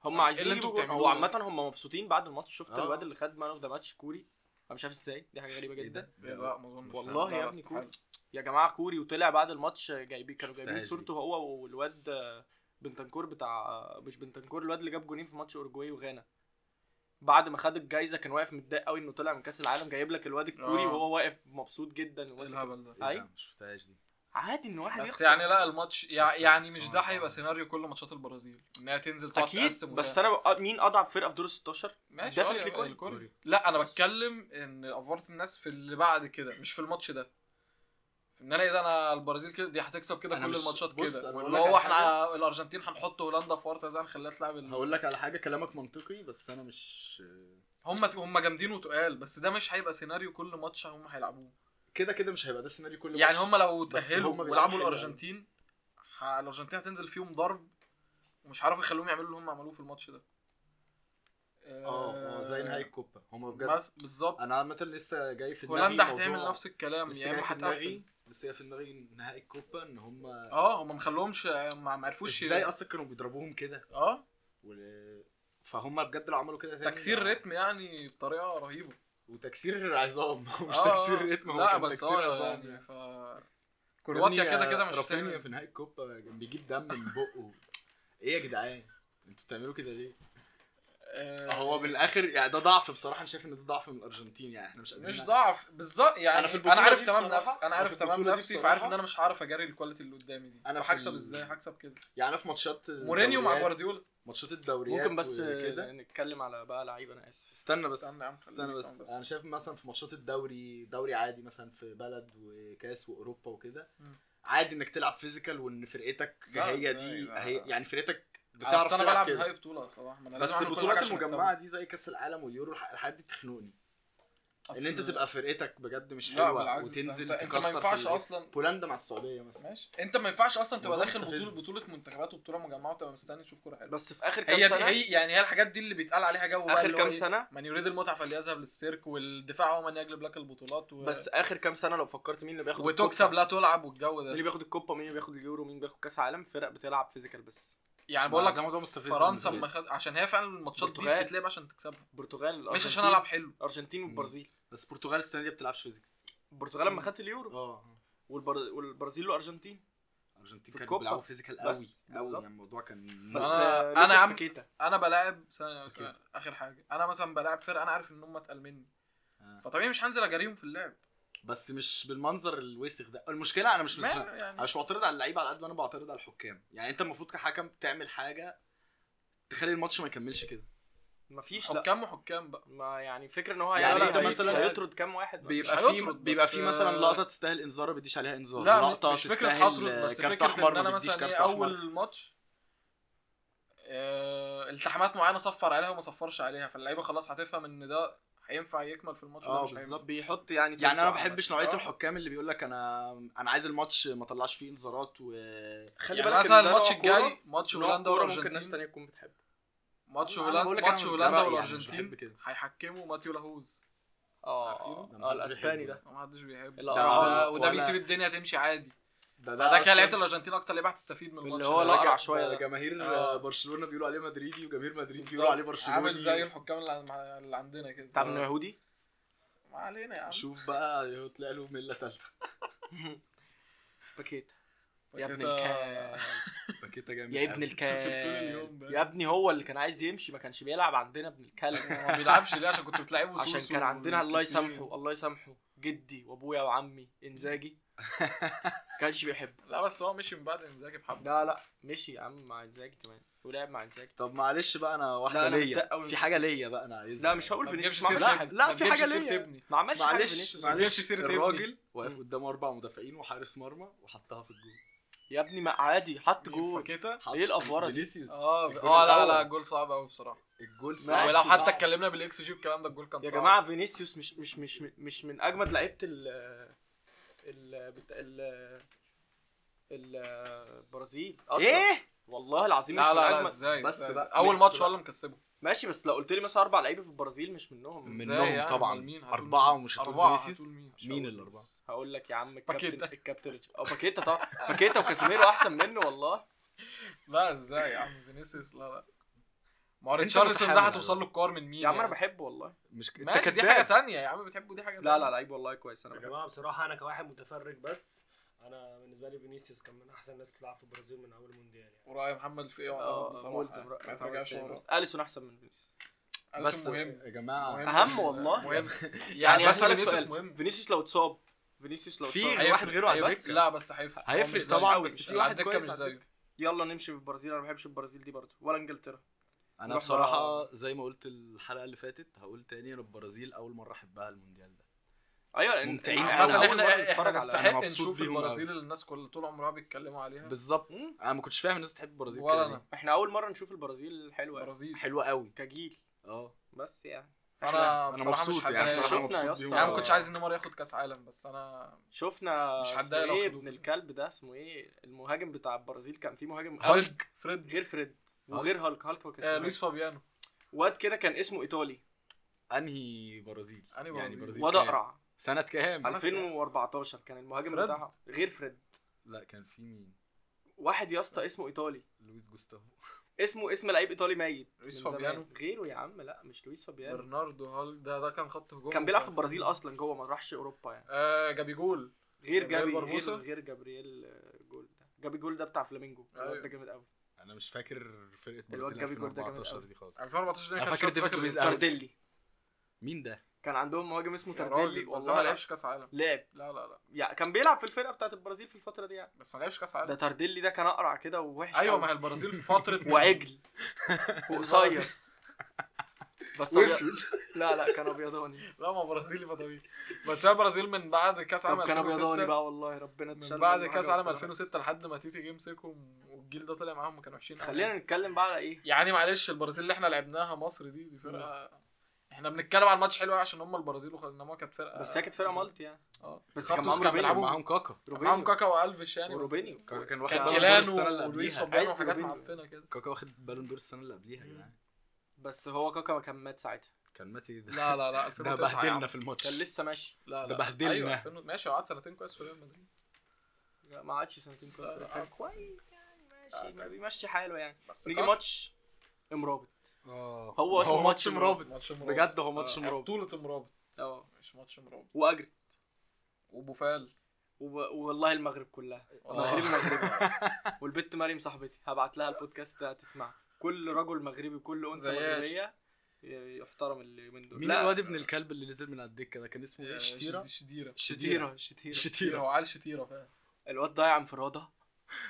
Speaker 3: هم عايزين
Speaker 2: اللي
Speaker 3: يجيبوا
Speaker 2: انتوا
Speaker 3: جول. هو
Speaker 2: بتعملوه
Speaker 3: عامه
Speaker 2: ده.
Speaker 3: هم مبسوطين بعد الماتش شفت
Speaker 4: آه.
Speaker 3: الواد اللي خد مان اوف ذا ماتش كوري انا مش عارف ازاي دي حاجه غريبه جدا
Speaker 2: لا ما اظنش
Speaker 3: والله
Speaker 2: لا،
Speaker 3: يا
Speaker 2: لا،
Speaker 3: ابني
Speaker 2: استحالة.
Speaker 3: يا جماعه كوري وطلع بعد الماتش جايبين كانوا
Speaker 4: شفتهاش
Speaker 3: جايبين
Speaker 4: دي.
Speaker 3: صورته هو والواد آه، بنتنكور بتاع آه، مش بنتنكور الواد اللي جاب جونين في ماتش اورجواي وغانا بعد ما خد الجايزه كان واقف متضايق قوي انه طلع من كاس العالم جايب لك الواد الكوري
Speaker 2: آه.
Speaker 3: وهو واقف مبسوط جدا
Speaker 2: ايه
Speaker 3: وماسك-
Speaker 2: الهبل ده
Speaker 3: أي.
Speaker 4: اي شفتهاش دي
Speaker 3: عادي ان واحد
Speaker 2: بس
Speaker 3: يخسر.
Speaker 2: يعني لا الماتش يع-
Speaker 4: بس-
Speaker 2: يعني
Speaker 4: بس
Speaker 2: مش
Speaker 4: هو-
Speaker 2: ده هيبقى سيناريو كل ماتشات البرازيل انها تنزل تقعد
Speaker 3: اكيد
Speaker 2: تقسم
Speaker 3: بس
Speaker 2: وده.
Speaker 3: انا بقى- مين اضعف فرقه في دور 16
Speaker 2: ماشي آه،
Speaker 3: definitely
Speaker 2: يبقى
Speaker 3: كوريا.
Speaker 2: الكوري.
Speaker 4: كوريا.
Speaker 2: لا انا بتكلم ان افورت الناس في اللي بعد كده مش في الماتش ده ان انا ايه ده انا البرازيل كده دي هتكسب كده
Speaker 4: أنا
Speaker 2: كل
Speaker 4: مش-
Speaker 2: الماتشات
Speaker 4: بص،
Speaker 2: كده
Speaker 4: أنا
Speaker 2: واللي
Speaker 4: هقول لك
Speaker 2: هو
Speaker 4: على
Speaker 2: احنا الارجنتين هنحط هولندا في ورطه زي هنخليها تلعب ال-
Speaker 4: هقول لك على حاجه كلامك منطقي بس انا مش
Speaker 2: هم هم جامدين وتقال بس ده مش هيبقى سيناريو كل ماتش هم هيلعبوه
Speaker 4: كده كده مش هيبقى ده السيناريو كل
Speaker 2: يعني
Speaker 4: ماتش.
Speaker 2: هم لو
Speaker 4: بس
Speaker 2: تأهلوا
Speaker 4: هم بيلعبوا
Speaker 2: ولعبوا
Speaker 4: حلو أوي.
Speaker 2: الارجنتين ه- الارجنتين هتنزل فيهم ضرب ومش هيعرفوا يخلوهم يعملوا اللي هم عملوه في الماتش ده
Speaker 4: اه اه زي نهائي الكوبا هم بجد
Speaker 2: بس بالظبط
Speaker 4: انا عامه لسه جاي في دماغي
Speaker 2: هولندا
Speaker 4: موضوع-
Speaker 2: هتعمل نفس الكلام
Speaker 4: لسه
Speaker 2: يعني
Speaker 4: جاي في
Speaker 2: هتقفل
Speaker 4: دماغي لسه جاي في دماغي نهائي الكوبا ان هم
Speaker 2: اه هم ما خلوهمش ما ما عرفوش
Speaker 4: ازاي
Speaker 2: ي-
Speaker 4: اصلا كانوا بيضربوهم كده
Speaker 2: اه
Speaker 4: و... فهم بجد لو عملوا كده تاني- آه،
Speaker 2: تكسير رتم يعني بطريقه رهيبه
Speaker 4: وتكسير عظام هو مش
Speaker 2: آه، آه.
Speaker 4: تكسير رتم هو
Speaker 2: لا
Speaker 4: كان
Speaker 2: بس
Speaker 4: تكسير
Speaker 2: اه
Speaker 4: عظام
Speaker 2: يعني
Speaker 4: يعني.
Speaker 2: ف كرواتيا كده كده مش
Speaker 4: رافينيا
Speaker 2: هتعمل.
Speaker 4: في نهائي الكوبا كان بيجيب دم من بقه ايه يا جدعان انتوا بتعملوا كده ليه؟
Speaker 2: آه،
Speaker 4: هو بالاخر يعني ده ضعف بصراحه انا شايف ان ده ضعف من الارجنتين يعني احنا مش قادرين
Speaker 2: مش
Speaker 4: نعمل-
Speaker 2: ضعف بالظبط يعني
Speaker 4: أنا
Speaker 2: انا
Speaker 4: في
Speaker 2: انا
Speaker 4: البطولة
Speaker 2: عارف
Speaker 4: دي
Speaker 2: تمام
Speaker 4: بصراحة-
Speaker 2: نفسي انا
Speaker 4: أنا
Speaker 2: عارف
Speaker 4: في البطولة
Speaker 2: تمام
Speaker 4: دي
Speaker 2: نفسي
Speaker 4: بصراحة-
Speaker 2: فعارف ان انا مش هعرف اجاري الكواليتي اللي قدامي دي
Speaker 4: أنا
Speaker 2: انا
Speaker 4: في
Speaker 2: هكسب
Speaker 4: ال-
Speaker 2: ازاي هكسب كده
Speaker 4: يعني في ماتشات
Speaker 2: مورينيو مع
Speaker 4: الدوريات-
Speaker 2: جوارديولا
Speaker 4: ماتشات الدوريات
Speaker 3: ممكن بس
Speaker 4: وكده
Speaker 3: نتكلم على بقى لعيبه انا اسف
Speaker 4: استنى بس
Speaker 2: استنى يا عم،
Speaker 4: استنى
Speaker 2: خليك
Speaker 4: بس
Speaker 2: عم بس.
Speaker 4: انا شايف مثلا في ماتشات الدوري دوري عادي مثلا في بلد وكاس واوروبا وكده
Speaker 2: مم.
Speaker 4: عادي انك تلعب فيزيكال وان فرقتك
Speaker 2: لا،
Speaker 4: هي
Speaker 2: ازاي
Speaker 4: دي
Speaker 2: بقى؟
Speaker 4: هي يعني فرقتك بتعرف
Speaker 2: بس انا
Speaker 4: تلعب
Speaker 2: بلعب
Speaker 4: كده.
Speaker 2: نهائي بطوله صراحه ما أنا لازم
Speaker 4: بس
Speaker 2: أعمل كل
Speaker 4: البطولات
Speaker 2: حاجة عشان
Speaker 4: المجمعه
Speaker 2: أكسبها.
Speaker 4: دي زي كاس العالم واليورو الح- الحاجات دي بتخنقني ان
Speaker 2: أصل-
Speaker 4: انت تبقى فرقتك بجد مش
Speaker 2: لا،
Speaker 4: حلوه
Speaker 2: بالعكس، ده
Speaker 4: وتنزل
Speaker 2: انت, انت ما
Speaker 4: تكسر
Speaker 2: ينفعش
Speaker 4: في
Speaker 2: اصلا
Speaker 4: بولندا مع السعوديه مثلا
Speaker 2: ماشي انت ما ينفعش اصلا تبقى
Speaker 4: الموضوع
Speaker 2: داخل
Speaker 4: مستفز.
Speaker 2: بطوله بطوله منتخبات وبطوله مجمعه وتبقى مستني تشوف كوره حلوه
Speaker 3: بس في اخر كام
Speaker 2: هي دي
Speaker 3: سنه
Speaker 2: هي يعني هي الحاجات دي اللي بيتقال عليها جو بقى
Speaker 3: اخر
Speaker 2: اللي هو
Speaker 3: كام
Speaker 2: إيه؟
Speaker 3: سنه
Speaker 2: من يريد المتعه فليذهب للسيرك والدفاع هو من يجلب لك البطولات و...
Speaker 3: بس اخر كام سنه لو فكرت مين اللي بياخد
Speaker 2: وتكسب
Speaker 3: الكوبا،
Speaker 2: لا تلعب والجو
Speaker 3: مين اللي
Speaker 2: ده
Speaker 3: بياخد الكوبا مين اللي بياخد اليورو مين بياخد كاس عالم فرق بتلعب فيزيكال بس
Speaker 2: يعني بقول لك
Speaker 4: ده موضوع مستفز
Speaker 2: فرنسا
Speaker 4: بالنسبة
Speaker 2: ما
Speaker 4: لي.
Speaker 2: خد عشان هي فعلا الماتشات دي
Speaker 3: البرتغال.
Speaker 2: بتتلعب عشان تكسبها
Speaker 3: البرتغال
Speaker 2: مش
Speaker 3: الأرجنتين-
Speaker 2: عشان العب حلو
Speaker 3: الارجنتين والبرازيل
Speaker 4: بس البرتغال السنه دي ما بتلعبش فيزيكال
Speaker 3: البرتغال لما
Speaker 2: مم.
Speaker 3: خدت اليورو
Speaker 4: اه
Speaker 3: والبر... والبرازيل والارجنتين
Speaker 4: الارجنتين
Speaker 3: في
Speaker 4: كانوا
Speaker 3: الكوبا.
Speaker 4: بيلعبوا فيزيكال قوي
Speaker 3: بس،
Speaker 4: قوي
Speaker 3: بالظبط.
Speaker 4: يعني الموضوع كان
Speaker 3: بس
Speaker 2: أنا-
Speaker 3: آه،
Speaker 2: أنا
Speaker 3: لوكاس
Speaker 2: عم-
Speaker 3: باكيتا
Speaker 2: انا بلاعب ثانيه بس،
Speaker 4: أكيد.
Speaker 2: اخر حاجه انا مثلا بلاعب فرقه انا عارف ان هم اتقل مني
Speaker 4: آه.
Speaker 2: فطبيعي مش هنزل اجاريهم في اللعب
Speaker 4: بس مش بالمنظر الوسخ ده المشكله انا مش مش
Speaker 2: ما-
Speaker 4: انا
Speaker 2: يعني
Speaker 4: مش معترض على اللعيبه على قد ما انا بعترض على الحكام يعني انت المفروض كحكم تعمل حاجه تخلي الماتش ما يكملش كده
Speaker 3: مفيش لا
Speaker 2: حكام وحكام بقى
Speaker 3: ما يعني فكره ان هو
Speaker 4: يعني
Speaker 3: هيعمل
Speaker 2: أنت
Speaker 3: إيه؟
Speaker 4: مثلاً-
Speaker 3: هيطرد كام واحد
Speaker 4: بيبقى
Speaker 2: مش
Speaker 4: في
Speaker 2: هيطرد
Speaker 4: بيبقى
Speaker 2: بس-
Speaker 4: في
Speaker 3: آه.
Speaker 4: مثلا لقطه تستاهل انذار ما بيديش عليها انذار
Speaker 2: لا
Speaker 4: لقطه
Speaker 2: مش فكره هطرد
Speaker 4: تستاهل
Speaker 2: بس
Speaker 4: كارت
Speaker 2: فكره ان
Speaker 4: احمر
Speaker 2: انا
Speaker 4: ما بيديش
Speaker 2: مثلا
Speaker 4: كارت
Speaker 2: ايه
Speaker 4: احمر
Speaker 2: اول ماتش آه، التحامات معينه صفر عليها وما صفرش عليها فاللعيبه خلاص هتفهم ان ده هينفع يكمل في الماتش ده
Speaker 4: اه
Speaker 2: مش هينفع.
Speaker 4: بالظبط.
Speaker 3: بيحط يعني
Speaker 4: يعني انا ما
Speaker 3: تلقى عامة.
Speaker 4: بحبش نوعيه
Speaker 2: آه.
Speaker 4: الحكام اللي بيقول لك انا انا عايز الماتش ما طلعش فيه انذارات و
Speaker 3: خلي
Speaker 2: يعني
Speaker 3: بالك
Speaker 2: مثلا
Speaker 3: إن ده
Speaker 2: الماتش
Speaker 3: نوع كورة-
Speaker 2: الجاي ماتش
Speaker 3: نوع
Speaker 2: هولندا
Speaker 3: كورة ممكن ناس
Speaker 2: والارجنتين
Speaker 3: تانية تكون بتحبه
Speaker 2: ماتش
Speaker 4: أنا
Speaker 2: هولندا
Speaker 4: بقول لك
Speaker 2: ماتش
Speaker 4: أنا- ده
Speaker 2: هولندا
Speaker 4: رأيي يعني، مش بحب
Speaker 2: والارجنتين
Speaker 4: كده.
Speaker 2: هيحكموا ماتيو لاهوز
Speaker 3: اه
Speaker 2: عارفينه؟
Speaker 4: ده
Speaker 3: اه
Speaker 4: محدش
Speaker 3: الاسباني
Speaker 4: بيحبه
Speaker 3: ده
Speaker 2: محدش بيحبه
Speaker 3: لا،
Speaker 2: ده,
Speaker 3: ولا-
Speaker 2: ده وده
Speaker 3: ولا-
Speaker 2: بيسيب الدنيا تمشي عادي
Speaker 4: ده
Speaker 2: فده كان لعيبه
Speaker 4: أصلاً-
Speaker 2: الارجنتين اكتر لعيبه هتستفيد من
Speaker 3: اللي
Speaker 2: الماتش
Speaker 3: هو
Speaker 2: ده.
Speaker 3: لا،
Speaker 4: ده
Speaker 3: أقرع
Speaker 4: جا-
Speaker 3: شوية
Speaker 4: ده
Speaker 3: ده.
Speaker 2: آه.
Speaker 4: جماهير آه، برشلونه بيقولوا عليه مدريدي وجماهير مدريد
Speaker 2: بالظبط.
Speaker 4: بيقولوا عليه برشلوني
Speaker 2: عامل زي الحكام اللي عن- اللي عندنا كده
Speaker 3: انت عارف انه يهودي؟
Speaker 2: ما علينا يا عم
Speaker 4: شوف بقى طلع له مله ثالثه
Speaker 3: باكيتا يا ابن
Speaker 2: كده-
Speaker 3: الكلب
Speaker 4: باكيتا جامد
Speaker 3: يا ابن
Speaker 4: أوي.
Speaker 2: انتوا سبتوني اليوم
Speaker 3: الكلب
Speaker 2: ده.
Speaker 3: يا ابني هو اللي كان عايز يمشي ما كانش بيلعب عندنا ابن الكلب
Speaker 2: هو ما بيلعبش ليه عشان كنت بتلعبه
Speaker 3: عشان
Speaker 2: سوسو
Speaker 3: كان عندنا الله
Speaker 2: وكتير.
Speaker 3: يسامحه الله يسامحه جدي وابويا وعمي انزاجي ما كانش بيحبه
Speaker 2: لا بس هو مشي من بعد انزاجي بحبه
Speaker 3: لا لا مشي يا عم مع انزاجي كمان ولعب مع انزاجي
Speaker 4: طب معلش بقى انا
Speaker 3: لا،
Speaker 4: واحده
Speaker 3: أنا
Speaker 4: ليا
Speaker 3: متضايق أوي.
Speaker 4: في حاجه ليا بقى انا عايزها
Speaker 3: لا مش هقول
Speaker 2: ما تجيبش
Speaker 3: فينيسيوس ما
Speaker 2: سيرة
Speaker 3: عملش
Speaker 2: ابني.
Speaker 3: حاجه
Speaker 4: لا،
Speaker 2: ما
Speaker 4: في
Speaker 2: تجيبش
Speaker 4: حاجة
Speaker 2: سيرة
Speaker 4: ليا.
Speaker 2: ابني
Speaker 3: ما عملش حاجه
Speaker 4: معلش
Speaker 3: فينيسيوس
Speaker 4: معلش
Speaker 2: جبتش سيرة
Speaker 4: الراجل واقف
Speaker 3: مم.
Speaker 4: قدامه اربع مدافعين وحارس مرمى وحطها في الجول
Speaker 3: يا ابني ما عادي حط جول
Speaker 2: باكيتا
Speaker 4: حط
Speaker 3: ايه الافوره دي
Speaker 4: فينيسيوس
Speaker 2: اه
Speaker 4: الجول
Speaker 2: اه لا لا
Speaker 4: الأول.
Speaker 2: جول صعب قوي بصراحه
Speaker 4: الجول
Speaker 3: ماشي،
Speaker 4: صعب
Speaker 2: ولو
Speaker 3: صعب.
Speaker 2: حتى اتكلمنا بالاكس جي والكلام ده الجول كان
Speaker 3: يا
Speaker 2: صعب
Speaker 3: جماعه فينيسيوس مش مش مش مش من اجمد لعيبه ال ال بتا- ال ال- البرازيل اصلا
Speaker 4: ايه
Speaker 3: والله العظيم مش
Speaker 2: إيه؟
Speaker 3: من
Speaker 2: لا لا لا
Speaker 3: اجمد
Speaker 2: ازاي
Speaker 4: بس
Speaker 2: إزاي؟
Speaker 4: بقى،
Speaker 2: اول
Speaker 4: بس
Speaker 2: ماتش
Speaker 4: بقى.
Speaker 2: هو اللي مكسبه
Speaker 3: ماشي بس لو قلت لي مثلا اربع لعيبه في البرازيل مش منهم
Speaker 4: منهم
Speaker 2: إزاي يعني؟
Speaker 4: طبعاً.
Speaker 2: أمال مين؟ هتقول
Speaker 4: اربعه
Speaker 2: مين؟
Speaker 4: ومش هتقول
Speaker 2: أربعة،
Speaker 4: فينيسيوس
Speaker 2: هتقول مين؟ مش
Speaker 4: مين
Speaker 2: هقول
Speaker 4: الاربعه
Speaker 3: هقول لك يا عم الكابتن
Speaker 2: باكيتا.
Speaker 3: الكابتن ريتش- اه باكيتا طبعا باكيتا وكاسيميرو احسن منه والله
Speaker 2: لا ازاي يا عم فينيسيوس لا لا ما هو
Speaker 3: أنت
Speaker 2: ريتشاردسون ده
Speaker 3: متحمل.
Speaker 2: هتوصل له الكور من مين
Speaker 3: يا عم انا
Speaker 2: يعني؟
Speaker 3: بحبه والله
Speaker 4: مش ك-
Speaker 2: ماشي دي حاجه تانية يا عم بتحبه دي حاجه
Speaker 3: لا
Speaker 2: تانية.
Speaker 3: لا لعيب والله كويس انا
Speaker 1: يا
Speaker 3: بحبه
Speaker 1: جماعه بصراحه انا كواحد متفرج بس انا بالنسبه لي فينيسيوس كان من احسن الناس اللي تلعب في البرازيل من اول مونديال يعني
Speaker 2: وراي محمد الفقيه
Speaker 3: آه،
Speaker 2: يعتبر
Speaker 3: ملزم
Speaker 2: بصراحه
Speaker 3: رأيك.
Speaker 2: يعني ما ترجعش ورا
Speaker 3: اليسون احسن من فينيسيوس
Speaker 2: بس
Speaker 4: بس
Speaker 2: مهم
Speaker 4: يا جماعه
Speaker 2: مهم.
Speaker 3: اهم والله.
Speaker 2: مهم
Speaker 3: يعني
Speaker 2: يعني بس
Speaker 3: هسألك
Speaker 2: فينيسيوس
Speaker 3: سؤال.
Speaker 2: مهم
Speaker 3: فينيسيوس لو اتصاب فينيسيوس لو
Speaker 4: في
Speaker 3: اتصاب
Speaker 4: هيفرق. واحد غيره على
Speaker 2: هيفرق.
Speaker 4: الدكة.
Speaker 2: لا بس هيفرق هو
Speaker 4: هيفرق
Speaker 2: مش زيه.
Speaker 4: طبعا
Speaker 3: قوي،
Speaker 4: بس
Speaker 3: مش
Speaker 4: في
Speaker 2: على
Speaker 4: واحد
Speaker 2: الدكة
Speaker 4: كويس
Speaker 2: مش
Speaker 4: على
Speaker 2: زيه.
Speaker 4: الدكة.
Speaker 3: يلا نمشي بالبرازيل انا ما بحبش البرازيل دي برضه ولا انجلترا
Speaker 4: انا
Speaker 3: نروح
Speaker 4: بصراحه زي ما قلت الحلقه اللي فاتت هقول تاني انا البرازيل اول مره احبها المونديال ده
Speaker 3: ايوه
Speaker 4: ممتعين
Speaker 3: إن-
Speaker 4: أوي.
Speaker 2: عامة
Speaker 3: أول مرة
Speaker 2: احنا
Speaker 3: نتفرج
Speaker 2: احنا
Speaker 3: على-
Speaker 4: أنا
Speaker 2: نستحق
Speaker 4: مبسوط
Speaker 2: نشوف
Speaker 4: بيهم
Speaker 2: البرازيل اللي الناس كل طول عمرها بيتكلموا عليها
Speaker 4: بالظبط
Speaker 3: مم.
Speaker 4: انا ما كنتش فاهم الناس بتحب البرازيل
Speaker 2: ولا
Speaker 4: كده
Speaker 2: أنا.
Speaker 4: ليه.
Speaker 3: احنا اول مره نشوف البرازيل حلوه
Speaker 2: البرازيل
Speaker 4: حلوه قوي
Speaker 3: كجيل
Speaker 4: اه
Speaker 3: بس يعني
Speaker 2: انا
Speaker 4: انا
Speaker 2: بصراحه مش
Speaker 4: مبسوط يعني
Speaker 2: حبايا.
Speaker 4: بصراحه
Speaker 3: شفنا
Speaker 4: مبسوط
Speaker 3: يا
Speaker 4: بيهم
Speaker 3: اسطى.
Speaker 2: يعني انا ما
Speaker 4: أوي.
Speaker 2: كنتش عايز نيمار ياخد كاس عالم بس انا
Speaker 3: شفنا
Speaker 2: مش
Speaker 3: مش
Speaker 2: هتضايق
Speaker 3: حد
Speaker 2: لو
Speaker 3: ايه
Speaker 2: خدوه.
Speaker 3: ابن الكلب ده اسمه ايه المهاجم بتاع البرازيل كان في مهاجم
Speaker 4: آه.
Speaker 3: قوي
Speaker 2: هالك فريد
Speaker 3: غير فريد وغير هالك هالك ما كانش
Speaker 2: آه،
Speaker 3: مهاجم.
Speaker 2: لويس فابيانو
Speaker 3: إيه؟ واد كده كان اسمه ايطالي
Speaker 4: انهي برازيل
Speaker 2: أنهي برازيل؟
Speaker 4: يعني برازيل
Speaker 3: واد
Speaker 4: كام؟
Speaker 3: اقرع
Speaker 4: سنه كام
Speaker 2: سنة-
Speaker 3: 2014 كان المهاجم
Speaker 2: فريد؟
Speaker 3: بتاعها غير فريد
Speaker 4: لا كان في مين
Speaker 3: واحد يا اسطى اسمه ايطالي
Speaker 4: لويس جوستافو
Speaker 3: اسمه اسم لعيب ايطالي ميت
Speaker 2: لويس
Speaker 3: من زمان.
Speaker 2: فابيانو.
Speaker 3: غيره يا عم لا مش لويس فابيانو
Speaker 2: برناردو هالك ده ده كان خط هجوم
Speaker 3: كان بيلعب في البرازيل اصلا جوه ما راحش اوروبا يعني
Speaker 2: آه جابي جول
Speaker 3: غير
Speaker 2: جابرييل
Speaker 3: جابي
Speaker 2: بربوسة؟
Speaker 3: غير, غير جابرييل آه، جول ده جابي جول ده بتاع فلامينجو
Speaker 2: أيوة.
Speaker 3: الواد ده جامد قوي
Speaker 4: انا مش فاكر فرقه
Speaker 3: الواد
Speaker 4: برازيل
Speaker 3: جابي جول ده جامد
Speaker 4: 2014
Speaker 3: أوي.
Speaker 4: دي خالص
Speaker 2: 2014 ده
Speaker 4: أنا
Speaker 2: كان
Speaker 4: فاكر
Speaker 2: شخص
Speaker 4: ديفيد لويز
Speaker 2: يعني
Speaker 4: أوي.
Speaker 3: تارديلي
Speaker 4: مين ده
Speaker 3: كان عندهم مهاجم اسمه
Speaker 2: يا
Speaker 3: تارديلي
Speaker 2: راجل، بس ده
Speaker 3: والله
Speaker 2: ما
Speaker 3: لعب
Speaker 2: لعبش كاس عالم
Speaker 3: لعب
Speaker 2: لا لا لا
Speaker 3: يعني كان بيلعب في الفرقه بتاعت البرازيل في الفتره دي يعني
Speaker 2: بس ما لعبش كاس
Speaker 3: ده
Speaker 2: عالم
Speaker 3: تارديلي ده كان اقرع كده ووحش
Speaker 2: ايوه
Speaker 3: أوي.
Speaker 2: أيوه. ما هي البرازيل في فتره
Speaker 3: وعجل وقصير بس أبيض- لا لا كان ابيضاني
Speaker 2: لا ما برازيلي فضوي بس هي البرازيل من بعد كاس عالم
Speaker 3: طب كان
Speaker 2: 2006
Speaker 3: ابيضاني بقى والله ربنا
Speaker 2: من
Speaker 3: تشال
Speaker 2: بعد
Speaker 3: منه
Speaker 2: كاس
Speaker 3: حاجة
Speaker 2: عالم
Speaker 3: وبتاع.
Speaker 2: 2006 لحد ما تيتي جه يمسكهم والجيل ده طلع معاهم كانوا وحشين أوي.
Speaker 3: خلينا نتكلم بقى على ايه
Speaker 2: يعني معلش البرازيل اللي احنا لعبناها مصر دي دي فرقه احنا بنتكلم عن ماتش حلو أوي عشان هم البرازيل وخ- انما كانت فرقه
Speaker 3: بس هي كانت فرقه مالتي يعني
Speaker 2: اه
Speaker 3: بس
Speaker 2: خط
Speaker 3: كان
Speaker 2: وسط
Speaker 3: معاهم
Speaker 2: كان
Speaker 3: روبينيو.
Speaker 2: بيلعبوا
Speaker 4: معاهم
Speaker 3: روبينيو
Speaker 2: معاهم كاكا
Speaker 4: كاكا
Speaker 2: والفيش يعني بس
Speaker 3: وروبينيو
Speaker 4: كاكا كان واخد
Speaker 2: كان
Speaker 4: بالون دور
Speaker 2: ميلان
Speaker 4: السنه اللي
Speaker 2: ولويس
Speaker 4: قبليها
Speaker 2: فابيانو
Speaker 3: عايز
Speaker 2: وحاجات
Speaker 3: روبينيو.
Speaker 2: معفنه كده
Speaker 4: كاكا واخد بالون دور السنه اللي قبليها يا جدعان
Speaker 3: بس هو كاكا كان مات ساعتها
Speaker 4: كان ماتي ده
Speaker 2: لا لا لا
Speaker 4: ده
Speaker 2: 2009 يا عم.
Speaker 4: بهدلنا في الماتش
Speaker 3: كان لسه ماشي
Speaker 2: لا لا
Speaker 4: ده بهدلنا.
Speaker 2: أيوة، 2000 ماشي هو قعد سنتين كويس في ريال مدريد
Speaker 3: لا، ما عادش سنتين كويس
Speaker 2: لا،
Speaker 3: في
Speaker 2: لا،
Speaker 3: الحال. كويس يعني ماشي ما بيمشي حاله يعني
Speaker 2: بس أه.
Speaker 3: نيجي
Speaker 2: كاكا-
Speaker 3: ماتش مرابط
Speaker 4: اه
Speaker 3: هو اسمه ماتش مرابط
Speaker 2: ماتش مرابط
Speaker 3: بجد هو ماتش
Speaker 2: آه،
Speaker 3: مرابط
Speaker 2: بطولة مرابط
Speaker 3: اه
Speaker 2: مش ماتش مرابط
Speaker 3: واجري
Speaker 2: وبوفال
Speaker 3: وب... والله المغرب كلها
Speaker 2: آه.
Speaker 3: مغربي مغربي والبت مريم صاحبتي هبعت لها البودكاست ده تسمع كل رجل مغربي كل انثى
Speaker 2: زياش.
Speaker 3: مغربيه ي- يحترم اليومين دول
Speaker 4: مين الواد ابن الكلب اللي نزل من على الدكه ده كان اسمه
Speaker 2: آه،
Speaker 4: ايه شتيره
Speaker 2: شد- شديرة
Speaker 3: شتيره شتيره
Speaker 2: شديرة
Speaker 4: شتيره
Speaker 2: هو عيل شتيرة فعلا
Speaker 3: الواد ضايع انفراده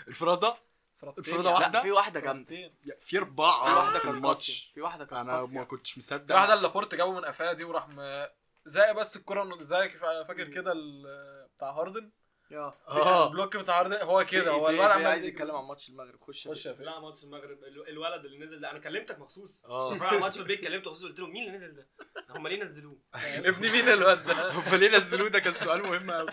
Speaker 4: الفراده
Speaker 2: فرطتين
Speaker 4: الفرادة
Speaker 2: يا عم.
Speaker 4: واحدة؟
Speaker 3: لا في واحده جامده
Speaker 2: فرطتين.
Speaker 4: يا- في
Speaker 2: آه،
Speaker 3: في واحده
Speaker 4: اربعه في
Speaker 3: كانت
Speaker 4: الماتش
Speaker 3: قاسية. في واحده كانت
Speaker 4: انا ما
Speaker 3: قاسيه
Speaker 4: كنتش
Speaker 2: يعني. في
Speaker 4: مصدق
Speaker 2: واحدة اللي لابورت جابه من قفاها دي وراح م- زي بس الكرة زي فاكر كده ال- بتاع هاردن
Speaker 3: يا.
Speaker 4: اه
Speaker 2: البلوك بتاع هاردن هو
Speaker 3: في-
Speaker 2: كده هو
Speaker 3: في-
Speaker 2: الواد
Speaker 3: في
Speaker 2: عمال
Speaker 3: عايز
Speaker 2: يجري.
Speaker 3: يتكلم عن ماتش المغرب خش
Speaker 2: خش يا فيلم
Speaker 1: لا ماتش المغرب ال- الولد اللي نزل ده انا كلمتك مخصوص
Speaker 3: آه.
Speaker 4: اه
Speaker 1: رايح ماتش البيت كلمته مخصوص قلت لهم مين اللي نزل ده؟ هم ليه نزلوه؟
Speaker 2: ابن مين الواد ده
Speaker 4: هم ليه نزلوه ده كان سؤال مهم قوي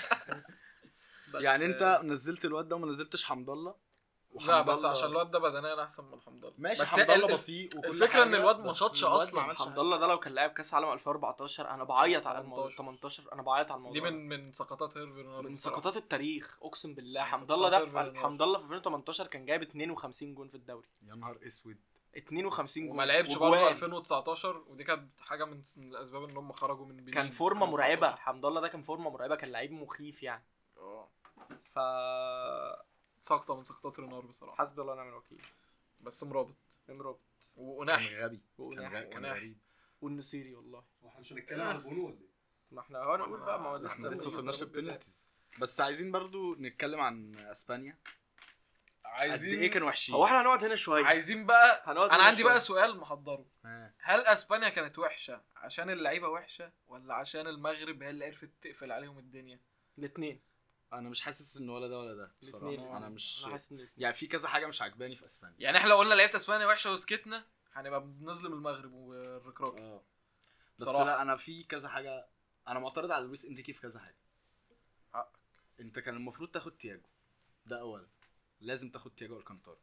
Speaker 3: بس
Speaker 4: يعني انت نزلت الواد ده وما نزلتش حمد الله
Speaker 2: لا
Speaker 4: وحمد
Speaker 2: بس
Speaker 4: الله-
Speaker 2: عشان الواد ده بدنيا احسن من حمد الله
Speaker 4: ماشي
Speaker 2: بس
Speaker 4: حمد
Speaker 2: ال-
Speaker 4: الله
Speaker 2: ال-
Speaker 4: بطيء وكل
Speaker 2: الفكرة إن
Speaker 4: حاجة،
Speaker 2: الواد ما
Speaker 4: بس
Speaker 2: شطش
Speaker 4: الواد
Speaker 2: أصلا.
Speaker 4: ما عملش
Speaker 3: حمد الله ده لو كان لاعب كاس عالم 2014 انا بعيط على الموضوع
Speaker 2: 18.
Speaker 3: 18 انا بعيط على
Speaker 2: دي
Speaker 3: الموضوع ده.
Speaker 2: من من سقطات هيرفي رونالدو
Speaker 3: من
Speaker 2: بصراحة.
Speaker 3: سقطات التاريخ اقسم بالله
Speaker 2: من
Speaker 3: حمد الله ده
Speaker 2: سقطات
Speaker 3: في
Speaker 2: الرياضة.
Speaker 3: حمد الله في 2018 كان جايب 52 جون في الدوري
Speaker 4: يا نهار اسود
Speaker 3: 52 جون
Speaker 2: وما لعبش
Speaker 3: وجوان.
Speaker 2: برضه 2019 ودي كانت حاجة من من الأسباب إن هم خرجوا من بنين
Speaker 3: كان فورمه مرعبه
Speaker 2: 2019.
Speaker 3: حمد الله ده كان فورمه مرعبه كان لعيب مخيف يعني
Speaker 2: آه.
Speaker 3: ف
Speaker 2: سقطة من سقطات رينار بصراحة
Speaker 3: حسبي الله ونعم الوكيل
Speaker 2: بس مرابط
Speaker 3: امرؤ
Speaker 4: كان
Speaker 2: وقناح
Speaker 4: غبي كان
Speaker 3: وقناح
Speaker 4: غ- كان
Speaker 2: وناحي.
Speaker 4: غريب
Speaker 3: والنصيري والله
Speaker 5: واحنا مش هنتكلم على بونو ولا ايه؟
Speaker 3: ما احنا هو نقول بقى ما هو
Speaker 4: احنا لسه
Speaker 3: لسه
Speaker 4: وصلناش للبنالتيز بس عايزين برضو نتكلم عن اسبانيا قد
Speaker 2: عايزين
Speaker 4: ايه كانوا طيب؟ إيه وحشين
Speaker 3: هو احنا هنقعد هنا شويه
Speaker 2: عايزين بقى
Speaker 3: هنقعد
Speaker 2: أنا
Speaker 3: هنا
Speaker 2: عندي
Speaker 3: شوية.
Speaker 2: بقى سؤال محضره
Speaker 4: آه.
Speaker 2: هل اسبانيا كانت وحشه عشان اللعيبه وحشه ولا عشان المغرب هي اللي عرفت تقفل عليهم الدنيا
Speaker 3: الاثنين
Speaker 4: انا مش حاسس ان ولا ده ولا ده
Speaker 3: الاثنين
Speaker 4: بصراحه انا مش
Speaker 3: انا يعني. حاسس ان الاتنين.
Speaker 4: يعني في كذا حاجه مش عجباني في اسبانيا
Speaker 2: يعني احنا لو قلنا لعيبه اسبانيا وحشه وسكتنا هنبقى بنظلم المغرب والركراكي
Speaker 4: اه بس
Speaker 2: بصراحة.
Speaker 4: لا انا في كذا حاجه انا معترض على لويس انريكي في كذا حاجه آه.
Speaker 2: حقك.
Speaker 4: انت كان المفروض تاخد تياجو ده اولا لازم تاخد تياجو الكانتارا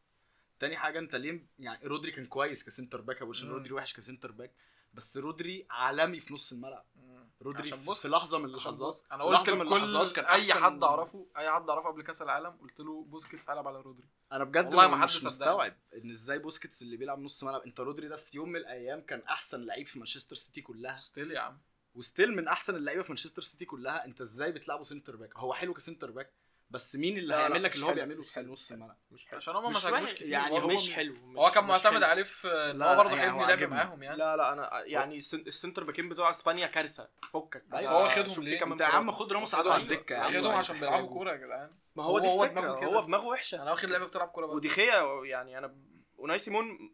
Speaker 4: تاني حاجه انت ليه يعني رودري كان كويس كسنتر باك أبو عشان
Speaker 2: مم.
Speaker 4: رودري وحش كسنتر باك بس رودري عالمي في نص الملعب
Speaker 2: مم.
Speaker 4: رودري
Speaker 2: عشان
Speaker 4: في-
Speaker 2: بص-
Speaker 4: في لحظه من
Speaker 2: عشان
Speaker 4: اللحظات
Speaker 2: بص، انا
Speaker 4: في
Speaker 2: قلت
Speaker 4: لحظة من اللحظات
Speaker 2: لكل
Speaker 4: كان
Speaker 2: اي
Speaker 4: أحسن-
Speaker 2: حد اعرفه اي حد اعرفه قبل كاس العالم قلت له بوسكيتس قلب على رودري
Speaker 4: انا بجد
Speaker 2: والله ما
Speaker 4: ما
Speaker 2: حد
Speaker 4: مش
Speaker 2: صدقني.
Speaker 4: مستوعب ان ازاي بوسكيتس اللي بيلعب نص ملعب انت رودري ده في يوم من الايام كان احسن لعيب في مانشستر سيتي كلها
Speaker 2: ستيل يا عم
Speaker 4: وستيل من احسن اللعيبه في مانشستر سيتي كلها انت ازاي بتلعبه سنتر باك هو حلو كسنتر باك بس مين اللي
Speaker 3: لا، لا،
Speaker 4: هيعمل لك
Speaker 3: مش
Speaker 4: اللي هو
Speaker 3: حلو،
Speaker 4: بيعمله
Speaker 3: مش
Speaker 4: في
Speaker 3: حلو،
Speaker 4: نص
Speaker 3: مش حلو.
Speaker 4: الملعب
Speaker 3: مش حلو
Speaker 2: عشان هم ما
Speaker 4: مش
Speaker 2: ساعدوش
Speaker 4: وحش،
Speaker 2: كتير
Speaker 4: يعني
Speaker 2: برضه.
Speaker 4: هو
Speaker 3: مش
Speaker 4: م-
Speaker 3: حلو مش
Speaker 2: هو كان
Speaker 3: مش
Speaker 2: معتمد
Speaker 3: حلو.
Speaker 2: عليه في
Speaker 3: آه،
Speaker 2: ان
Speaker 4: لا،
Speaker 2: هو برضه
Speaker 4: يعني
Speaker 2: هيبني
Speaker 4: هو
Speaker 2: لعب
Speaker 4: عاجبني.
Speaker 2: معاهم يعني
Speaker 3: لا لا انا يعني السن- السنتر باكين بتوع اسبانيا كارثه فكك بس
Speaker 4: أيوة. هو
Speaker 2: واخدهم
Speaker 3: شوف في
Speaker 2: ليه؟
Speaker 3: كمان
Speaker 4: انت يا عم
Speaker 3: فرق.
Speaker 4: خد راموس عدو على الدكه يا عم
Speaker 2: واخدهم
Speaker 4: وأنت
Speaker 2: عشان بيلعبوا
Speaker 4: محتاجه.
Speaker 2: كوره يا جدعان يعني
Speaker 3: ما هو دي
Speaker 2: هو- هو
Speaker 3: الفكره
Speaker 2: دماغه كده.
Speaker 3: هو دماغه وحشه
Speaker 2: انا واخد لعيبه بتلعب كوره بس
Speaker 3: ودي خيا يعني انا اوناي سيمون في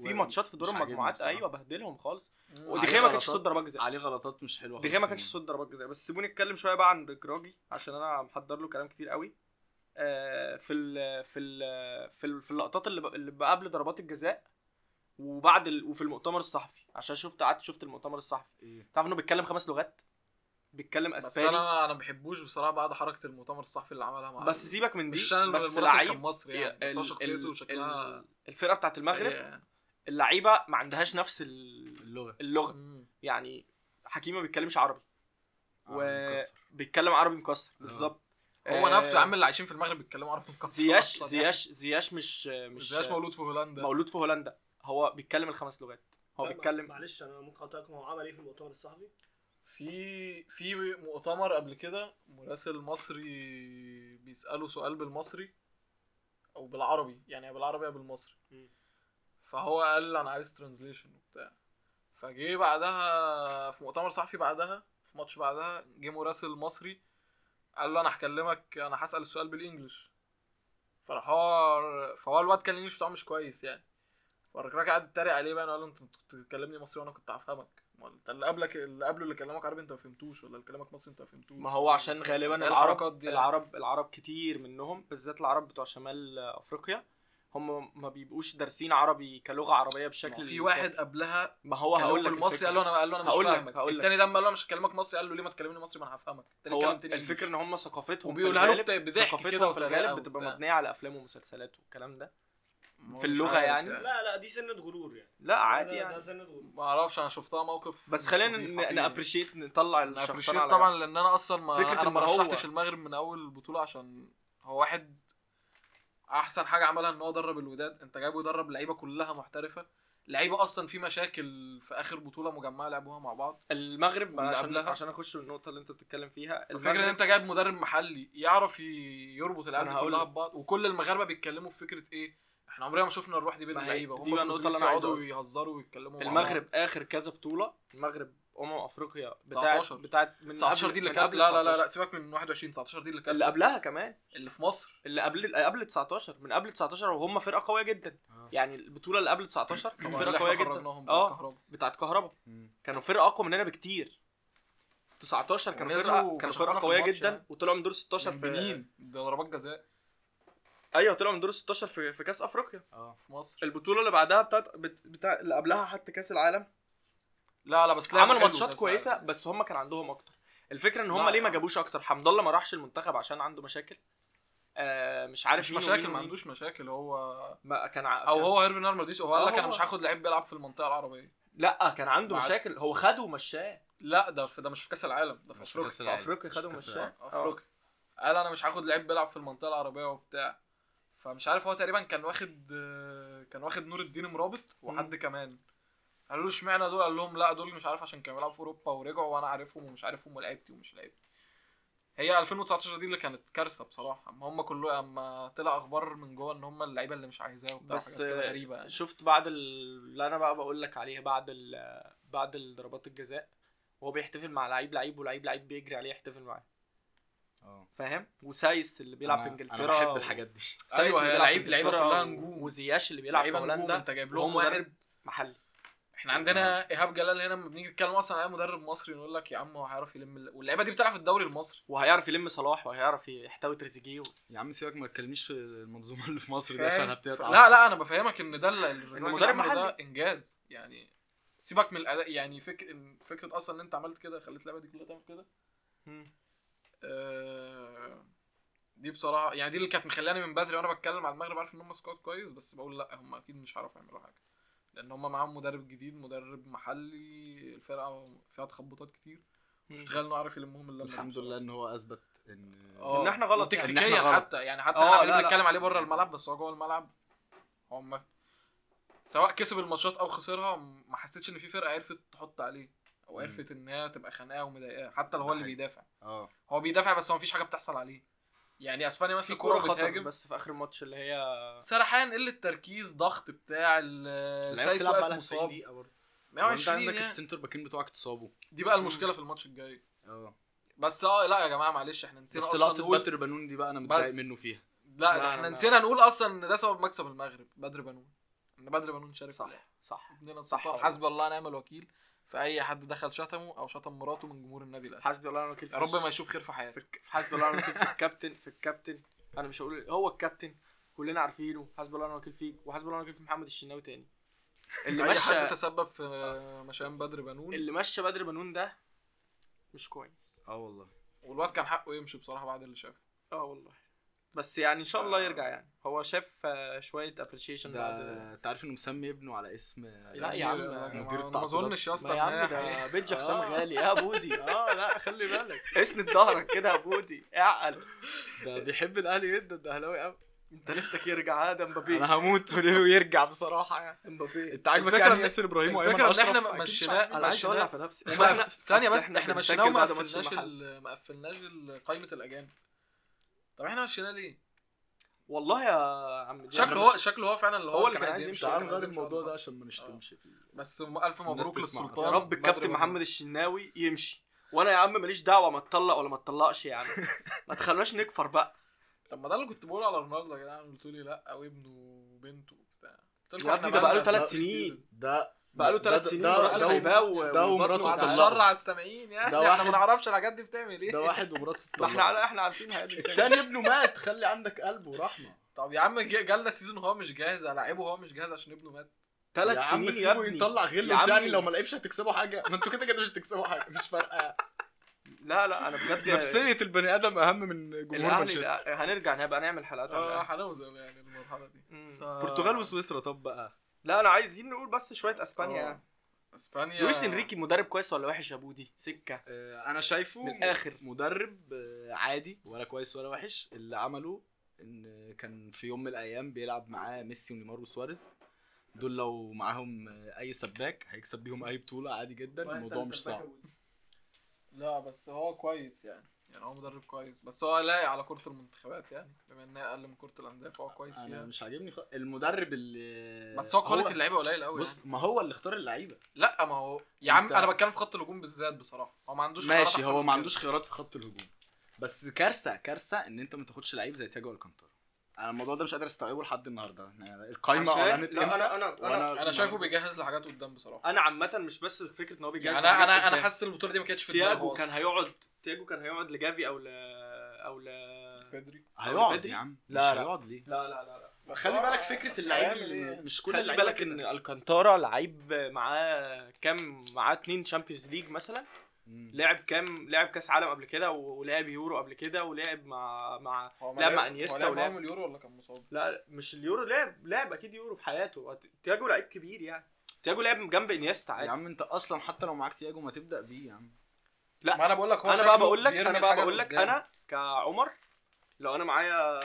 Speaker 4: ومش
Speaker 3: ماتشات في دور
Speaker 4: عاجبني
Speaker 3: المجموعات
Speaker 4: بصراحة.
Speaker 3: ايوه بهدلهم خالص
Speaker 2: مم.
Speaker 3: ودي خيا ما كانش
Speaker 4: غلطات.
Speaker 3: صد ضربات جزاء
Speaker 4: عليه غلطات مش حلوه
Speaker 3: دي خيا
Speaker 4: خالص
Speaker 3: ما كانش صد ضربات جزاء بس سيبوني اتكلم شويه بقى عن جراجي عشان انا محضر له كلام كتير قوي آه، في ال في ال في ال في اللقطات اللي ب- اللي بقى قبل ضربات الجزاء وبعد ال وفي المؤتمر الصحفي عشان شفت قعدت شفت المؤتمر الصحفي
Speaker 4: إيه؟
Speaker 3: تعرف انه بيتكلم خمس لغات بيتكلم
Speaker 2: بس
Speaker 3: اسباني
Speaker 2: انا انا ما بحبوش بصراحه بعد حركه المؤتمر الصحفي اللي عملها مع
Speaker 3: بس سيبك من دي
Speaker 2: مش عشان
Speaker 3: بس
Speaker 2: المراسل كان
Speaker 3: لعيب
Speaker 2: مصري يعني بس هو
Speaker 3: ال-
Speaker 2: شخصيته
Speaker 3: ال-
Speaker 2: وشكلها
Speaker 3: ال- الفرقه بتاعت المغرب
Speaker 2: سيئة يعني.
Speaker 3: اللعيبه ما عندهاش نفس ال-
Speaker 4: اللغه
Speaker 3: اللغه
Speaker 2: مم.
Speaker 3: يعني حكيمي ما بيتكلمش عربي
Speaker 4: عم آه، مكسر.
Speaker 3: وبيتكلم عربي مكسر بالظبط
Speaker 2: آه. هو
Speaker 3: آه،
Speaker 2: نفسه يا عم اللي عايشين في المغرب بيتكلموا عربي مكسر
Speaker 3: زياش
Speaker 2: أصلاً. يعني.
Speaker 3: زياش زياش مش مش
Speaker 2: زياش مولود في هولندا
Speaker 3: مولود في هولندا هو بيتكلم الخمس لغات هو
Speaker 1: لا،
Speaker 3: بيتكلم
Speaker 1: معلش انا ممكن اقاطعكم هو عمل ايه في المؤتمر الصحفي؟
Speaker 2: في في مؤتمر قبل كده مراسل مصري بيسأله سؤال بالمصري او بالعربي يعني يا بالعربي يا بالمصري
Speaker 1: مم.
Speaker 2: فهو قال انا عايز ترانزليشن وبتاع فجه بعدها في مؤتمر صحفي بعدها في ماتش بعدها جه مراسل مصري قال له انا هكلمك انا هسأل السؤال بالانجلش فراح هو فهو الواد كان الانجلش بتاعه مش كويس يعني فالراجل قعد يتريق عليه بقى قال له انت كنت بتكلمني مصري وانا كنت هفهمك ما انت اللي قبلك اللي قبله اللي كلمك عربي انت ما فهمتوش ولا اللي كلمك مصري انت ما فهمتوش
Speaker 3: ما هو عشان غالبا
Speaker 2: انت الحركات
Speaker 3: العرب
Speaker 2: دي يعني.
Speaker 3: العرب العرب كتير منهم بالذات العرب بتوع شمال افريقيا هم ما بيبقوش دارسين عربي كلغه عربيه
Speaker 2: ما
Speaker 3: بشكل
Speaker 2: في واحد قبلها
Speaker 3: ما هو هقول لك
Speaker 2: يعني المصري قال له
Speaker 3: الفكرة.
Speaker 2: انا قال له انا مش
Speaker 3: هقول لك-
Speaker 2: فاهمك
Speaker 3: هقول لك.
Speaker 2: التاني ده اما قال له انا مش هكلمك مصري قال له ليه ما تكلمني مصري ما انا هفهمك التاني
Speaker 3: هو
Speaker 2: كلمتني
Speaker 3: الفكره ان هم ثقافتهم في
Speaker 2: وبيقولها له
Speaker 3: الغالب-
Speaker 2: بت- بضحك كده
Speaker 3: ثقافتهم في
Speaker 2: وطريقة
Speaker 3: الغالب
Speaker 2: وبتاع.
Speaker 3: بتبقى مبنيه على افلام ومسلسلات والكلام ده
Speaker 2: ما هو
Speaker 3: في
Speaker 2: مش
Speaker 3: اللغة
Speaker 2: عارف
Speaker 3: يعني.
Speaker 1: لا لا دي سنه غرور يعني
Speaker 3: لا عادي
Speaker 1: ده-
Speaker 3: يعني
Speaker 1: ده سنه غرور
Speaker 2: ما اعرفش انا شفتها موقف
Speaker 3: بس خلينا نابريشيت نطلع الشخصيه
Speaker 2: نابريشيت طبعا لان انا اصلا ما
Speaker 3: فكرة
Speaker 2: انا
Speaker 3: إن
Speaker 2: ما
Speaker 3: هو-
Speaker 2: رشحتش المغرب من اول البطوله عشان هو واحد احسن حاجه عملها ان هو درب الوداد انت جايبه يدرب لعيبه كلها محترفه لعيبه اصلا في مشاكل في اخر بطوله مجمعه لعبوها مع بعض
Speaker 3: المغرب
Speaker 2: واللي
Speaker 3: عشان
Speaker 2: قبلها.
Speaker 3: عشان اخش النقطه اللي انت بتتكلم فيها
Speaker 2: الفكره ان انت جايب مدرب محلي يعرف ي- يربط
Speaker 3: أنا
Speaker 2: العيال
Speaker 3: هقول
Speaker 2: كلها
Speaker 3: لك.
Speaker 2: ببعض وكل المغاربه بيتكلموا في فكره ايه احنا عمرنا ما شفنا الروح دي بين
Speaker 3: ما هي-
Speaker 2: اللعيبه
Speaker 3: دي
Speaker 2: هم
Speaker 3: بقى
Speaker 2: في
Speaker 3: النقطة
Speaker 2: الأتوبيس
Speaker 3: اللي أنا عايز
Speaker 2: يقعدوا
Speaker 3: أقولها.
Speaker 2: يهزروا ويتكلموا مع
Speaker 3: المغرب اخر كذا بطوله المغرب امم افريقيا بتاعت
Speaker 2: 19.
Speaker 3: بتاعت من
Speaker 2: بعض. 19
Speaker 3: قبل-
Speaker 2: دي اللي
Speaker 3: من
Speaker 2: كانت
Speaker 3: قبل
Speaker 2: لا لا لا لا
Speaker 3: 19.
Speaker 2: سيبك من 21 19 دي اللي كانت
Speaker 3: اللي قبلها كمان
Speaker 2: اللي في مصر
Speaker 3: اللي قبل قبل 19 من قبل 19 وهم فرقه قويه جدا
Speaker 4: آه.
Speaker 3: يعني البطوله اللي قبل 19 كانت
Speaker 2: طبعاً اللي
Speaker 3: فرقه
Speaker 2: احنا
Speaker 3: قويه جدا
Speaker 2: خرجناهم بتاع
Speaker 3: اه
Speaker 2: الكهرباء.
Speaker 3: بتاعت كهربا
Speaker 4: مم.
Speaker 3: كانوا فرقه اقوى مننا بكتير 19 كانوا
Speaker 2: ونزلوا
Speaker 3: فرقه كانوا
Speaker 2: وفشخونا
Speaker 3: فرقه
Speaker 2: في
Speaker 3: قويه
Speaker 2: الماتش
Speaker 3: جدا
Speaker 2: يعني.
Speaker 3: وطلعوا من دور 16
Speaker 2: من
Speaker 3: في
Speaker 2: بنين ده ضربات جزاء
Speaker 3: ايوه طلعوا من دور 16 في في كاس افريقيا
Speaker 4: اه
Speaker 2: في مصر
Speaker 3: البطوله اللي بعدها بتاعت بت- بتاع اللي قبلها حتى كاس العالم
Speaker 2: لا لا بس لعبوا
Speaker 3: عملوا
Speaker 2: حلو
Speaker 3: ماتشات
Speaker 2: بس
Speaker 3: كويسه
Speaker 2: لعبوا.
Speaker 3: بس هم كان عندهم اكتر الفكره ان
Speaker 2: لا
Speaker 3: هم ليه ما
Speaker 2: لا.
Speaker 3: جابوش اكتر حمد الله ما راحش المنتخب عشان عنده مشاكل آه مش عارف
Speaker 2: مش
Speaker 3: مين
Speaker 2: مشاكل
Speaker 3: ومين
Speaker 2: ما
Speaker 3: ومين.
Speaker 2: عندوش مشاكل هو
Speaker 3: ما كان ع...
Speaker 2: او
Speaker 3: كان...
Speaker 2: هو هيرفي نارماديس هو قال لك
Speaker 3: آه.
Speaker 2: انا مش هاخد لعيب بيلعب في المنطقه العربيه
Speaker 3: لا كان عنده
Speaker 2: بعد-
Speaker 3: مشاكل هو خده ومشاه
Speaker 2: لا ده في ده مش في كاس العالم ده في
Speaker 4: مش في
Speaker 2: افريقيا
Speaker 4: كأس
Speaker 3: في
Speaker 4: العالم.
Speaker 3: افريقيا
Speaker 4: مش في
Speaker 3: خده
Speaker 4: كأس
Speaker 3: ومشاه
Speaker 4: العالم.
Speaker 3: آه.
Speaker 2: افريقيا اه. قال انا مش هاخد لعيب بيلعب في المنطقه العربيه وبتاع فمش عارف هو تقريبا كان واخد آه، كان واخد نور الدين مرابط وحد كمان قالوا له اشمعنى دول قال لهم لا دول مش عارف عشان كانوا بيلعبوا في اوروبا ورجعوا وانا عارفهم ومش عارفهم ولعبتي ومش لعبتي هي 2019 دي اللي كانت كارثه بصراحه اما هم كله اما طلع اخبار من جوه ان هم اللعيبه اللي مش عايزاه وبتاع
Speaker 3: بس،
Speaker 2: حاجات كده
Speaker 3: آه،
Speaker 2: غريبه يعني
Speaker 3: شفت بعد ال- اللي انا بقى بقول لك عليه بعد ال... بعد ضربات الجزاء وهو بيحتفل مع لعيب لعيب ولعيب لعيب بيجري عليه يحتفل معاه
Speaker 4: اه
Speaker 3: فاهم وسايس اللي بيلعب في
Speaker 4: أنا-
Speaker 3: انجلترا
Speaker 4: انا بحب
Speaker 3: و-
Speaker 4: الحاجات دي
Speaker 3: سايس
Speaker 2: أيوة،
Speaker 3: اللي
Speaker 2: هي
Speaker 3: بيلعب في
Speaker 2: لعيب- لعيبة
Speaker 3: إنجلترا
Speaker 2: كلها
Speaker 3: و-
Speaker 2: نجوم.
Speaker 3: وزياش اللي بيلعب في
Speaker 2: لعيبه نجوم،
Speaker 3: هولندا
Speaker 2: انت جايب
Speaker 3: وهو
Speaker 2: لهم
Speaker 3: مدرب آه.
Speaker 2: مدرب
Speaker 3: محلي
Speaker 2: احنا عندنا ايهاب جلال هنا لما بنيجي نتكلم اصلا على مدرب مصري نقول لك يا عم هو هيعرف يلم الل- واللعيبه دي بتلعب في الدوري المصري
Speaker 3: وهيعرف يلم صلاح وهيعرف يحتوي تريزيجيه و-
Speaker 4: يا عم سيبك ما تكلمنيش في المنظومه اللي في مصر دي
Speaker 2: فاهم؟
Speaker 4: عشان هبتدي اتعصب
Speaker 2: لا لا انا بفهمك ان ده ال-
Speaker 3: إنه
Speaker 2: الراجل اللي
Speaker 3: مدرب
Speaker 2: عمله ده
Speaker 3: محلي.
Speaker 2: انجاز يعني سيبك من الاداء يعني فكر إن- فكره اصلا ان انت عملت كده خليت اللعبه دي كلها تعمل كده آه، دي بصراحه يعني دي اللي كانت مخلاني من بدري وانا بتكلم على المغرب عارف ان هم سكواد كويس بس بقول لا هم اكيد مش هيعرفوا يعملوا حاجه لان هم معاهم مدرب جديد مدرب محلي الفرقه فيها تخبطات كتير مش تخيل انه عارف يلمهم اللمه دي
Speaker 4: الحمد
Speaker 2: بصراحة.
Speaker 4: لله ان هو اثبت ان
Speaker 2: اه
Speaker 3: إن إحنا غلط.
Speaker 4: إن
Speaker 2: تكتيكيا
Speaker 4: إحنا غلط.
Speaker 2: حتى يعني حتى
Speaker 3: آه،
Speaker 2: احنا عمالين
Speaker 3: لا، لا.
Speaker 2: بنتكلم عليه بره الملعب بس هو جوه الملعب هو ما سواء كسب الماتشات او خسرها م- ما حسيتش ان في فرقه عرفت تحط عليه او
Speaker 4: مم.
Speaker 2: عرفت ان هي تبقى خانقاه ومضايقاه حتى لو هو
Speaker 4: ده
Speaker 2: اللي
Speaker 4: حقيقي.
Speaker 2: بيدافع
Speaker 4: اه
Speaker 2: هو بيدافع بس هو مفيش حاجه بتحصل عليه يعني اسبانيا
Speaker 3: في
Speaker 2: ماسك
Speaker 3: كوره
Speaker 2: كوره
Speaker 3: خطر
Speaker 2: بتهاجم
Speaker 3: بس في اخر الماتش اللي هي
Speaker 2: سرحان قله تركيز ضغط بتاع ال-
Speaker 4: اللعيبه
Speaker 2: سايس
Speaker 4: بتلعب
Speaker 2: واقف
Speaker 4: بقى 90
Speaker 2: مصاب
Speaker 4: دقيقه برضه وانت
Speaker 2: 120
Speaker 4: عندك
Speaker 2: يعني.
Speaker 4: السنتر باكين بتوعك اتصابوا
Speaker 2: دي بقى المشكله في الماتش الجاي
Speaker 4: اه
Speaker 2: بس اه لا يا جماعه معلش احنا نسينا
Speaker 4: بس
Speaker 2: اصلا
Speaker 4: لقطه
Speaker 2: نقول-
Speaker 4: بدر بنون دي بقى انا متضايق
Speaker 2: بس.
Speaker 4: منه فيها
Speaker 2: لا
Speaker 3: لا،
Speaker 2: ده
Speaker 3: لا.
Speaker 2: احنا نسينا نقول اصلا ان ده سبب مكسب المغرب بدر بنون ان بدر بنون شارك
Speaker 3: صح.
Speaker 2: صح
Speaker 3: صح
Speaker 2: ابننا
Speaker 3: صح
Speaker 2: صح
Speaker 3: والله.
Speaker 2: حسب الله ونعم الوكيل في اي حد دخل شتمه او شتم مراته من جمهور النبي الاهلي
Speaker 3: حسبي الله ونعم الوكيل
Speaker 2: يا رب ما يشوف خير في حياته
Speaker 3: في حسبي الله ونعم الوكيل في الكابتن في الكابتن انا مش هقول هو الكابتن كلنا عارفينه حسبي الله ونعم الوكيل فيك وحسبي الله ونعم الوكيل في محمد الشناوي تاني اللي
Speaker 2: اي حد
Speaker 3: مشى آه.
Speaker 2: تسبب في مشيان بدر بنون
Speaker 3: اللي مشى بدر بنون ده مش كويس
Speaker 4: اه والله
Speaker 2: والواد كان حقه يمشي بصراحه بعد اللي شافه
Speaker 3: اه والله بس يعني ان شاء الله
Speaker 2: آه.
Speaker 3: يرجع يعني هو شاف آه، شويه ابريشيشن بعد
Speaker 4: ده انت عارف انه مسمي ابنه على اسم
Speaker 3: لا
Speaker 2: يعني
Speaker 3: يا عم،
Speaker 4: مدير
Speaker 2: مدير ما
Speaker 4: التعاقدات.
Speaker 2: اظنش يا اسطى
Speaker 3: ما يا
Speaker 2: إن هي
Speaker 3: عم
Speaker 2: حقيقة.
Speaker 3: ده بيت حسام
Speaker 4: آه.
Speaker 3: غالي يا بودي
Speaker 4: اه لا خلي بالك
Speaker 3: اسند ظهرك كده يا بودي اعقل
Speaker 4: ده بيحب الاهلي جدا ده اهلاوي قوي
Speaker 3: انت نفسك يرجع ها ده مبابي
Speaker 4: انا هموت ويرجع بصراحه يعني
Speaker 3: مبابي
Speaker 4: انت عاجبك
Speaker 2: الفكرة
Speaker 4: يعني
Speaker 2: إن-
Speaker 4: ياسر ابراهيم وايمن
Speaker 2: الفكرة إن
Speaker 4: اشرف
Speaker 2: إحنا
Speaker 4: أكيد مش
Speaker 2: مشيناه-
Speaker 4: عارف.
Speaker 3: انا عايز
Speaker 2: ماشي،
Speaker 3: اولع
Speaker 2: لا.
Speaker 3: في نفسي
Speaker 2: وما-
Speaker 3: احنا-
Speaker 2: ثانيه
Speaker 3: أصل
Speaker 2: بس احنا مشيناه
Speaker 3: بنسجل
Speaker 2: وما
Speaker 3: بعد ماتش
Speaker 2: قفلناش
Speaker 3: المحل.
Speaker 2: ال- ما قفلناش ال- قائمه الاجانب طب احنا مشيناه ليه؟
Speaker 3: والله يا عم دي
Speaker 2: شكله
Speaker 3: أنا
Speaker 2: هو
Speaker 3: مش-
Speaker 2: شكله هو فعلا اللي هو
Speaker 3: هو
Speaker 2: اللي كان عايز يمشي
Speaker 4: تعال
Speaker 2: كان عايز
Speaker 4: نغير
Speaker 2: يمشي
Speaker 4: الموضوع
Speaker 2: وقت
Speaker 4: ده
Speaker 2: الماتش.
Speaker 4: عشان ما نشتمش فيه
Speaker 2: بس م- الف
Speaker 4: الناس
Speaker 2: مبروك
Speaker 4: تسمع.
Speaker 2: للسلطان
Speaker 3: يا رب
Speaker 2: بدر
Speaker 3: الكابتن
Speaker 2: بنون.
Speaker 3: محمد الشناوي يمشي وانا يا عم ماليش دعوه ما اتطلق ولا ما اتطلقش يعني ما تخلوش نكفر بقى
Speaker 2: طب ما ده اللي كنت بقوله على رونالدو يا جدعان قلتوا لي لا وابنه وبنته وبتاع قلت
Speaker 3: يا
Speaker 2: لكم
Speaker 3: ابني
Speaker 2: احنا
Speaker 3: ده بقاله
Speaker 2: بقالنا
Speaker 3: ثلاث
Speaker 2: في
Speaker 3: سنين
Speaker 4: ده
Speaker 3: بقاله
Speaker 4: ده-
Speaker 3: ثلاث
Speaker 4: ده-
Speaker 3: سنين
Speaker 4: ده-
Speaker 3: وراح
Speaker 4: ده-
Speaker 3: الغيباء
Speaker 4: ده
Speaker 3: ومراته
Speaker 4: ومراته
Speaker 2: قاعد
Speaker 3: وطلقه.
Speaker 4: اتطلقوا.
Speaker 2: اشر على السامعين يعني
Speaker 4: ده
Speaker 2: احنا
Speaker 4: واحد-
Speaker 2: ما نعرفش الحاجات دي بتعمل
Speaker 4: ده
Speaker 2: ايه
Speaker 4: واحد ومراته
Speaker 3: ما احنا
Speaker 4: اتطلقوا
Speaker 3: على احنا عارفين هادي
Speaker 4: تاني ابنه مات خلي عندك قلب ورحمه
Speaker 2: طب يا عم جه- جالنا سيزون هو مش جاهز هلاعبه هو مش جاهز عشان ابنه مات
Speaker 4: يا
Speaker 3: ثلاث
Speaker 4: عم
Speaker 3: سنين يا
Speaker 4: سيبه
Speaker 3: ابني
Speaker 4: يطلع
Speaker 3: يا
Speaker 4: غله
Speaker 3: عمي.
Speaker 4: يعني لو ما لعبش هتكسبوا حاجه ما انتوا كده كده مش هتكسبوا حاجه مش فارقه
Speaker 3: لا لا انا بجد
Speaker 4: نفسيه البني ادم اهم من جمهور
Speaker 3: الاهلي
Speaker 4: مانشستر آه.
Speaker 3: لا، هنرجع هنبقى نعمل حلقات عن
Speaker 2: اه
Speaker 3: الأهلي.
Speaker 2: هنوزن يعني المرحله دي
Speaker 3: مم.
Speaker 2: آه.
Speaker 4: البرتغال وسويسرا طب بقى
Speaker 3: لا انا عايزين نقول بس شويه اسبانيا
Speaker 2: آه. اسبانيا
Speaker 3: لويس انريكي مدرب كويس ولا وحش يا بودي سكه
Speaker 4: آه، انا شايفه
Speaker 3: من الآخر.
Speaker 4: مدرب آه، عادي ولا كويس ولا وحش اللي عمله ان كان في يوم من الايام بيلعب معاه ميسي ونيمار وسواريز دول لو معاهم آه، اي سباك هيكسب بيهم اي بطوله عادي جدا الموضوع مش صعب
Speaker 2: لا بس هو كويس يعني يعني هو مدرب كويس بس هو لايق على كره المنتخبات يعني بما انها اقل من كره الانديه فهو كويس
Speaker 4: انا
Speaker 2: فيها
Speaker 4: مش عاجبني خ... المدرب اللي
Speaker 2: بس هو كواليتي اللعيبه قليل يعني. قوي
Speaker 4: بص
Speaker 3: يعني.
Speaker 4: ما هو اللي اختار اللعيبه
Speaker 2: لا ما هو يا عم
Speaker 4: أنت-
Speaker 2: انا بتكلم في خط الهجوم بالذات بصراحه هو ما عندوش خيارات
Speaker 4: ماشي
Speaker 2: أحسن
Speaker 4: هو
Speaker 2: من
Speaker 4: ما
Speaker 2: كده.
Speaker 4: عندوش خيارات في خط الهجوم بس كارثه كارثه ان انت ما تاخدش لعيب زي تياجو الكانتارا انا الموضوع ده مش قادر استوعبه لحد النهارده يعني القايمه
Speaker 3: عشان-
Speaker 4: اعلنت
Speaker 3: لا،
Speaker 4: امتى
Speaker 3: انا انا انا
Speaker 2: انا شايفه بيجهز لحاجات قدام بصراحه
Speaker 3: انا عامه مش بس فكره ان هو
Speaker 2: يعني
Speaker 3: بيجهز
Speaker 2: انا انا
Speaker 3: قدام.
Speaker 2: انا حاسس البطوله دي ما كانتش في
Speaker 3: تياجو
Speaker 2: دماغه
Speaker 3: كان
Speaker 2: كان
Speaker 3: هيقعد تياجو كان هيقعد لجافي او ل او ل
Speaker 2: بدري
Speaker 4: هيقعد
Speaker 3: بدري؟
Speaker 4: يا عم
Speaker 3: لا،
Speaker 4: مش
Speaker 3: لا.
Speaker 4: هيقعد ليه
Speaker 3: لا لا لا لا
Speaker 4: خلي بالك فكره اللعيب
Speaker 2: هيعمل
Speaker 4: اللي
Speaker 2: إيه؟
Speaker 4: مش كل
Speaker 3: خلي
Speaker 4: اللعيبه
Speaker 3: بالك
Speaker 4: كده.
Speaker 3: ان الكانتارا لعيب معاه كام معاه اتنين شامبيونز ليج مثلا
Speaker 4: مم.
Speaker 3: لعب كام لعب كاس عالم قبل كده و- ولعب يورو قبل كده ولعب مع مع
Speaker 2: هو
Speaker 3: لا،
Speaker 2: لعب-
Speaker 3: مع إنيستا
Speaker 2: هو لعب
Speaker 3: ولعب-
Speaker 2: معاهم اليورو ولا كان مصاب؟
Speaker 3: لا مش اليورو لعب لعب اكيد يورو في حياته تياجو لعيب كبير يعني تياجو لعب جنب انيستا
Speaker 4: يا
Speaker 3: عادي
Speaker 4: عم انت اصلا حتى لو معاك تياجو ما تبدا بيه يا عم
Speaker 3: لا،
Speaker 2: ما انا بقول لك هو
Speaker 3: انا
Speaker 2: شكله
Speaker 3: بقى بقول لك
Speaker 2: بيرمي
Speaker 3: انا بقى
Speaker 2: الحاجة
Speaker 3: بقول لك
Speaker 2: لقدام.
Speaker 3: انا كعمر لو انا معايا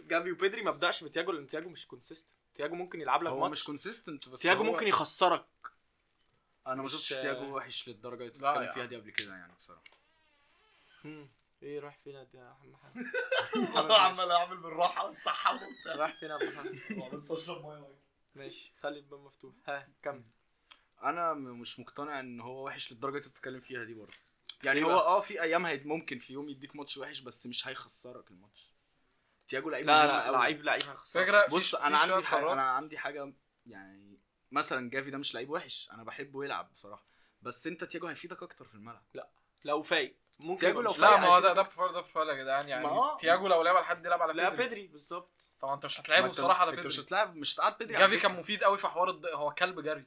Speaker 3: جافي وبيدري ما ابداش بتياجو لان تياجو مش كونسيستنت تياجو ممكن يلعب لك
Speaker 4: هو
Speaker 3: ماتش
Speaker 4: مش كونسيستنت بس
Speaker 3: تياجو
Speaker 4: هو-
Speaker 3: ممكن يخسرك
Speaker 4: انا ما
Speaker 3: مش-
Speaker 4: شفتش تياجو وحش للدرجه اللي
Speaker 2: لا
Speaker 4: بتتكلم
Speaker 2: يا
Speaker 4: فيها دي قبل كده يعني بصراحه
Speaker 3: مم. ايه رايح فين يا عم محمد
Speaker 5: عمال اعمل بالراحه وتسحبه وبتاع
Speaker 3: رايح فين يا عم محمد
Speaker 5: بس اشرب ميه
Speaker 3: ماشي خلي الباب مفتوح ها كمل
Speaker 4: انا م- مش مقتنع ان هو وحش للدرجه اللي بتتكلم فيها دي برضه يعني
Speaker 3: ليه
Speaker 4: هو
Speaker 3: بقى؟
Speaker 4: اه في ايام هي ممكن في يوم يديك ماتش وحش بس مش هيخسرك الماتش تياجو لعيب
Speaker 3: لا
Speaker 4: مهم
Speaker 3: لا
Speaker 4: أوي.
Speaker 3: لعيب لعيب هيخسرك
Speaker 2: فكرة في-
Speaker 4: بص
Speaker 2: في
Speaker 4: انا
Speaker 2: شوية
Speaker 4: عندي حاجه
Speaker 2: قرارات.
Speaker 4: انا عندي حاجه يعني مثلا جافي ده مش لعيب وحش انا بحبه يلعب بصراحه بس انت تياجو هيفيدك اكتر في الملعب
Speaker 3: لو فايق ممكن
Speaker 4: تياجو
Speaker 3: يبقى
Speaker 4: لو
Speaker 3: مش
Speaker 2: لا
Speaker 3: لاعب.
Speaker 2: ما هو ده ده بفار ده بفار يا جدعان
Speaker 4: ما هو-
Speaker 2: يعني تياجو لو لعب على حد يلعب على
Speaker 3: لا
Speaker 2: بيدري
Speaker 3: بدري بالظبط
Speaker 2: فهو انت مش
Speaker 4: ما
Speaker 2: هتلعبه
Speaker 4: انت-
Speaker 2: بصراحه على
Speaker 4: انت مش
Speaker 2: بيدري
Speaker 4: هتلعب مش هتقعد بدري على
Speaker 2: جافي
Speaker 4: فكرة.
Speaker 2: كان مفيد قوي في حوار الض... هو كلب جري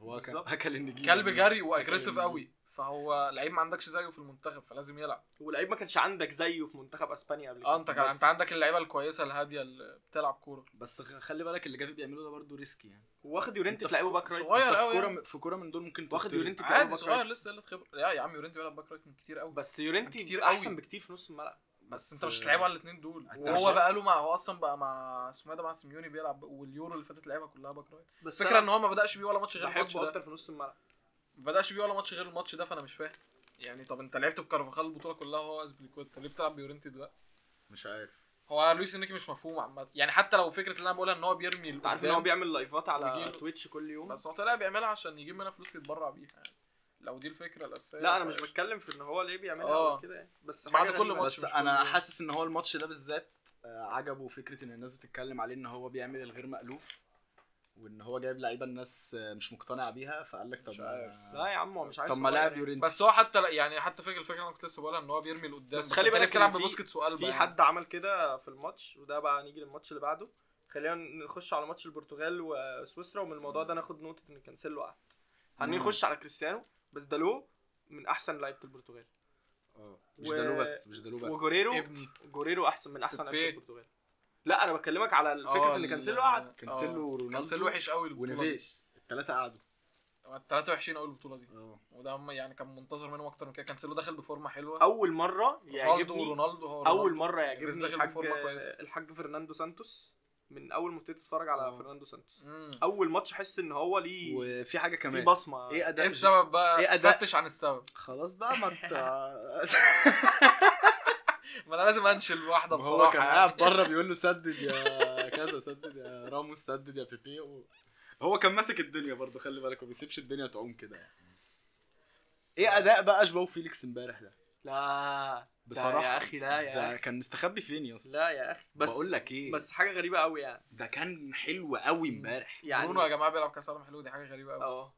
Speaker 4: هو كان
Speaker 3: بالظبط.
Speaker 4: اكل النجيله
Speaker 2: كلب
Speaker 4: دي.
Speaker 2: جري
Speaker 4: أكل يعني.
Speaker 2: واجريسيف
Speaker 4: النجيلة.
Speaker 2: قوي فهو لعيب ما عندكش زيه في المنتخب فلازم يلعب
Speaker 3: ولعيب ما كانش عندك زيه في منتخب اسبانيا قبل كده
Speaker 2: اه انت كان-
Speaker 4: بس-
Speaker 2: انت عندك اللعيبه الكويسه الهاديه اللي بتلعب كوره
Speaker 4: بس خ- خلي بالك اللي جافي بيعمله ده برضه ريسكي يعني
Speaker 3: واخد يورنت
Speaker 4: انت
Speaker 3: تلاعبه
Speaker 4: في-
Speaker 3: باك رايت
Speaker 2: صغير
Speaker 4: انت في
Speaker 2: قوي
Speaker 4: كوره
Speaker 2: يعني.
Speaker 4: م- في كوره من دول ممكن
Speaker 3: واخد
Speaker 4: تطرد.
Speaker 3: يورنتي تلاعبه
Speaker 2: عادي
Speaker 3: باك رايت
Speaker 2: صغير لسه قله خبره لا يا عم يورنتي بيلعب باك رايت من كتير قوي
Speaker 3: بس يورنتي
Speaker 2: كتير
Speaker 3: كتير
Speaker 2: قوي.
Speaker 3: احسن بكتير في نص الملعب
Speaker 2: بس انت مش هتلعبه على الاثنين دول
Speaker 4: انت
Speaker 2: وهو
Speaker 4: عشان-
Speaker 2: بقى له مع هو اصلا بقى مع اسمه ايه ده مع سيميوني بيلعب واليورو اللي فاتت لعبها كلها باك رايت
Speaker 3: بس
Speaker 2: الفكره ان هو ما بداش بيه ولا ماتش غير الماتش
Speaker 3: بحبه
Speaker 2: ده
Speaker 3: اكتر في نص الملعب
Speaker 2: ما بداش بيه ولا ماتش غير الماتش ده فانا مش فاهم يعني طب انت لعبت بكارفاخال البطوله كلها وهو اسبليكويتا ليه بتلعب بيورنتي دلوقتي
Speaker 4: مش عارف
Speaker 2: هو لويس انريكي مش مفهوم عامه يعني حتى لو فكره اللي انا بقولها ان هو بيرمي
Speaker 3: انت عارف ان هو بيعمل لايفات على
Speaker 2: ويجيله.
Speaker 3: تويتش كل يوم
Speaker 2: بس هو طلع بيعملها عشان يجيب منها فلوس يتبرع بيها يعني لو دي الفكره الاساسيه
Speaker 3: لا انا مش
Speaker 2: فقشطة.
Speaker 3: بتكلم في ان هو ليه بيعملها
Speaker 2: اه.
Speaker 3: أو كده يعني بس
Speaker 2: بعد
Speaker 3: حاجة
Speaker 2: كل
Speaker 3: غريبة.
Speaker 2: ماتش.
Speaker 4: بس
Speaker 2: مش
Speaker 4: انا
Speaker 2: كل-
Speaker 4: حاسس ان هو الماتش ده بالذات آه، عجبه فكره ان الناس بتتكلم عليه ان هو بيعمل الغير مالوف وان هو جايب لعيبه الناس آه، مش مقتنعه بيها فقال لك طب
Speaker 2: مش عارف.
Speaker 4: آه،
Speaker 3: لا يا عم هو مش عارف
Speaker 4: طب ما
Speaker 3: هو
Speaker 4: لاعب
Speaker 3: يعني.
Speaker 4: يورنتي
Speaker 2: بس هو حتى لا- يعني حتى فكره الفكره اللي انا كنت لسه بقولها ان هو بيرمي لقدام
Speaker 3: بس خلي
Speaker 2: انت ليه
Speaker 3: بالك
Speaker 2: بتلعب
Speaker 3: ان في-
Speaker 2: ببوسكيتس وقلب
Speaker 3: في حد عمل كده في الماتش وده بقى نيجي للماتش اللي بعده خلينا نخش على ماتش البرتغال وسويسرا ومن الموضوع ده ناخد نقطه ان كانسيلو قعد هنخش على كريستيانو بس دالو من احسن لعيبه البرتغال
Speaker 4: آه، مش ده له بس مش ده له بس
Speaker 3: وجوريرو
Speaker 2: ابني
Speaker 3: جوريرو احسن من احسن
Speaker 2: بيبي.
Speaker 3: لعيبه البرتغال لا انا بكلمك على
Speaker 2: اه،
Speaker 3: فكره ان
Speaker 2: ال-
Speaker 3: كانسيلو قعد
Speaker 4: كانسيلو
Speaker 2: اه.
Speaker 4: ورونالدو
Speaker 2: كانسيلو وحش قوي البطوله دي
Speaker 4: ونيفيش الثلاثه قعدوا
Speaker 2: الثلاثه وحشين قوي البطوله دي
Speaker 4: اه
Speaker 2: وده هم يعني كان منتظر منهم اكتر من كده كانسيلو داخل بفورمه حلوه
Speaker 3: اول مره
Speaker 2: رونالدو
Speaker 3: يعجبني
Speaker 2: ورونالدو هو
Speaker 3: اول
Speaker 2: رونالدو.
Speaker 3: مره
Speaker 2: بس
Speaker 3: يعجبني
Speaker 2: داخل
Speaker 3: الحاج
Speaker 2: بفورمة كويسة.
Speaker 3: الحاج فرناندو سانتوس من اول ما ابتديت اتفرج على
Speaker 2: آه.
Speaker 4: اه.
Speaker 3: فرناندو سانتوس
Speaker 2: مم.
Speaker 3: اول ماتش احس ان هو ليه
Speaker 4: وفي حاجه
Speaker 3: في
Speaker 4: كمان
Speaker 3: بصمه
Speaker 4: ايه
Speaker 2: ايه
Speaker 4: اداء
Speaker 2: السبب بقى؟
Speaker 3: إيه
Speaker 4: ايه
Speaker 2: ايه
Speaker 4: أداء؟
Speaker 2: فتش عن السبب
Speaker 4: خلاص بقى ما انت
Speaker 2: ما انا لازم انشل واحده
Speaker 4: ما هو
Speaker 2: بصراحه
Speaker 4: كان
Speaker 2: يعني.
Speaker 4: قاعد بره بيقول له سدد يا كذا سدد يا راموس سدد يا بيبي و... هو كان ماسك الدنيا برضه خلي بالك ما بيسيبش الدنيا تعوم كده يعني. ايه اداء بقى جواو فيليكس امبارح ده
Speaker 3: لا
Speaker 4: بصراحة،
Speaker 3: لا يا اخي لا يا
Speaker 4: ده
Speaker 3: اخي
Speaker 4: كان مستخبي فين يا اسطى
Speaker 3: لا يا اخي بس
Speaker 4: بقول لك
Speaker 2: إيه.
Speaker 4: ايه
Speaker 3: بس حاجه غريبه قوي يعني
Speaker 4: ده كان حلو قوي امبارح
Speaker 3: يعني
Speaker 2: برونو يا جماعه بيلعب كاس عالم حلو دي حاجه غريبه قوي
Speaker 3: اه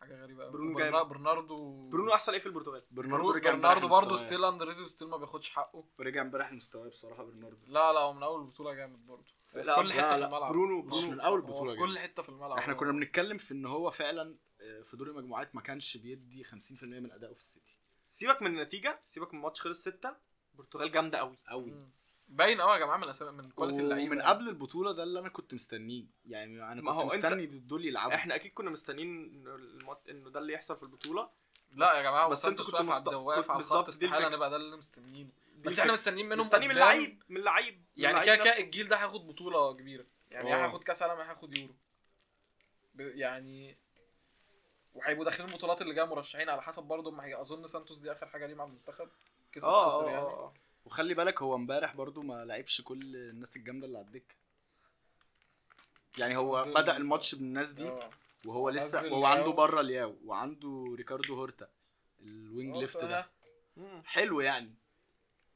Speaker 2: حاجه غريبه قوي
Speaker 3: برونو
Speaker 2: برونو
Speaker 3: جامد.
Speaker 2: برناردو
Speaker 3: برونو احسن لعيب في البرتغال
Speaker 4: برناردو
Speaker 2: برونو
Speaker 4: رجع
Speaker 2: برناردو
Speaker 4: امبارح
Speaker 2: برضه
Speaker 4: لمستواه.
Speaker 2: ستيل اندر ريتد وستيل ما بياخدش حقه
Speaker 4: رجع امبارح لمستواه بصراحه برناردو
Speaker 2: لا لا هو من اول البطوله جامد برضه في
Speaker 3: لا،
Speaker 2: كل
Speaker 4: لا،
Speaker 2: حته في
Speaker 4: لا،
Speaker 2: الملعب
Speaker 3: برونو
Speaker 4: مش
Speaker 3: برونو
Speaker 4: من اول
Speaker 2: هو
Speaker 4: بطوله
Speaker 2: في كل حته في
Speaker 3: آه.
Speaker 2: الملعب
Speaker 4: احنا
Speaker 2: هو-
Speaker 4: كنا بنتكلم في ان هو فعلا آه، في دور المجموعات ما كانش بيدي 50% من ادائه في السيتي
Speaker 3: سيبك من النتيجه سيبك من الماتش خلص ستة البرتغال جامده قوي
Speaker 4: قوي
Speaker 2: مم. باين قوي يا جماعه من اسامي من كواليتي اللعيبه
Speaker 4: ومن
Speaker 2: يعني.
Speaker 4: قبل البطوله ده اللي انا كنت مستنيه يعني انا
Speaker 3: ما
Speaker 4: كنت
Speaker 3: هو أنت-
Speaker 4: مستني دول يلعبوا
Speaker 3: احنا اكيد كنا مستنيين إنه المط- انه ده اللي يحصل في البطوله
Speaker 2: لا يا جماعه
Speaker 3: بس
Speaker 2: بس
Speaker 3: انت كنت
Speaker 2: انتوا واقف على
Speaker 3: مست-
Speaker 2: الدو- واقف على
Speaker 3: بالظبط
Speaker 2: الخط
Speaker 3: دي
Speaker 2: استحاله
Speaker 3: الفكرة.
Speaker 2: نبقى ده اللي مستنيين
Speaker 3: دي
Speaker 2: بس
Speaker 3: الفكرة.
Speaker 2: احنا مستنيين منهم
Speaker 3: مستني من
Speaker 2: قدام.
Speaker 3: اللعيب من اللعيب من
Speaker 2: يعني كده
Speaker 3: اللعيب
Speaker 2: كده
Speaker 3: نفسه. آه.
Speaker 2: الجيل ده هياخد بطوله كبيره يعني
Speaker 4: اه.
Speaker 2: يا هياخد كاس عالم يا هياخد يورو ب- يعني وهيبقوا داخلين البطولات اللي جايه مرشحين على حسب برضه ما هي اظن سانتوس دي اخر حاجه ليه مع المنتخب كسب
Speaker 3: اه
Speaker 2: خسر
Speaker 3: اه
Speaker 2: يعني
Speaker 3: آه.
Speaker 4: وخلي بالك هو امبارح برضو ما لعبش كل الناس الجامده اللي على الدكه يعني هو
Speaker 2: نزل-
Speaker 4: بدا الماتش بالناس دي
Speaker 2: اه.
Speaker 4: وهو لسه
Speaker 2: نزل
Speaker 4: هو عنده
Speaker 2: لياو.
Speaker 4: بره لياو وعنده ريكاردو هورتا الوينج
Speaker 2: اه،
Speaker 4: ليفت
Speaker 2: فأنا-
Speaker 4: ده
Speaker 3: مم.
Speaker 4: حلو يعني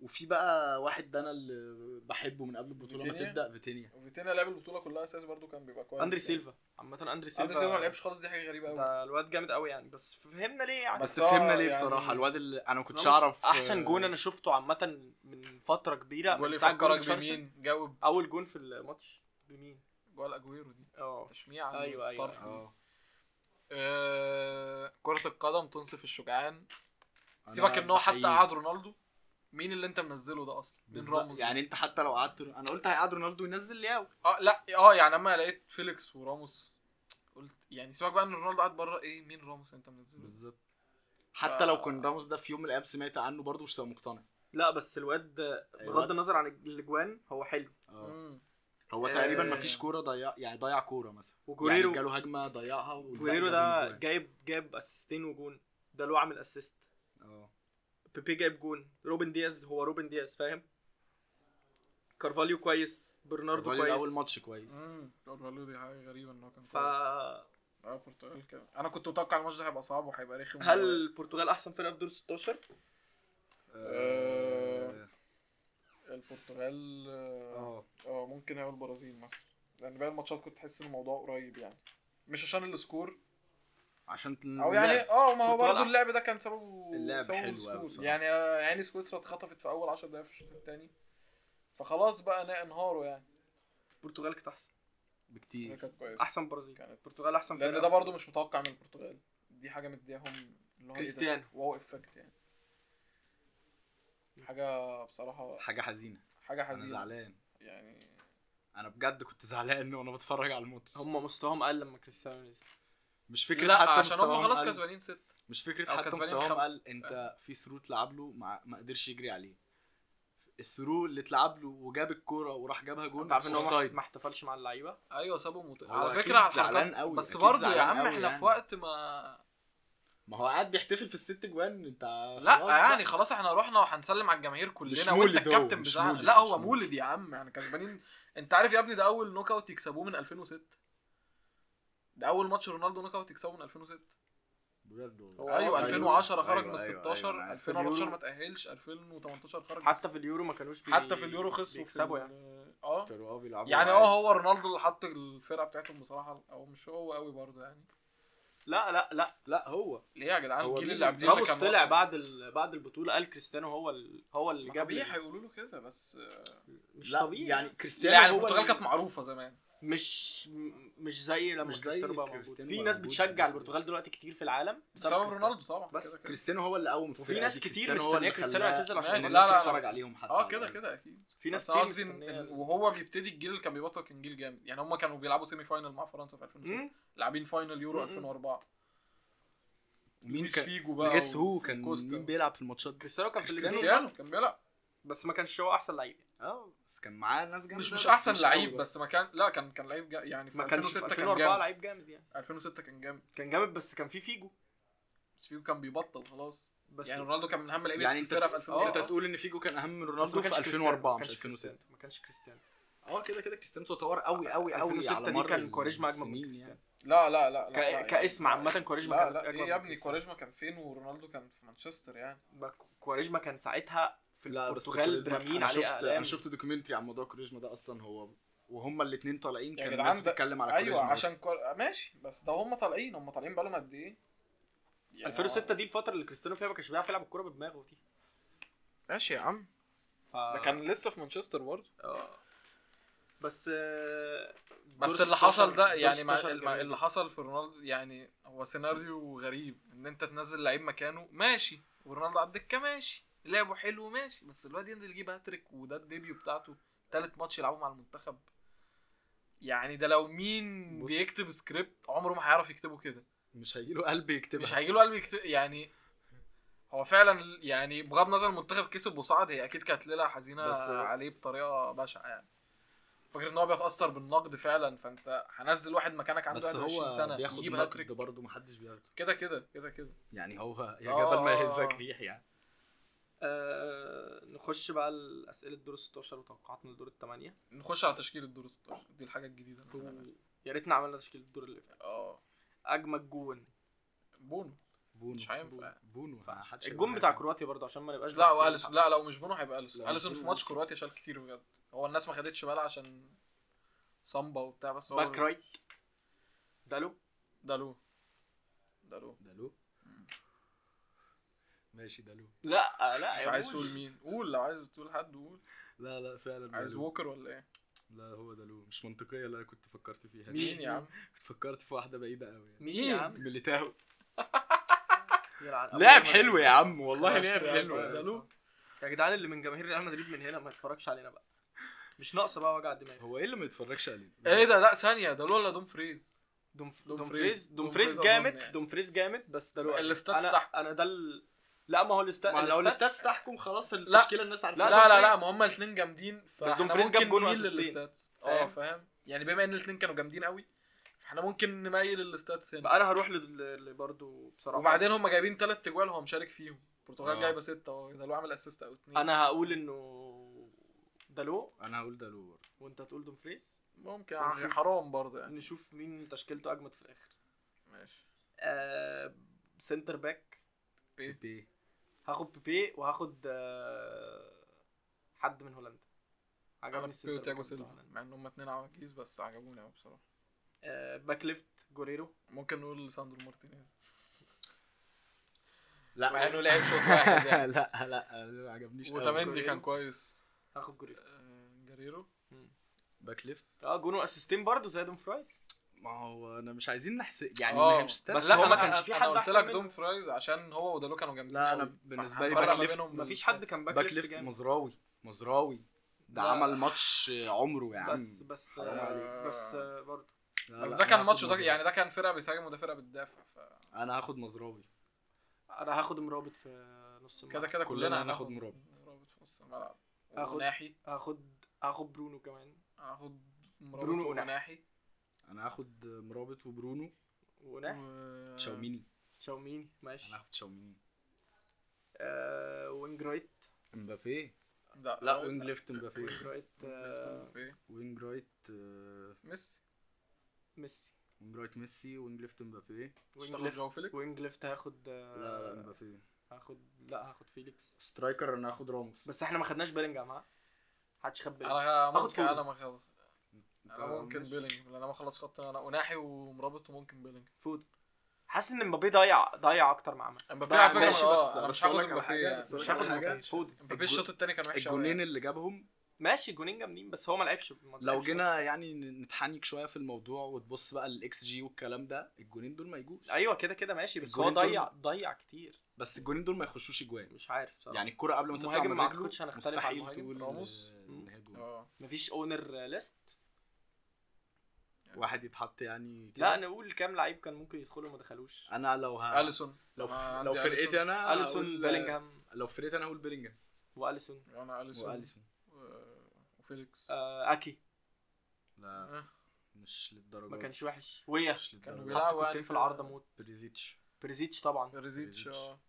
Speaker 4: وفي بقى واحد ده انا اللي بحبه من قبل البطوله ما
Speaker 2: فيتينيا؟
Speaker 4: تبدا فيتينيا
Speaker 2: وفيتينا لعب البطوله كلها اساس برضه كان بيبقى كويس
Speaker 3: اندري
Speaker 2: يعني.
Speaker 3: سيلفا عامه اندري سيلفا
Speaker 2: اندري سيلفا ما لعبش خالص دي حاجه غريبه قوي
Speaker 3: ده الواد جامد قوي يعني بس فهمنا ليه يعني
Speaker 4: بس
Speaker 2: بس هو
Speaker 4: فهمنا ليه
Speaker 2: يعني-
Speaker 4: بصراحه الواد اللي انا ما كنتش
Speaker 3: راموس
Speaker 4: اعرف
Speaker 3: احسن
Speaker 4: آه،
Speaker 3: جون انا شفته عامه من فتره كبيره
Speaker 2: جول
Speaker 3: من ساعه جون
Speaker 2: يفكرك
Speaker 3: ريتشاردسون.
Speaker 2: بمين جاوب
Speaker 3: اول جون في الماتش بمين
Speaker 2: جول اجويرو دي
Speaker 3: اه
Speaker 2: تشميع
Speaker 3: أيوة،
Speaker 4: أه.
Speaker 3: أيوة،
Speaker 2: طرف
Speaker 4: اه
Speaker 2: آه، كرة القدم تنصف الشجعان
Speaker 4: أنا
Speaker 2: سيبك ان هو حتى
Speaker 4: بحييه.
Speaker 2: قعد رونالدو مين اللي انت منزله ده اصلا؟ مين
Speaker 4: بالظبط.
Speaker 2: راموس؟
Speaker 4: يعني انت حتى لو قعدت انا قلت هيقعد رونالدو ينزل لياو
Speaker 2: اه لا اه يعني اما لقيت فيليكس وراموس قلت يعني سيبك بقى ان رونالدو قاعد بره ايه مين راموس انت منزله؟
Speaker 4: بالظبط حتى لو كان راموس ده في يوم من الايام سمعت عنه برضه مش هبقى مقتنع
Speaker 3: لا بس الواد بغض
Speaker 4: الواد-
Speaker 3: النظر عن الاجوان هو حلو
Speaker 4: آه.
Speaker 2: مم.
Speaker 4: هو
Speaker 3: آه.
Speaker 4: تقريبا مفيش كوره ضيع يعني ضيع كوره مثلا
Speaker 3: وجوريرو
Speaker 4: يعني جاله هجمه ضيعها والباقي
Speaker 3: جوريرو
Speaker 4: جابهم
Speaker 3: ده
Speaker 4: جوان.
Speaker 3: جايب جاب اسيستين وجون ده اللي هو عامل اسيست
Speaker 4: اه
Speaker 3: بيبي جايب جون روبن دياز هو روبن دياز فاهم كارفاليو كويس برناردو
Speaker 4: برضه
Speaker 3: كويس
Speaker 4: اول ماتش كويس
Speaker 2: مم. رونالدو دي حاجه غريبه ان هو كان
Speaker 3: ف
Speaker 2: كويس. اه برتغال كده انا كنت متوقع الماتش ده هيبقى صعب وهيبقى رخم
Speaker 3: هل البرتغال احسن فرقه في دور 16
Speaker 2: آه.
Speaker 4: آه،
Speaker 2: البرتغال اه
Speaker 4: اه
Speaker 2: آه، ممكن هي البرازيل مثلا لان باقي يعني الماتشات كنت تحس ان الموضوع قريب يعني مش عشان السكور
Speaker 4: عشان
Speaker 2: او يعني اه ما هو
Speaker 3: البرتغال
Speaker 2: برضه
Speaker 3: أحسن.
Speaker 2: اللعب ده كان سببه
Speaker 4: اللعب
Speaker 2: سببه
Speaker 4: حلو
Speaker 2: السكور.
Speaker 4: أوي بصراحة.
Speaker 2: يعني آه، عيني سويسرا اتخطفت في اول 10 دقايق في الشوط الثاني فخلاص بقى انا انهاروا يعني
Speaker 3: البرتغال كانت احسن
Speaker 2: ده
Speaker 4: بكتير
Speaker 2: كانت كويسه
Speaker 3: احسن برازيل
Speaker 2: كانت
Speaker 3: البرتغال احسن فرقه
Speaker 2: لان ده
Speaker 4: إيه
Speaker 2: برضه مش متوقع من البرتغال دي حاجه مدياهم اللي هو إيه ده؟
Speaker 3: كريستيانو.
Speaker 2: واو افكت يعني حاجه بصراحه
Speaker 4: حاجه حزينه
Speaker 2: حاجه
Speaker 4: انا
Speaker 2: حزينه
Speaker 4: زعلان
Speaker 2: يعني
Speaker 4: انا بجد كنت زعلان وانا بتفرج على الماتش
Speaker 3: هم مستواهم قل لما كريستيانو نزل
Speaker 4: مش فكره
Speaker 2: لا
Speaker 4: حتى
Speaker 2: عشان هم
Speaker 4: مستواهم
Speaker 2: خلاص
Speaker 4: قل.
Speaker 2: كسبانين ست
Speaker 4: مش فكره
Speaker 2: أو آه.
Speaker 4: حتى
Speaker 2: كسبانين
Speaker 4: مستواهم
Speaker 2: خمسة.
Speaker 4: قال انت في ثرو اتلعب له ما, ما قدرش يجري عليه الثرو اللي اتلعب له وجاب الكوره وراح جابها جون
Speaker 3: انت عارف ان هو ما-
Speaker 4: اوفسايد
Speaker 3: ما احتفلش مع اللعيبه
Speaker 2: ايوه سابوا مت...
Speaker 4: هو
Speaker 2: على
Speaker 4: أكيد
Speaker 2: فكره على الحركات-
Speaker 4: زعلان أوي،
Speaker 2: بس
Speaker 4: أكيد
Speaker 2: برضه يا
Speaker 4: زعلان
Speaker 2: عم
Speaker 4: أوي
Speaker 2: احنا
Speaker 4: يعني.
Speaker 2: في وقت ما
Speaker 4: ما هو قاعد بيحتفل في الست جوان انت
Speaker 2: لا
Speaker 4: خلاص
Speaker 2: يعني خلاص احنا رحنا وهنسلم على الجماهير
Speaker 4: مش
Speaker 2: كلنا وانت
Speaker 4: مولد هو،
Speaker 2: الكابتن
Speaker 4: مش
Speaker 2: بتاعنا
Speaker 4: مولد،
Speaker 2: لا هو
Speaker 4: مش
Speaker 2: مولد يا عم يعني كسبانين انت عارف يا ابني ده اول نوك اوت يكسبوه من 2006 ده اول ماتش رونالدو نوك اوت يكسبوه من 2006
Speaker 4: بجد والله.
Speaker 3: هو
Speaker 2: ايوه
Speaker 3: أيوه،
Speaker 2: 2010 خرج من
Speaker 4: أيوة، أيوة،
Speaker 2: 16
Speaker 4: أيوة، أنا عارف.
Speaker 2: 2014
Speaker 3: اليورو.
Speaker 2: ما تاهلش 2018 خرج من
Speaker 3: حتى في اليورو ما كانوش بي...
Speaker 2: حتى في اليورو خسروا في
Speaker 3: بيكسبوا
Speaker 2: ال-
Speaker 3: يعني
Speaker 2: اه
Speaker 4: كانوا اه بيلعبوا
Speaker 2: يعني
Speaker 4: عادي.
Speaker 2: اه هو رونالدو اللي حط الفرقه بتاعتهم بصراحه او مش هو قوي برضه يعني
Speaker 3: لا لا لا
Speaker 4: لا هو
Speaker 2: ليه يا جدعان
Speaker 4: هو
Speaker 2: الجيل
Speaker 4: مين؟
Speaker 2: اللي قبليه اللي
Speaker 3: راموس
Speaker 2: كان
Speaker 3: طلع
Speaker 2: واصل.
Speaker 3: بعد ال... بعد البطوله قال كريستيانو هو ال... هو اللي
Speaker 2: ما
Speaker 3: جاب
Speaker 2: طبيعي
Speaker 3: لي.
Speaker 2: هيقولوا له كده بس
Speaker 3: مش
Speaker 4: لا
Speaker 3: طبيعي
Speaker 4: يعني
Speaker 3: يعني
Speaker 2: لا
Speaker 4: كريستيانو
Speaker 2: يعني
Speaker 4: هو
Speaker 2: البرتغال
Speaker 4: اللي-
Speaker 2: كانت معروفه زمان
Speaker 3: مش م- مش زي لما
Speaker 4: مش زي
Speaker 3: كريستيانو بقى موجود
Speaker 4: كريستيانو
Speaker 3: في
Speaker 4: بقى
Speaker 3: ناس
Speaker 4: موجود.
Speaker 3: بتشجع البرتغال دلوقتي كتير في العالم
Speaker 2: بسبب رونالدو طبعا
Speaker 3: بس
Speaker 2: كده كده
Speaker 4: كريستيانو هو اللي قوم
Speaker 3: وفي ناس كتير مستنيه كريستيانو
Speaker 4: يعتزل
Speaker 3: يعتزل عشان
Speaker 2: ماشي،
Speaker 3: الناس
Speaker 2: لا، لا، لا.
Speaker 4: تتفرج عليهم حتى
Speaker 2: اه
Speaker 4: على
Speaker 2: كده
Speaker 4: الأقل.
Speaker 2: كده اكيد
Speaker 3: في ناس
Speaker 2: بس
Speaker 3: كتير
Speaker 2: قصدي إن-
Speaker 3: مستنيه
Speaker 2: إن- وهو بيبتدي الجيل اللي كان بيبطل كان جيل جامد يعني هم كانوا بيلعبوا سيمي فاينل مع فرنسا في 2006
Speaker 3: مم؟
Speaker 2: لاعبين فاينل يورو
Speaker 3: مم.
Speaker 2: 2004
Speaker 4: مين
Speaker 2: لويس
Speaker 4: كان
Speaker 2: فيجو بقى
Speaker 4: جس
Speaker 2: و-
Speaker 4: هو كان
Speaker 2: وكوستا.
Speaker 4: مين بيلعب في الماتشات دي
Speaker 3: كريستيانو كان في
Speaker 4: كريستيانو
Speaker 3: الاتنين
Speaker 2: كريستيانو كان بيلعب
Speaker 3: بس ما كانش هو احسن لعيب
Speaker 4: اه بس كان معاه ناس جامده
Speaker 2: آه. مش
Speaker 4: بس
Speaker 2: مش احسن
Speaker 4: قوي
Speaker 2: لعيب
Speaker 4: برضه.
Speaker 2: بس ما كان لا كان كان لعيب جا- يعني في
Speaker 3: ما كانش في
Speaker 2: 2006 كان
Speaker 3: 2004
Speaker 2: جامد
Speaker 3: لعيب جامد يعني
Speaker 2: 2006 كان جامد
Speaker 3: كان جامد بس كان في فيجو
Speaker 2: بس فيجو كان بيبطل خلاص
Speaker 3: بس
Speaker 2: يعني اه رونالدو كان من اهم لعيبه
Speaker 4: يعني انت
Speaker 2: الفرقه في
Speaker 3: آه.
Speaker 4: انت
Speaker 2: 2006
Speaker 4: تقول ان فيجو كان اهم من
Speaker 3: بس
Speaker 4: رونالدو
Speaker 3: ما
Speaker 4: في
Speaker 3: كانش
Speaker 4: 2004 مش
Speaker 3: كريستيانو.
Speaker 4: 2006
Speaker 3: ما كانش كريستيانو
Speaker 4: اه كده كده كريستيانو تطور قوي قوي قوي
Speaker 3: 2006
Speaker 4: على
Speaker 3: دي
Speaker 4: مر
Speaker 3: كان كوريجما اجمد من
Speaker 4: السنين
Speaker 3: كريستيانو
Speaker 4: يعني.
Speaker 2: لا لا لا, لا, لا
Speaker 3: ك- كاسم
Speaker 2: يعني-
Speaker 3: عامه كوريجما
Speaker 2: لا
Speaker 3: كان
Speaker 2: لا
Speaker 3: أجمد
Speaker 2: ايه يا
Speaker 3: من
Speaker 2: ابني
Speaker 3: كريستيانو.
Speaker 2: كواريجما كان فين ورونالدو كان في مانشستر يعني
Speaker 3: ما ك- كواريجما كان ساعتها في
Speaker 4: لا بس
Speaker 3: البرتغال
Speaker 4: كاريزما-
Speaker 3: برامين
Speaker 4: انا
Speaker 3: عليه
Speaker 4: شفت
Speaker 3: اقلام
Speaker 4: انا شفت دوكيومنتري عن موضوع كاريزما ده اصلا هو وهما الاثنين طالعين
Speaker 2: يا
Speaker 4: كان
Speaker 2: جدعان
Speaker 4: الناس
Speaker 2: ده-
Speaker 4: بتتكلم على
Speaker 2: ايوه
Speaker 4: كاريزما
Speaker 2: عشان
Speaker 4: بس.
Speaker 2: كور... ماشي بس ده هم طالعين هم طالعين بقالهم قد ايه؟ يعني
Speaker 3: 2006 دي الفتره اللي كريستيانو فيها ما كانش بيعرف يلعب الكوره بدماغه دي
Speaker 2: ماشي يا عم
Speaker 3: ف...
Speaker 2: ده كان لسه في مانشستر برضه
Speaker 3: آه. بس آه، دور
Speaker 2: بس اللي
Speaker 3: 16
Speaker 2: حصل ده
Speaker 3: دور
Speaker 2: يعني مع
Speaker 3: 16
Speaker 2: مع
Speaker 3: جميل.
Speaker 2: اللي حصل في رونالدو يعني هو سيناريو غريب ان انت تنزل لعيب مكانه ماشي ورونالدو على الدكه ماشي لعبه حلو ماشي بس الواد ينزل يجيب هاتريك وده الديبيو بتاعته تالت ماتش يلعبه مع المنتخب يعني ده لو مين
Speaker 4: بص.
Speaker 2: بيكتب سكريبت عمره ما هيعرف يكتبه كده
Speaker 4: مش هيجي له قلب يكتبها
Speaker 2: مش هيجيله قلب يكت... يعني هو فعلا يعني بغض النظر المنتخب كسب وصعد هي اكيد كانت ليله حزينه
Speaker 4: بس-
Speaker 2: عليه بطريقه بشعه يعني فكرة ان هو بيتاثر بالنقد فعلا فانت هنزل واحد مكانك عنده
Speaker 4: بس
Speaker 2: 21
Speaker 4: هو
Speaker 2: سنه
Speaker 4: بياخد
Speaker 2: يجيب هاتريك
Speaker 4: نقد برضه محدش بياخده
Speaker 2: كده كده كده كده
Speaker 4: يعني هو يا
Speaker 2: آه،
Speaker 4: جبل ما
Speaker 2: آه،
Speaker 4: يهزك
Speaker 2: آه.
Speaker 4: ريح يعني
Speaker 3: آه، نخش بقى لاسئله دور 16 وتوقعاتنا لدور الثمانيه
Speaker 2: نخش على تشكيل الدور 16 دي الحاجه الجديده اللي هنعملها.
Speaker 3: يا ريتنا عملنا تشكيل الدور اللي فات
Speaker 2: اه
Speaker 3: اجمد جون
Speaker 2: بونو
Speaker 4: بونو
Speaker 2: مش هينفع.
Speaker 4: بونو ما حدش
Speaker 3: الجون
Speaker 4: هيقول
Speaker 3: بتاع
Speaker 4: حاجة.
Speaker 3: كرواتيا برضه عشان ما نبقاش
Speaker 2: لا
Speaker 3: بنحسب
Speaker 2: واليسون
Speaker 3: الحق.
Speaker 2: لا لو مش بونو هيبقى اليسون
Speaker 4: لا، مش
Speaker 2: اليسون في
Speaker 4: بونو،
Speaker 2: ماتش
Speaker 4: أليسون.
Speaker 2: كرواتيا شال كتير بجد هو الناس ما خدتش بالها عشان صامبا وبتاع بس هو
Speaker 3: باك رايت دالو
Speaker 2: ده له ده له
Speaker 4: ده له ماشي ده له
Speaker 3: لا آه، لا
Speaker 2: مش
Speaker 3: يا
Speaker 2: عايز
Speaker 3: بوز.
Speaker 2: تقول مين قول لو عايز تقول حد قول
Speaker 4: لا لا فعلا ده
Speaker 2: عايز
Speaker 4: له.
Speaker 2: ووكر ولا ايه؟
Speaker 4: لا هو ده له مش منطقيه اللي انا كنت فكرت فيها
Speaker 2: مين يا عم؟
Speaker 4: كنت فكرت في واحده بعيده قوي يعني
Speaker 3: مين يا عم
Speaker 4: ميليتاو
Speaker 3: يلعن أبوه.
Speaker 4: لعب حلو يا عم والله
Speaker 2: بس
Speaker 4: لعب
Speaker 2: يعني
Speaker 4: حلو
Speaker 2: بقى.
Speaker 3: يا جدعان اللي من جماهير ريال مدريد من هنا ما يتفرجش علينا بقى مش ناقصه بقى وجع دماغ
Speaker 4: هو ايه اللي ما يتفرجش عليه؟
Speaker 2: ايه ده لا ثانيه ده لولا دوم فريز
Speaker 3: دومف-
Speaker 2: دومفريز.
Speaker 3: دومفريز
Speaker 2: دومفريز
Speaker 3: دومفريز
Speaker 2: أظن
Speaker 3: جامد
Speaker 2: يعني.
Speaker 3: دومفريز جامد بس دلوقتي
Speaker 2: الستاتس
Speaker 3: انا
Speaker 2: تحكم.
Speaker 3: انا ده ال... لا ما هو الستات
Speaker 4: ما لو الستاتس تحكم خلاص التشكيله الناس عارفه
Speaker 3: لا،
Speaker 2: لا لا لا,
Speaker 3: دومفريز.
Speaker 2: ما هما الاثنين جامدين فاحنا
Speaker 3: دومفريز جاب
Speaker 2: ممكن
Speaker 3: جون
Speaker 2: نميل
Speaker 3: وأسيستين.
Speaker 2: للستاتس اه
Speaker 3: فاهم؟
Speaker 2: فاهم يعني بما ان الاثنين كانوا جامدين قوي فاحنا ممكن نميل للستاتس هنا
Speaker 3: بقى انا هروح لل- لبرضو بصراحه
Speaker 2: وبعدين هما جايبين ثلاث اجوال هو مشارك فيهم البرتغال
Speaker 4: آه.
Speaker 2: جايبه سته اه ده لو عمل اسيست او اثنين
Speaker 3: انا هقول انه دلو
Speaker 4: انا هقول ده لو برضه.
Speaker 3: وانت تقول دومفريز
Speaker 2: ممكن
Speaker 3: هنشوف.
Speaker 2: يعني حرام برضه يعني
Speaker 3: نشوف مين تشكيلته اجمد في الاخر
Speaker 2: ماشي
Speaker 3: آه... سنتر باك
Speaker 4: بيبي
Speaker 3: هاخد بيبي وهاخد آه... حد من هولندا عجبني
Speaker 2: عجبني
Speaker 3: السنتر
Speaker 2: بيبي وتياجو
Speaker 3: باك بتاع
Speaker 2: سيلفا
Speaker 3: هولندا.
Speaker 2: مع ان هما اتنين عواجيز بس عجبوني قوي بصراحه
Speaker 3: آه... باك ليفت جوريرو
Speaker 2: ممكن نقول ساندرو مارتينيز
Speaker 4: لا
Speaker 2: مع انه لعب شوط واحد
Speaker 4: لا
Speaker 2: يعني
Speaker 4: لا ما عجبنيش قوي.
Speaker 2: وتمندي كان كويس
Speaker 3: هاخد جوريرو
Speaker 2: آه، جريرو
Speaker 4: باك ليفت
Speaker 3: اه جونو اسيستين برضو زي دومفريز
Speaker 4: ما هو انا مش عايزين نحسب يعني
Speaker 2: آه،
Speaker 4: ما هي مش
Speaker 2: بس
Speaker 4: ستاتس.
Speaker 2: لا
Speaker 3: هو
Speaker 2: ما
Speaker 3: ما
Speaker 2: كانش
Speaker 3: كانش في حد
Speaker 2: قلت
Speaker 3: أحسن
Speaker 2: لك
Speaker 3: منه.
Speaker 2: دوم فرايز عشان هو ودالو كانوا جامدين
Speaker 4: لا انا
Speaker 2: أوي.
Speaker 4: بالنسبه لي
Speaker 2: فهنفرق
Speaker 4: باك
Speaker 2: ما
Speaker 4: ليفت
Speaker 2: بينهم
Speaker 3: مفيش حد كان باك,
Speaker 4: باك ليفت
Speaker 3: جامد.
Speaker 4: مزراوي مزراوي ده
Speaker 3: لا.
Speaker 4: عمل ماتش عمره يا عم
Speaker 3: بس بس
Speaker 4: حرام
Speaker 2: عليك.
Speaker 3: آه بس آه برضو
Speaker 4: لا،
Speaker 2: بس
Speaker 4: لا،
Speaker 2: ده
Speaker 4: أنا
Speaker 2: كان
Speaker 4: هاخد
Speaker 2: ماتش ده
Speaker 4: مزراوي.
Speaker 2: يعني ده كان فرقه بتهاجم وده فرقه بتدافع ف-
Speaker 4: انا هاخد مزراوي
Speaker 3: انا هاخد مرابط في نص
Speaker 2: كده
Speaker 3: الملعب
Speaker 2: كده
Speaker 4: كلنا
Speaker 2: كلنا
Speaker 4: هناخد
Speaker 2: هناخد
Speaker 4: مرابط.
Speaker 2: مرابط في نص الملعب
Speaker 3: هاخد-
Speaker 2: وناحي
Speaker 3: هاخد هاخد برونو كمان
Speaker 2: هاخد
Speaker 3: برونو
Speaker 2: مرابط وناحي
Speaker 4: انا هاخد مرابط وبرونو
Speaker 3: وناح
Speaker 2: آه.
Speaker 4: تشاوميني
Speaker 3: تشاوميني ماشي
Speaker 4: انا هاخد تشاوميني
Speaker 3: آه وينج رايت
Speaker 4: امبابي
Speaker 3: آه،
Speaker 4: لا
Speaker 2: لا إيه؟
Speaker 4: وينج ليفت
Speaker 3: وينج
Speaker 4: امبابي
Speaker 3: رايت آه
Speaker 4: وينج رايت آه،
Speaker 2: ميسي
Speaker 3: ميسي
Speaker 4: وينج رايت ميسي وينج ليفت امبابي
Speaker 3: وينج
Speaker 2: تاخد جواو
Speaker 3: ليفت
Speaker 2: فيليكس؟
Speaker 3: وينج ليفت هاخد آه
Speaker 4: لا لا امبابي
Speaker 3: هاخد لا هاخد فيليكس
Speaker 4: سترايكر انا هاخد راموس
Speaker 3: بس احنا ما خدناش بيلينجهام ها محدش
Speaker 4: إيه.
Speaker 3: خد
Speaker 4: آه.
Speaker 3: بيلينجهام
Speaker 2: انا
Speaker 3: هاخد
Speaker 2: ممكن
Speaker 3: فودن.
Speaker 2: انا ما خد انا ممكن
Speaker 4: ماشي.
Speaker 2: بيلينج لان انا ما خلص خط انا وناحي ومرابط وممكن بيلينج
Speaker 3: فود حاسس ان مبابي ضيع ضيع اكتر مع عمل
Speaker 2: امبابي
Speaker 4: بقى
Speaker 2: على فكره
Speaker 4: ماشي
Speaker 2: أنا-
Speaker 4: بس
Speaker 2: أنا
Speaker 4: بس
Speaker 2: مش
Speaker 4: اقول
Speaker 2: هاخد
Speaker 4: لك على
Speaker 2: امبابي
Speaker 4: حاجه
Speaker 2: يعني.
Speaker 4: بس
Speaker 3: مش
Speaker 4: مش
Speaker 3: هاخد
Speaker 4: هاخد حاجه
Speaker 3: مبابي فود
Speaker 2: امبابي الشوط الثاني كان وحش أوي
Speaker 4: الجونين
Speaker 2: يعني.
Speaker 4: اللي جابهم
Speaker 3: ماشي الجونين جامدين بس هو ما لعبش ما
Speaker 4: لو
Speaker 3: لعبش
Speaker 4: جينا يعني نتحنك شويه في الموضوع وتبص بقى للاكس جي والكلام ده الجونين دول ما يجوش
Speaker 3: بس. ايوه كده كده ماشي بس هو
Speaker 4: الجونين دول-
Speaker 3: ضيع ضيع كتير
Speaker 4: بس الجونين دول ما يخشوش اجوان
Speaker 3: مش عارف صراحة.
Speaker 4: يعني الكره قبل ما تطلع
Speaker 3: المهاجم
Speaker 4: من
Speaker 3: ما
Speaker 4: رجله
Speaker 3: أعتقدش هنختلف على
Speaker 4: مستحيل
Speaker 3: المهاجم. آه.
Speaker 4: تقول
Speaker 2: راموس؟
Speaker 4: ان هي جون
Speaker 2: اه
Speaker 3: مفيش اونر ليست
Speaker 4: واحد يتحط يعني كده
Speaker 3: لا نقول كام لعيب كان ممكن يدخلوا ما دخلوش
Speaker 4: انا لو ه...
Speaker 2: اليسون
Speaker 3: آه،
Speaker 4: لو
Speaker 2: أنا
Speaker 4: ف...
Speaker 2: عندي
Speaker 4: لو فرقتي انا
Speaker 3: اليسون
Speaker 4: هقول-
Speaker 3: بيلينجهام
Speaker 4: لو فرقتي انا هقول بيلينجهام
Speaker 3: واليسون
Speaker 2: انا اليسون
Speaker 4: واليسون
Speaker 2: و- وفيليكس
Speaker 3: آه اكي
Speaker 4: لا
Speaker 2: آه.
Speaker 4: مش للدرجه
Speaker 3: ما
Speaker 4: دي.
Speaker 3: كانش وحش ويا
Speaker 4: مش
Speaker 2: كانوا
Speaker 4: للدرجه دي.
Speaker 2: بيلعبوا
Speaker 3: حط كورتين
Speaker 2: يعني
Speaker 3: في العارضه موت
Speaker 4: بريزيتش
Speaker 3: بريزيتش طبعا
Speaker 2: ريزيتش اه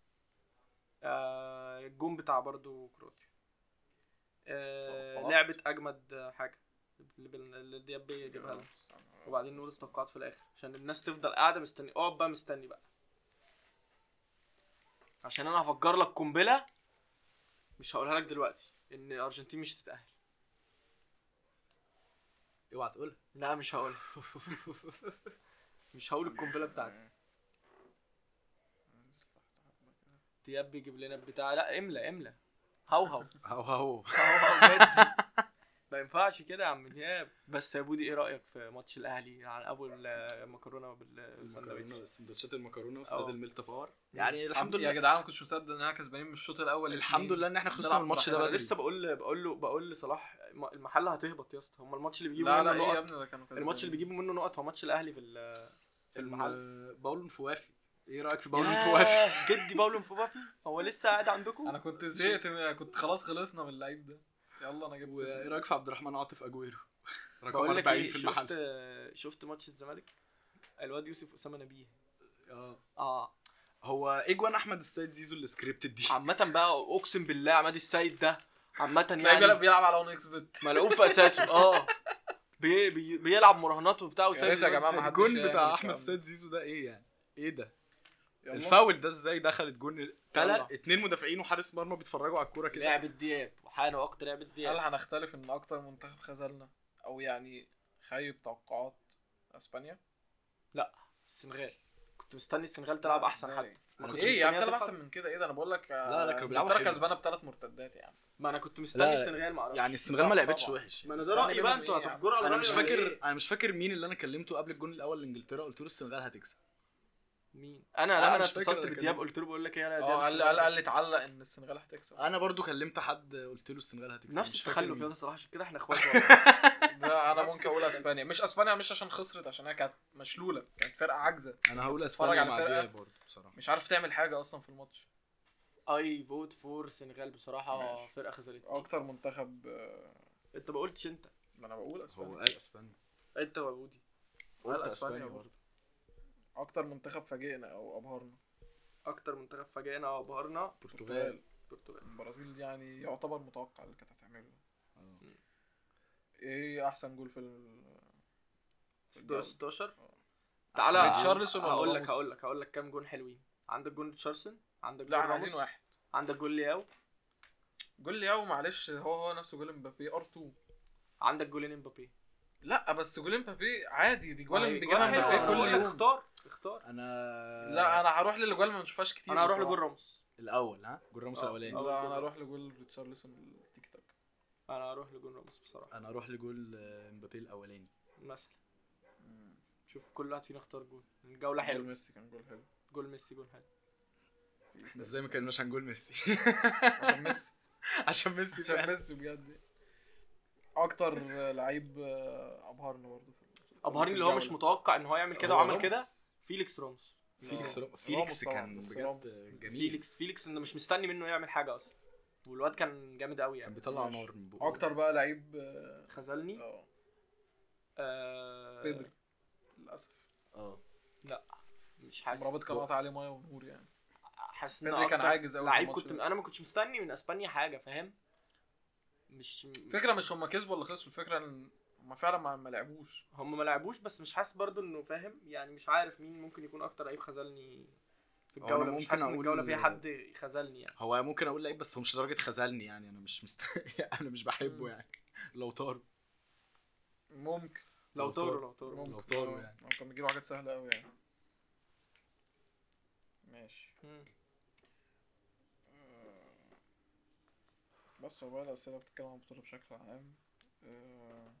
Speaker 3: آه الجون بتاع برضو كرواتيا آه
Speaker 2: توقعات.
Speaker 3: لعبة اجمد حاجه اللي بال- اللي ديابي يجيبها لنا وبعدين نقول التوقعات في الاخر عشان الناس تفضل قاعده مستني اقعد بقى مستني بقى عشان انا هفجر لك قنبله مش هقولها لك دلوقتي ان الارجنتين مش تتاهل
Speaker 4: اوعى تقولها
Speaker 3: لا مش هقولها مش هقول القنبله بتاعتي دياب بيجيب لنا بتاع لا املى املى هوهو
Speaker 4: هو هو
Speaker 3: هوهو جد ما ينفعش كده يا عم دياب بس يا بودي ايه رايك في ماتش الاهلي عن ابو المكرونه آه، بالساندوتش
Speaker 4: سندوتشات المكرونه واستاد
Speaker 3: أه.
Speaker 4: الميلتا باور يعني الحمد
Speaker 2: يا
Speaker 4: لله
Speaker 2: جدعان ما كنتش مصدق ان احنا كسبانين من الشوط الاول
Speaker 4: الحمد
Speaker 2: اتنين.
Speaker 4: لله ان احنا خلصنا
Speaker 2: نلعب
Speaker 4: من الماتش ده
Speaker 2: براحتنا.
Speaker 4: بدري
Speaker 3: انا لسه بقول بقول له بقول لصلاح الم- المحل هتهبط يا اسطى هم الماتش اللي بيجيبوا
Speaker 2: لا لا
Speaker 3: منه
Speaker 2: ايه يا
Speaker 3: نقط
Speaker 2: ابني ده كانوا كسبانين.
Speaker 3: الماتش اللي بيجيبوا منه نقط هو ماتش الاهلي في ال- في المحل
Speaker 4: الم- باولو مفوافي ايه رايك في باولو مفوافي
Speaker 3: ياه، جدي باولو مفوافي هو لسه قاعد عندكم
Speaker 2: انا كنت زهقت من- كنت خلاص خلصنا من اللعيب ده يلا انا جبت
Speaker 4: وايه رايك في عبد الرحمن عاطف اجويرو رقم
Speaker 3: بقول لك
Speaker 4: 40
Speaker 3: ايه
Speaker 4: في
Speaker 3: شفت
Speaker 4: المحل
Speaker 3: شفت ماتش الزمالك الواد يوسف اسامه نبيه
Speaker 4: اه
Speaker 3: اه
Speaker 4: هو ايه جوان احمد السيد زيزو السكريبتد دي
Speaker 3: عامة بقى اقسم بالله عماد السيد ده عامة
Speaker 2: تلاقيه بيلعب-
Speaker 3: يعني
Speaker 2: بيلعب على اون اكس بت
Speaker 3: ملعوب في اساسه اه بي بي بيلعب مراهنات وبتاع وسايب
Speaker 2: ريت يا
Speaker 3: الواد-
Speaker 2: جماعة ما حدش
Speaker 4: الجون
Speaker 2: يعمل
Speaker 4: بتاع
Speaker 2: الكلام
Speaker 4: احمد
Speaker 2: ده.
Speaker 4: السيد زيزو ده ايه يعني ايه ده
Speaker 2: يلا.
Speaker 4: الفاول ده ازاي دخلت جون
Speaker 3: يلا.
Speaker 4: تلات اتنين مدافعين وحارس مرمى بيتفرجوا على الكوره كده
Speaker 3: لعب الدياب وحان وقت لعب
Speaker 2: هل
Speaker 3: الدياب
Speaker 2: هنختلف ان اكتر منتخب خذلنا او يعني خيب توقعات اسبانيا
Speaker 3: السنغال كنت مستني السنغال تلعب احسن
Speaker 2: إزاي؟
Speaker 3: حد ما
Speaker 2: يعني
Speaker 3: كنتش
Speaker 2: ايه يا عم
Speaker 3: مستنيها
Speaker 2: بتلعب
Speaker 3: تصعد.
Speaker 2: احسن من كده ايه ده انا بقول لك
Speaker 4: لا، كانوا بيلعبوا حلو.
Speaker 2: كسبانه بثلاث مرتدات يعني
Speaker 3: ما انا كنت
Speaker 4: لا،
Speaker 3: مستني السنغال معرفش
Speaker 4: يعني السنغال ما
Speaker 2: طبعا.
Speaker 4: لعبتش وحش
Speaker 3: ما انا ده رايي بقى
Speaker 2: بينهم
Speaker 3: انتوا
Speaker 2: إيه يا عم؟
Speaker 3: هتحجروا على
Speaker 4: انا مش
Speaker 3: رأيي ولا
Speaker 4: فاكر
Speaker 3: إيه؟
Speaker 4: انا مش فاكر مين اللي انا كلمته قبل الجون الاول لانجلترا قلت له السنغال هتكسب مين
Speaker 3: انا
Speaker 4: أنا
Speaker 3: لما انا
Speaker 4: مش فاكر
Speaker 3: اتصلت
Speaker 4: أنا
Speaker 3: بدياب
Speaker 4: كلمت-
Speaker 3: قلت له بقول لك ايه يا دياب
Speaker 2: اه قال
Speaker 3: السنغال.
Speaker 2: قال قال لي اتعلق ان السنغال هتكسب
Speaker 4: انا برضو كلمت حد قلت له السنغال هتكسب
Speaker 3: نفس
Speaker 4: مش فاكر
Speaker 3: التخلف
Speaker 4: مين.
Speaker 3: يا الصراحه عشان كده احنا اخوات والله.
Speaker 2: ده انا ممكن اقول اسبانيا مش اسبانيا مش عشان خسرت عشان هي كانت مشلوله كانت فرقه عاجزه
Speaker 4: انا هقول
Speaker 2: بتتفرج
Speaker 4: اسبانيا
Speaker 2: على
Speaker 4: مع
Speaker 2: فرقة؟
Speaker 4: دياب برضو بصراحه
Speaker 2: مش عارف تعمل حاجه اصلا في الماتش
Speaker 3: اي فوت فور السنغال بصراحه
Speaker 2: ماشي.
Speaker 3: فرقه خسرت
Speaker 2: اكتر منتخب آه،
Speaker 3: انت ما قلتش انت
Speaker 2: ما انا بقول
Speaker 4: هو
Speaker 2: اسبانيا
Speaker 4: قال اسبانيا
Speaker 3: انت وجودي
Speaker 4: قلت
Speaker 2: أسبانيا
Speaker 4: اسبانيا
Speaker 2: برضو.
Speaker 4: برضو
Speaker 2: اكتر منتخب فاجئنا او ابهرنا
Speaker 3: اكتر منتخب فاجئنا وابهرنا
Speaker 4: البرتغال
Speaker 3: البرتغال
Speaker 2: البرازيل يعني يعتبر متوقع اللي كانت هتعمله
Speaker 4: آه.
Speaker 2: ايه احسن جول في ال
Speaker 3: دور
Speaker 2: في الجولة؟
Speaker 3: 16
Speaker 2: آه.
Speaker 3: تعالى
Speaker 4: أحسن
Speaker 2: ريتشارلسون ولا
Speaker 3: هقول
Speaker 2: راموس؟
Speaker 3: لك هقول لك هقول لك كام جون حلوين عندك جون تشارلسون عندك
Speaker 2: لا
Speaker 3: جون
Speaker 2: احنا عايزين
Speaker 3: راموس
Speaker 2: واحد
Speaker 3: عندك جون لياو
Speaker 2: جول لياو معلش هو هو نفسه جول مبابي ار 2
Speaker 3: عندك جولين امبابي
Speaker 2: لا بس جول مبابي عادي دي جول
Speaker 3: أي
Speaker 2: بيجيبها
Speaker 3: جون حلو.
Speaker 4: مبابي
Speaker 3: أنا
Speaker 2: مبابي كل
Speaker 3: بقول لك
Speaker 2: يوم
Speaker 3: اختار اختار
Speaker 4: انا
Speaker 2: لا انا هروح للجول ما بنشوفهاش كتير
Speaker 3: انا هروح
Speaker 2: بصراحة.
Speaker 3: لجون راموس
Speaker 4: الاول ها جول راموس
Speaker 3: آه.
Speaker 4: الاولاني
Speaker 3: آه.
Speaker 2: لا انا هروح لجول ريتشارلسون التيك توك
Speaker 3: انا هروح لجون راموس بصراحه
Speaker 4: انا اروح لجول آه، مبابي الاولاني
Speaker 3: مثلا شوف كل واحد فينا اختار جون الجوله
Speaker 2: حلو
Speaker 3: حلوه
Speaker 2: ميسي كان جول حلو
Speaker 3: جول ميسي جول حلو
Speaker 4: احنا ازاي ما كناش هنقول ميسي
Speaker 2: عشان ميسي
Speaker 4: عشان ميسي
Speaker 2: عشان
Speaker 4: فعلا
Speaker 2: ميسي بجد اكتر لعيب آه، ابهرني برضه في ال-
Speaker 3: ابهرني
Speaker 2: في
Speaker 3: اللي هو مش
Speaker 2: الجولة.
Speaker 3: متوقع ان هو يعمل كده
Speaker 4: هو
Speaker 3: وعمل
Speaker 4: راموس.
Speaker 3: كده فيليكس راموس
Speaker 4: فيليكس
Speaker 2: آه.
Speaker 4: رو- فيليكس
Speaker 2: طبعاً،
Speaker 4: كان
Speaker 2: بس
Speaker 4: بجد
Speaker 2: راموس.
Speaker 4: جميل
Speaker 3: فيليكس فيليكس انه مش مستني منه يعمل حاجه اصلا والواد كان جامد قوي
Speaker 4: كان
Speaker 3: يعني
Speaker 4: بيطلع
Speaker 2: ماشي.
Speaker 4: نار من بقه
Speaker 2: اكتر بقى لعيب آه،
Speaker 3: خذلني
Speaker 2: اه
Speaker 3: آه
Speaker 2: بيدري للاسف
Speaker 4: اه
Speaker 3: مش حاسس
Speaker 2: مرابط كان قطع عليه ميه ونور يعني
Speaker 3: حاسس
Speaker 2: بدري
Speaker 3: انه
Speaker 2: كان عاجز أوي في
Speaker 3: لعيب
Speaker 2: الماتش
Speaker 3: كنت
Speaker 2: ده.
Speaker 3: انا ما كنتش مستني من اسبانيا حاجه فاهم مش
Speaker 2: الفكره مش هما كسبوا ولا خسروا الفكره ان هما فعلا ما ما لعبوش
Speaker 3: هم ما لعبوش بس مش حاسس برضو انه فاهم يعني مش عارف مين ممكن يكون اكتر لعيب خذلني في
Speaker 4: هو
Speaker 3: الجوله
Speaker 4: أنا
Speaker 3: مش
Speaker 4: ممكن
Speaker 3: حاسس ان
Speaker 4: أقول-
Speaker 3: الجوله فيها حد خذلني يعني
Speaker 4: هو ممكن اقول لعيب بس هو مش لدرجه خذلني يعني انا مش مست... انا مش بحبه يعني لو طاروا
Speaker 2: ممكن
Speaker 3: لو
Speaker 4: لو
Speaker 3: طاروا لو
Speaker 4: طاروا.
Speaker 3: طاروا
Speaker 2: ممكن
Speaker 4: لو طاروا
Speaker 2: آه.
Speaker 4: يعني.
Speaker 2: هو كان بيجيب حاجات سهله قوي يعني ماشي
Speaker 3: مم.
Speaker 2: آه، بس هو بقى الأسئلة بتتكلم عن البطولة بشكل عام آه،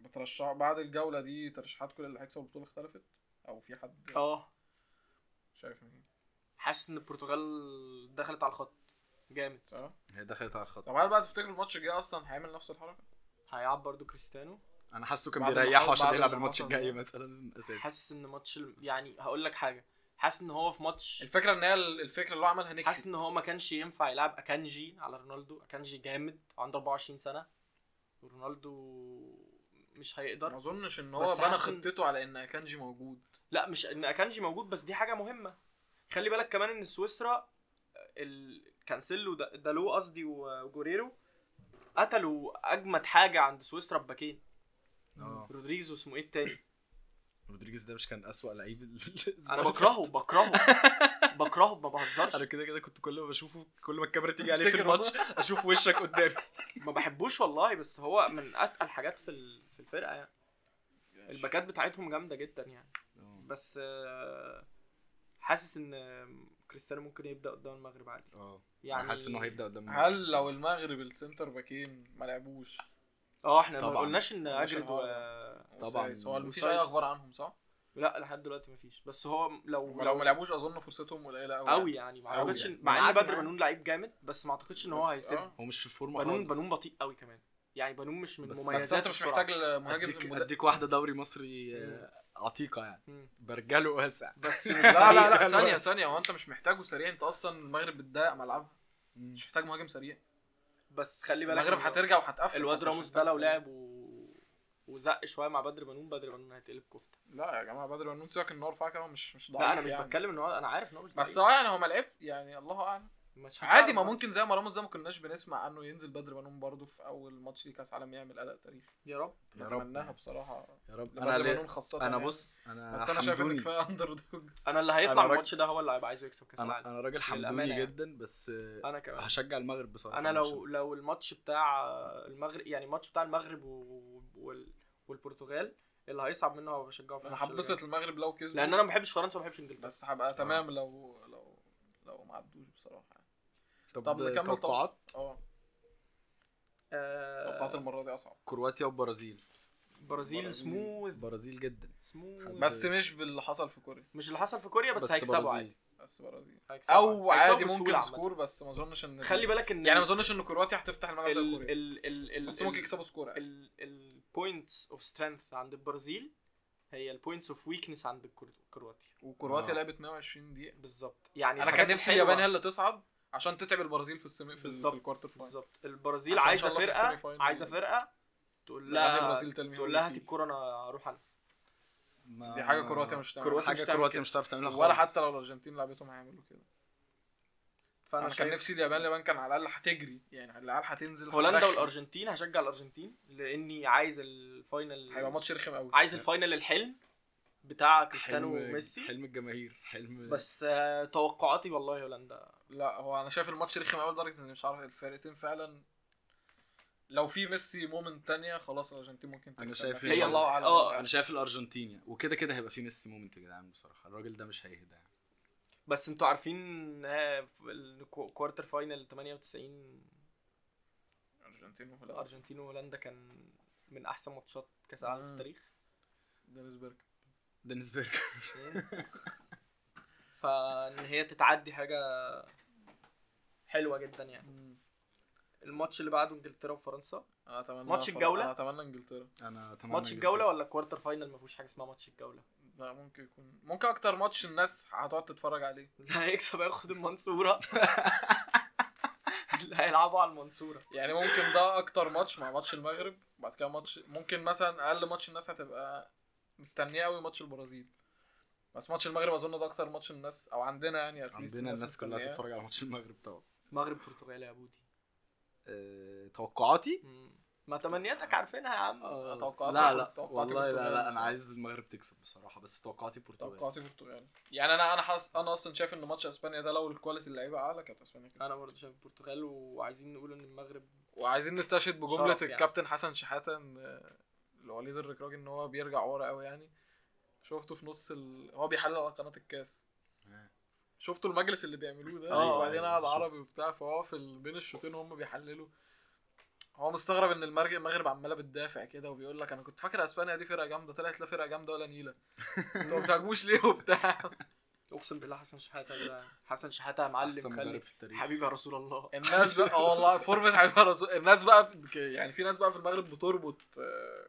Speaker 2: بترشح بعد الجولة دي ترشيحات كل اللي هيكسب البطولة اختلفت أو في حد
Speaker 3: اه
Speaker 2: شايف مين
Speaker 3: حاسس ان البرتغال دخلت على الخط جامد
Speaker 2: صح؟
Speaker 4: هي دخلت على الخط
Speaker 2: طب هل بقى تفتكر الماتش الجاي أصلا هيعمل نفس الحركة؟
Speaker 3: هيلعب برضو كريستيانو
Speaker 4: انا حاسه كان
Speaker 2: بعد ما
Speaker 4: بيريحه
Speaker 2: حصل-
Speaker 4: عشان
Speaker 2: بعد
Speaker 4: يلعب
Speaker 2: ما
Speaker 4: الماتش
Speaker 2: حصل
Speaker 4: الجاي
Speaker 2: ده.
Speaker 4: مثلا اساسي
Speaker 3: حاسس ان ماتش ال- يعني هقول لك حاجه حاسس ان هو في ماتش
Speaker 2: الفكرة إن هي ال- الفكرة اللي هو عملها نكسب
Speaker 3: حاسس ان هو ما كانش ينفع يلعب اكانجي على رونالدو اكانجي جامد عنده 24 سنه ورونالدو مش
Speaker 2: ما
Speaker 3: هيقدر
Speaker 2: أظنش إن هو
Speaker 3: بس
Speaker 2: بنى
Speaker 3: حاسس إن-
Speaker 2: خطته على إن أكانجي موجود
Speaker 3: لا مش ان اكانجي موجود بس دي حاجه مهمه خلي بالك كمان ان سويسرا ال... كانسيلو دا- دالو قصدي وجوريرو قتلوا اجمد حاجه عند سويسرا بباكين
Speaker 4: اه
Speaker 3: رودريجز واسمه ايه التاني
Speaker 4: رودريجز ده مش كان اسوأ لعيب ال-
Speaker 3: انا
Speaker 4: الأسبوع اللي
Speaker 3: بكرهه
Speaker 4: فات.
Speaker 3: بكرهه بكرهه ما بهزرش
Speaker 4: انا كده كده كنت كل ما بشوفه كل ما الكاميرا تيجي عليه في
Speaker 2: افتكر
Speaker 4: الماتش اشوف وشك قدامي
Speaker 3: ما بحبوش والله بس هو من اتقل حاجات في ال- في الفرقه يعني الباكات بتاعتهم جامده جدا يعني بس آه، حاسس ان آه، كريستيانو ممكن يبدا قدام المغرب عادي
Speaker 4: اه
Speaker 3: يعني
Speaker 4: يعني حاسس انه هيبدا قدام
Speaker 2: هل لو المغرب السنتر باكين ما لعبوش
Speaker 3: اه احنا ما
Speaker 4: طبعاً.
Speaker 3: قلناش ان
Speaker 2: مش
Speaker 3: اجرد و...
Speaker 4: طبعاً.
Speaker 2: وسايس. هو مفيش أي
Speaker 3: وسايس.
Speaker 2: أخبار عنهم صح؟
Speaker 3: لا لحد دلوقتي مفيش بس هو لو
Speaker 2: ولو ما لعبوش أظن فرصتهم قليلة أوي
Speaker 3: قوي يعني ما
Speaker 2: أوي
Speaker 3: اعتقدش
Speaker 2: يعني.
Speaker 3: إن- مع ان
Speaker 2: معاك-
Speaker 3: بدر
Speaker 2: معاك.
Speaker 3: بنون لعيب جامد بس ما اعتقدش ان هو
Speaker 2: بس-
Speaker 3: هيسيب
Speaker 2: آه.
Speaker 4: هو مش في الفورمه
Speaker 3: بنون
Speaker 4: خالص.
Speaker 3: بنون بطيء قوي كمان يعني بنون مش من
Speaker 4: بس- بس
Speaker 2: بس انت
Speaker 3: مميزات
Speaker 2: مش محتاج مهاجم
Speaker 4: اديك اديك واحده دوري مصري آه، عتيقه يعني برجله واسع
Speaker 3: بس مش
Speaker 2: لا لا
Speaker 3: سريع.
Speaker 2: لا ثانية ثانية هو انت مش محتاجه سريع انت اصلا المغرب بتضيق ملعبها
Speaker 4: مم.
Speaker 2: مش محتاج مهاجم سريع
Speaker 3: بس خلي بالك
Speaker 2: المغرب
Speaker 3: إن
Speaker 2: هترجع وهتقفل
Speaker 3: الواد
Speaker 2: فانت مش
Speaker 3: راموس ده
Speaker 2: محتاج
Speaker 3: لو
Speaker 2: سريع.
Speaker 3: لعب و... وزق شويه مع بدر بنون بدر بنون هيتقلب كفته
Speaker 2: لا يا جماعة بدر ونون سيبك ان هو رفعها كده مش مش ضعيف
Speaker 3: لا انا مش
Speaker 2: يعني.
Speaker 3: بتكلم ان هو انا عارف ان هو مش
Speaker 2: بس
Speaker 3: ضعيف.
Speaker 2: هو يعني هو ما لعب يعني الله اعلم
Speaker 3: مش
Speaker 2: عادي
Speaker 3: هتعرف
Speaker 2: ما
Speaker 3: بقى.
Speaker 2: ممكن زي ما راموس ده ما كناش بنسمع عنه ينزل بدر بنون برضه في اول ماتش ليه كاس عالم يعمل قلق تاريخي
Speaker 3: يا رب
Speaker 4: يا رب.
Speaker 2: بتمناها بصراحة
Speaker 4: يا رب
Speaker 2: انا
Speaker 4: انا ليه-
Speaker 2: بنون خاصة
Speaker 4: انا
Speaker 2: يعني.
Speaker 4: بص انا
Speaker 2: بس انا شايف ان
Speaker 4: حمدوني.
Speaker 2: كفاية اندر دوج
Speaker 3: انا اللي هيطلع
Speaker 4: أنا
Speaker 3: من
Speaker 4: راجل-
Speaker 3: الماتش ده هو اللي هيبقى عايزه يكسب كاس
Speaker 4: انا
Speaker 3: العالم
Speaker 4: انا راجل
Speaker 3: للأمانة
Speaker 4: حمدوني
Speaker 3: يعني.
Speaker 4: جدا بس آه،
Speaker 3: انا كمان
Speaker 4: هشجع المغرب بصراحه
Speaker 3: انا لو
Speaker 4: عشان-
Speaker 3: لو الماتش بتاع المغرب يعني الماتش بتاع المغرب و- وال... والبرتغال اللي هيصعب منه هو بشجعه في
Speaker 2: انا
Speaker 3: الماتش اللي
Speaker 2: هبسط
Speaker 3: جاي.
Speaker 2: المغرب لو كسبوا
Speaker 3: لان انا ما بحبش فرنسا وما بحبش انجلترا
Speaker 2: بس هبقى
Speaker 3: آه.
Speaker 2: تمام لو لو لو ما عدوش بصراحة يعني. طب
Speaker 4: طب
Speaker 2: نكمل
Speaker 4: توقعات
Speaker 2: اه
Speaker 3: آه،
Speaker 2: توقعات المرة دي اصعب
Speaker 4: كرواتيا والبرازيل
Speaker 3: برازيل سموث
Speaker 4: برازيل جدا
Speaker 3: سموث
Speaker 2: بس مش باللي حصل في كوريا
Speaker 3: مش اللي حصل في كوريا بس,
Speaker 4: بس
Speaker 3: هيكسبوا
Speaker 4: برازيل.
Speaker 3: عادي
Speaker 2: بس برازيل
Speaker 3: هيكسبوا
Speaker 2: او
Speaker 3: عادي. هيكسبوا
Speaker 2: عادي
Speaker 3: بسهولة
Speaker 2: ممكن
Speaker 3: عامة.
Speaker 2: سكور بس ما اظنش ان
Speaker 3: خلي بالك ان
Speaker 2: يعني ما اظنش ان كرواتيا هتفتح الملعب زي
Speaker 3: ال
Speaker 2: كوريا
Speaker 3: ال ال ال
Speaker 2: بس ممكن يكسبوا سكور يعني.
Speaker 3: البوينتس اوف سترينث عند البرازيل هي البوينتس اوف ويكنس عند الكرو- كرواتيا
Speaker 2: وكرواتيا
Speaker 4: آه.
Speaker 2: لعبت 120 دقيقه
Speaker 3: بالظبط يعني
Speaker 2: انا
Speaker 3: الحاجات
Speaker 2: كان نفسي
Speaker 3: الحلوة-
Speaker 2: اليابان هي اللي تصعد عشان تتعب البرازيل في السيمي في, ال-
Speaker 3: بالظبط.
Speaker 2: في الكوارتر فاينل
Speaker 3: بالظبط البرازيل
Speaker 2: عشان إن شاء
Speaker 3: عايزه
Speaker 2: الله في
Speaker 3: فرقه
Speaker 2: السيمي فاينل.
Speaker 3: عايزه فرقه تقول
Speaker 2: لا يعني
Speaker 3: لها
Speaker 2: البرازيل تلمي
Speaker 3: تقول لها هات الكوره انا هروح انا
Speaker 4: ما-
Speaker 2: دي حاجه كرواتيا مش هتعملها
Speaker 3: كرواتيا مش
Speaker 4: حاجه
Speaker 3: هتعمل
Speaker 4: كرواتيا
Speaker 3: كده.
Speaker 4: مش هتعرف تعملها خالص
Speaker 2: ولا حتى لو الارجنتين لعبتهم هيعملوا كده
Speaker 3: فانا
Speaker 2: انا كان
Speaker 3: شايف
Speaker 2: نفسي اليابان اليابان كان على الاقل هتجري يعني على الاقل هتنزل
Speaker 3: هولندا
Speaker 2: هترخم.
Speaker 3: والارجنتين هشجع الارجنتين لاني عايز الفاينل
Speaker 2: هيبقى ماتش رخم قوي
Speaker 3: عايز الفاينل الحلم بتاع كريستيانو
Speaker 4: حلم-
Speaker 3: وميسي
Speaker 4: حلم الجماهير حلم
Speaker 3: بس آه، توقعاتي والله هولندا
Speaker 2: لا هو انا شايف الماتش رخم قوي لدرجه ان مش عارف الفرقتين فعلا لو في ميسي مومنت تانية خلاص الارجنتين ممكن
Speaker 4: أنا
Speaker 2: تكسب
Speaker 4: شايف
Speaker 2: لكن
Speaker 4: إن شاء
Speaker 2: الله
Speaker 3: الله.
Speaker 2: اعلم
Speaker 3: آه،
Speaker 4: انا شايف الارجنتين يعني وكده كده هيبقى في ميسي مومنت يا جدعان بصراحه الراجل ده مش هيهدى يعني
Speaker 3: بس انتوا عارفين آه، في الكو- كوارتر فاينل 98
Speaker 2: الارجنتين وهولندا
Speaker 3: الارجنتين وهولندا كان من احسن ماتشات كاس العالم في
Speaker 2: مم.
Speaker 3: التاريخ
Speaker 2: دينيس بيرك
Speaker 4: دينيس بيرك
Speaker 3: فان هي تتعدي حاجه حلوه جدا يعني الماتش اللي بعده انجلترا وفرنسا
Speaker 2: انا اتمنى
Speaker 3: ماتش
Speaker 2: فر-
Speaker 3: الجولة؟
Speaker 2: انا اتمنى انجلترا
Speaker 4: انا اتمنى
Speaker 3: ماتش
Speaker 4: إنجلترا.
Speaker 3: الجوله ولا كوارتر فاينل ما فيهوش حاجه اسمها ماتش الجوله
Speaker 2: ده ممكن يكون ممكن اكتر ماتش الناس هتقعد تتفرج عليه
Speaker 3: اللي هيكسب هياخد المنصوره اللي هيلعبوا على المنصوره
Speaker 2: يعني ممكن ده اكتر ماتش مع ماتش المغرب بعد كده ماتش ممكن مثلا اقل ماتش الناس هتبقى مستنيه قوي ماتش البرازيل بس ماتش المغرب اظن ده اكتر ماتش الناس او عندنا يعني at least
Speaker 4: عندنا الناس كلها
Speaker 2: مستنياه.
Speaker 4: تتفرج على ماتش المغرب طبعا
Speaker 3: مغرب برتغال يا بودي
Speaker 4: أه، توقعاتي
Speaker 3: مم. أمم. ما تمنياتك عارفينها يا
Speaker 4: آه.
Speaker 3: عم
Speaker 2: توقعاتي
Speaker 4: لا لا
Speaker 2: توقعاتي
Speaker 4: والله لا
Speaker 2: البرتغال
Speaker 4: لا انا
Speaker 2: بصراحة.
Speaker 4: عايز المغرب تكسب بصراحه بس توقعاتي البرتغال
Speaker 2: توقعاتي البرتغال يعني انا انا حاسس انا اصلا شايف ان ماتش اسبانيا ده لو الكواليتي اللعيبه اعلى كانت اسبانيا كده
Speaker 3: انا برضه شايف البرتغال وعايزين نقول ان المغرب
Speaker 2: وعايزين نستشهد بجمله
Speaker 3: شرف يعني.
Speaker 2: الكابتن حسن شحاته ان الوليد الركراج ان هو بيرجع ورا قوي يعني شفته في نص ال... هو بيحلل على قناه الكاس
Speaker 4: آه.
Speaker 2: شفتوا المجلس اللي بيعملوه ده
Speaker 3: آه،
Speaker 2: وبعدين
Speaker 4: أيوة،
Speaker 2: قعد
Speaker 4: شفت.
Speaker 2: عربي وبتاع فهو في ال- بين الشوطين هم بيحللوا هو مستغرب ان المرج- المغرب عماله بتدافع كده وبيقول لك انا كنت فاكر اسبانيا دي فرقه جامده طلعت لا فرقه جامده ولا نيله انتوا ما بتهاجموش ليه وبتاع
Speaker 3: اقسم بالله حسن شحاته ده حسن شحاته يا معلم
Speaker 4: احسن
Speaker 3: خلي
Speaker 4: مدرب في التاريخ
Speaker 3: حبيبي يا رسول الله
Speaker 2: الناس بقى اه والله فورمة حبيبها رسول الناس بقى بك- يعني في ناس بقى في المغرب بتربط آه،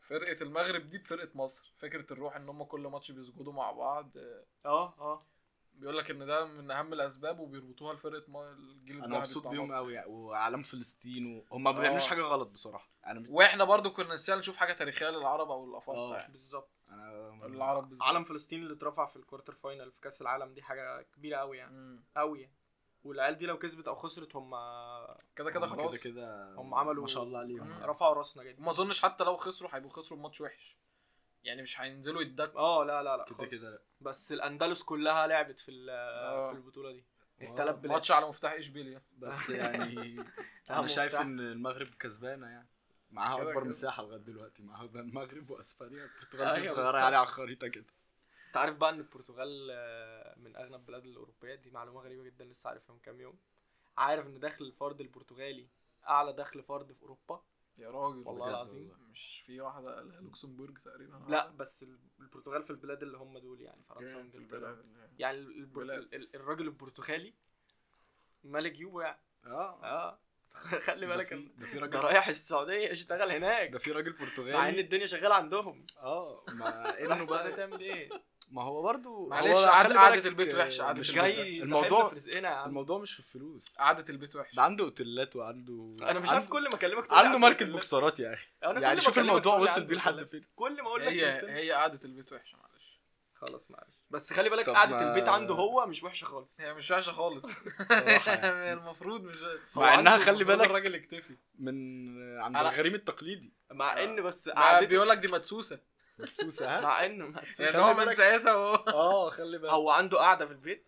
Speaker 2: فرقة المغرب دي بفرقة مصر فكرة الروح ان هم كل ماتش بيسجدوا مع بعض آه،
Speaker 3: اه اه
Speaker 2: بيقول لك ان ده من اهم الاسباب وبيربطوها لفرقة ما- الجيل الذهبي
Speaker 4: انا مبسوط
Speaker 2: بتاع
Speaker 4: بيهم
Speaker 2: مصر.
Speaker 4: قوي واعلام فلسطين وهم ما بيعملوش
Speaker 2: آه.
Speaker 4: حاجه غلط بصراحه انا مش-
Speaker 2: واحنا برضو كنا نستاهل نشوف حاجة تاريخية للعرب او
Speaker 4: آه.
Speaker 2: الافارقة يعني
Speaker 3: بالظبط
Speaker 4: انا
Speaker 2: العرب بالذات
Speaker 3: علم فلسطين اللي اترفع في الكوارتر فاينل في كاس العالم دي حاجه كبيره قوي يعني
Speaker 2: مم.
Speaker 3: قوي يعني. والعيال دي لو كسبت او خسرت هم
Speaker 2: كده كده
Speaker 4: هم
Speaker 2: خلاص
Speaker 4: كده كده
Speaker 3: هم عملوا
Speaker 4: آه، ما شاء الله عليهم
Speaker 2: مم.
Speaker 4: يعني.
Speaker 3: رفعوا راسنا جدا
Speaker 2: وما اظنش حتى لو خسروا هيبقوا خسروا بماتش وحش يعني مش هينزلوا يتدك
Speaker 3: اه لا لا لا
Speaker 4: كده
Speaker 3: خالص.
Speaker 4: كده لا.
Speaker 3: بس الاندلس كلها لعبت في ال-
Speaker 2: آه.
Speaker 3: في البطوله دي
Speaker 4: آه.
Speaker 3: التلات بلاد
Speaker 2: ماتش على مفتاح اشبيليا
Speaker 4: بس يعني
Speaker 3: أهم
Speaker 4: انا شايف
Speaker 3: مفتاح.
Speaker 4: ان المغرب كسبانه يعني معاها
Speaker 2: كده
Speaker 4: اكبر
Speaker 2: كده.
Speaker 4: مساحه لغايه دلوقتي معاها ده المغرب واسبانيا
Speaker 3: أيوة
Speaker 4: البرتغال دي
Speaker 3: بالظبط.
Speaker 4: صغيره يعني على الخريطه كده
Speaker 3: انت عارف بقى ان البرتغال آه، من اغنى البلاد الاوروبيه دي معلومه غريبه جدا لسه عارفها من كام يوم عارف ان دخل الفرد البرتغالي اعلى دخل فرد في اوروبا
Speaker 2: يا راجل
Speaker 3: والله
Speaker 2: بجد
Speaker 3: العظيم.
Speaker 2: مش في واحدة قالها لوكسمبورج تقريبا
Speaker 3: لا بس ال- البرتغال في البلاد اللي هم دول يعني فرنسا
Speaker 2: جامد
Speaker 3: وانجلترا
Speaker 2: البلد يعني.
Speaker 3: يعني ال- البر-
Speaker 2: بلاد.
Speaker 3: ال- الراجل البرتغالي ملك يوبا يعني
Speaker 4: اه
Speaker 3: اه خلي
Speaker 4: ده
Speaker 3: بالك
Speaker 4: في-
Speaker 3: ان
Speaker 4: ده في
Speaker 3: ده
Speaker 4: راجل
Speaker 3: رايح السعوديه اشتغل هناك
Speaker 4: ده في راجل
Speaker 3: مع ان
Speaker 4: برتغالي
Speaker 3: الدنيا شغاله عندهم
Speaker 4: اه ما
Speaker 3: رايح
Speaker 4: انه
Speaker 3: السعوديه
Speaker 4: بقى
Speaker 3: تعمل ايه
Speaker 4: ما هو برضه
Speaker 2: معلش،
Speaker 4: هو
Speaker 2: قعد-
Speaker 4: خلي
Speaker 2: قعدة
Speaker 4: بالك،
Speaker 2: البيت
Speaker 4: آه،
Speaker 2: وحشة، قعدة
Speaker 4: مش
Speaker 2: البيت
Speaker 4: جاي
Speaker 2: وحشة.
Speaker 3: جاي
Speaker 4: الموضوع-
Speaker 3: الموضوع في رزقنا يا عم
Speaker 4: الموضوع مش في الفلوس
Speaker 2: قعدة البيت
Speaker 4: ده
Speaker 2: وحشة
Speaker 4: عنده اوتيلات وعنده
Speaker 3: انا مش عارف
Speaker 4: عنده-
Speaker 3: كل ما اكلمك تقول لي
Speaker 4: عنده
Speaker 3: عم
Speaker 4: ماركت
Speaker 3: البلاد.
Speaker 4: بوكسرات يا اخي
Speaker 3: أنا كل
Speaker 4: يعني
Speaker 3: ما
Speaker 4: شوف
Speaker 3: أكلمك
Speaker 4: الموضوع
Speaker 3: تقول لي
Speaker 4: وصل
Speaker 3: عم
Speaker 4: بيه لحد
Speaker 3: البلاد.
Speaker 4: فين
Speaker 3: كل ما اقول لك
Speaker 2: هي
Speaker 3: كريستيانو.
Speaker 2: هي قعدة البيت وحشة معلش
Speaker 3: خلاص معلش بس خلي بالك
Speaker 4: طب
Speaker 3: قعده
Speaker 4: ما-
Speaker 3: البيت عنده هو مش وحشه خالص
Speaker 2: هي مش وحشة خالص
Speaker 4: صراحة يعني.
Speaker 2: المفروض مش
Speaker 4: مع
Speaker 2: هو
Speaker 4: إنها
Speaker 2: عنده-
Speaker 4: خلي
Speaker 2: المفروض
Speaker 4: بالك-
Speaker 2: الراجل يكتفي
Speaker 4: من عند
Speaker 2: أنا-
Speaker 4: الغريم التقليدي
Speaker 3: مع ان بس
Speaker 2: ما
Speaker 3: قعدته
Speaker 2: بيقول لك دي مدسوسة
Speaker 4: مدسوسه ها
Speaker 3: مع انه ما-
Speaker 2: يعني
Speaker 4: خلي
Speaker 2: هو من
Speaker 4: بالك-
Speaker 2: ساعتها وهو
Speaker 4: اه خلي بالك
Speaker 3: هو عنده قاعده في البيت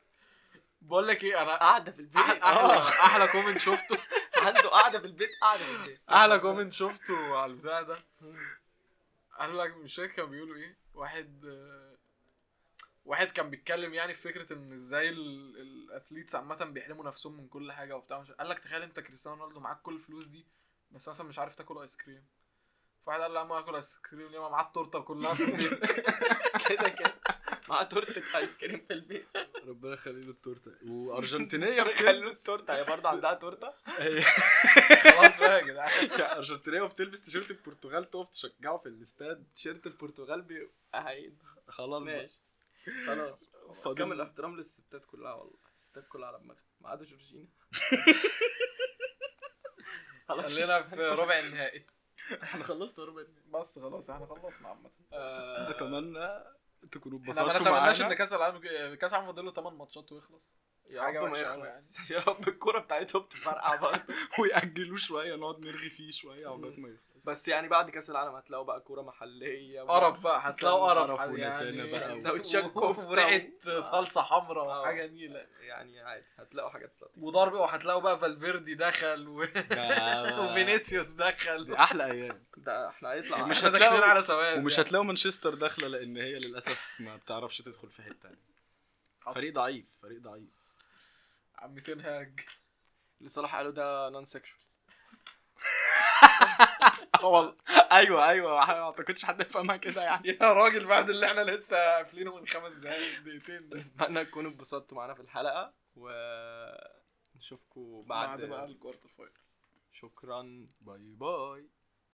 Speaker 2: بقول لك ايه انا
Speaker 3: قاعده في البيت
Speaker 2: أحلى- احلى
Speaker 4: آه.
Speaker 2: احلى كومنت شفته
Speaker 3: عنده قاعده في البيت قاعده في البيت
Speaker 2: احلى كومنت شفته على البتاع ده قال لك مش فاكر كان بيقولوا ايه واحد آه، واحد كان بيتكلم يعني في فكره ان ازاي ال- الاثليتس عامه بيحرموا نفسهم من كل حاجه وبتاع مش قال لك تخيل انت كريستيانو رونالدو معاك كل الفلوس دي بس مثلا مش عارف تاكل ايس كريم فواحد قال له يا عم هاكل ايس كريم ليه ما معاه التورته كلها في البيت
Speaker 3: كده كده مع تورته ايس كريم في البيت
Speaker 4: ربنا يخلي له التورته وارجنتينيه
Speaker 3: خلوا
Speaker 4: بتلبس
Speaker 3: التورته هي برضه عندها تورته
Speaker 4: هي-
Speaker 2: خلاص بقى يا جدعان
Speaker 4: ارجنتينيه وبتلبس تيشيرت البرتغال تقف تشجعه في الاستاد
Speaker 3: تيشيرت البرتغال بي هعيد.
Speaker 4: خلاص بقى
Speaker 3: ماشي خلاص
Speaker 4: فاضل-
Speaker 3: كامل احترام للستات كلها والله الستات كلها على دماغها ما عدا جورجينا خلاص
Speaker 2: خلينا في ربع النهائي
Speaker 3: احنا خلصنا ربع النهائي.
Speaker 2: بس خلاص احنا خلصنا عامه
Speaker 3: آه،
Speaker 4: اتمنى تكونوا
Speaker 2: احنا ما
Speaker 4: اتبسطتوا
Speaker 2: نتمناش ان
Speaker 4: معانا
Speaker 2: كاس العالم كاس العالم فاضل له 8 ماتشات ويخلص
Speaker 3: يا
Speaker 2: حاجة
Speaker 3: رب ما
Speaker 2: وحشة أوي
Speaker 3: يخلص يعني. يا رب الكوره بتاعتهم تفرقع برضه
Speaker 4: ويأجلوه شويه نقعد نرغي فيه شويه عقبال ما يخلص
Speaker 3: بس يعني بعد كاس العالم هتلاقوا بقى كوره محليه و-
Speaker 2: قرف بقى هتلاقوا
Speaker 4: قرف
Speaker 2: قرف يعني.
Speaker 4: ونتانة بقى و- اه.
Speaker 3: سندوتشات كفتة و-
Speaker 2: وريحه صلصه حمراء
Speaker 3: آه.
Speaker 2: وحاجه نيله
Speaker 3: يعني عادي هتلاقوا حاجات لطيفه
Speaker 2: وضرب وهتلاقوا بقى فالفيردي دخل و... وفينيسيوس دخل
Speaker 4: اه. دي احلى ايام
Speaker 3: ده احنا هيطلع
Speaker 4: مش
Speaker 2: مش داخلين
Speaker 4: هتلاقوا-
Speaker 2: على سواد
Speaker 4: ومش
Speaker 2: يعني.
Speaker 4: هتلاقوا مانشستر داخله لان هي للاسف ما بتعرفش تدخل في حته يعني.
Speaker 2: حصل.
Speaker 4: فريق ضعيف فريق ضعيف
Speaker 2: عم تنهج
Speaker 3: اللي صلاح قاله ده نون سكشوال اه
Speaker 4: والله ايوه ايوه ما اعتقدش حد يفهمها كده يعني
Speaker 2: يا راجل بعد اللي احنا لسه قافلينه من خمس دقايق دقيقتين ده.
Speaker 3: اتمنى تكونوا اتبسطتوا معانا في الحلقه ونشوفكم بعد,
Speaker 2: بعد بقى الكوارتر فاينل
Speaker 3: شكرا باي باي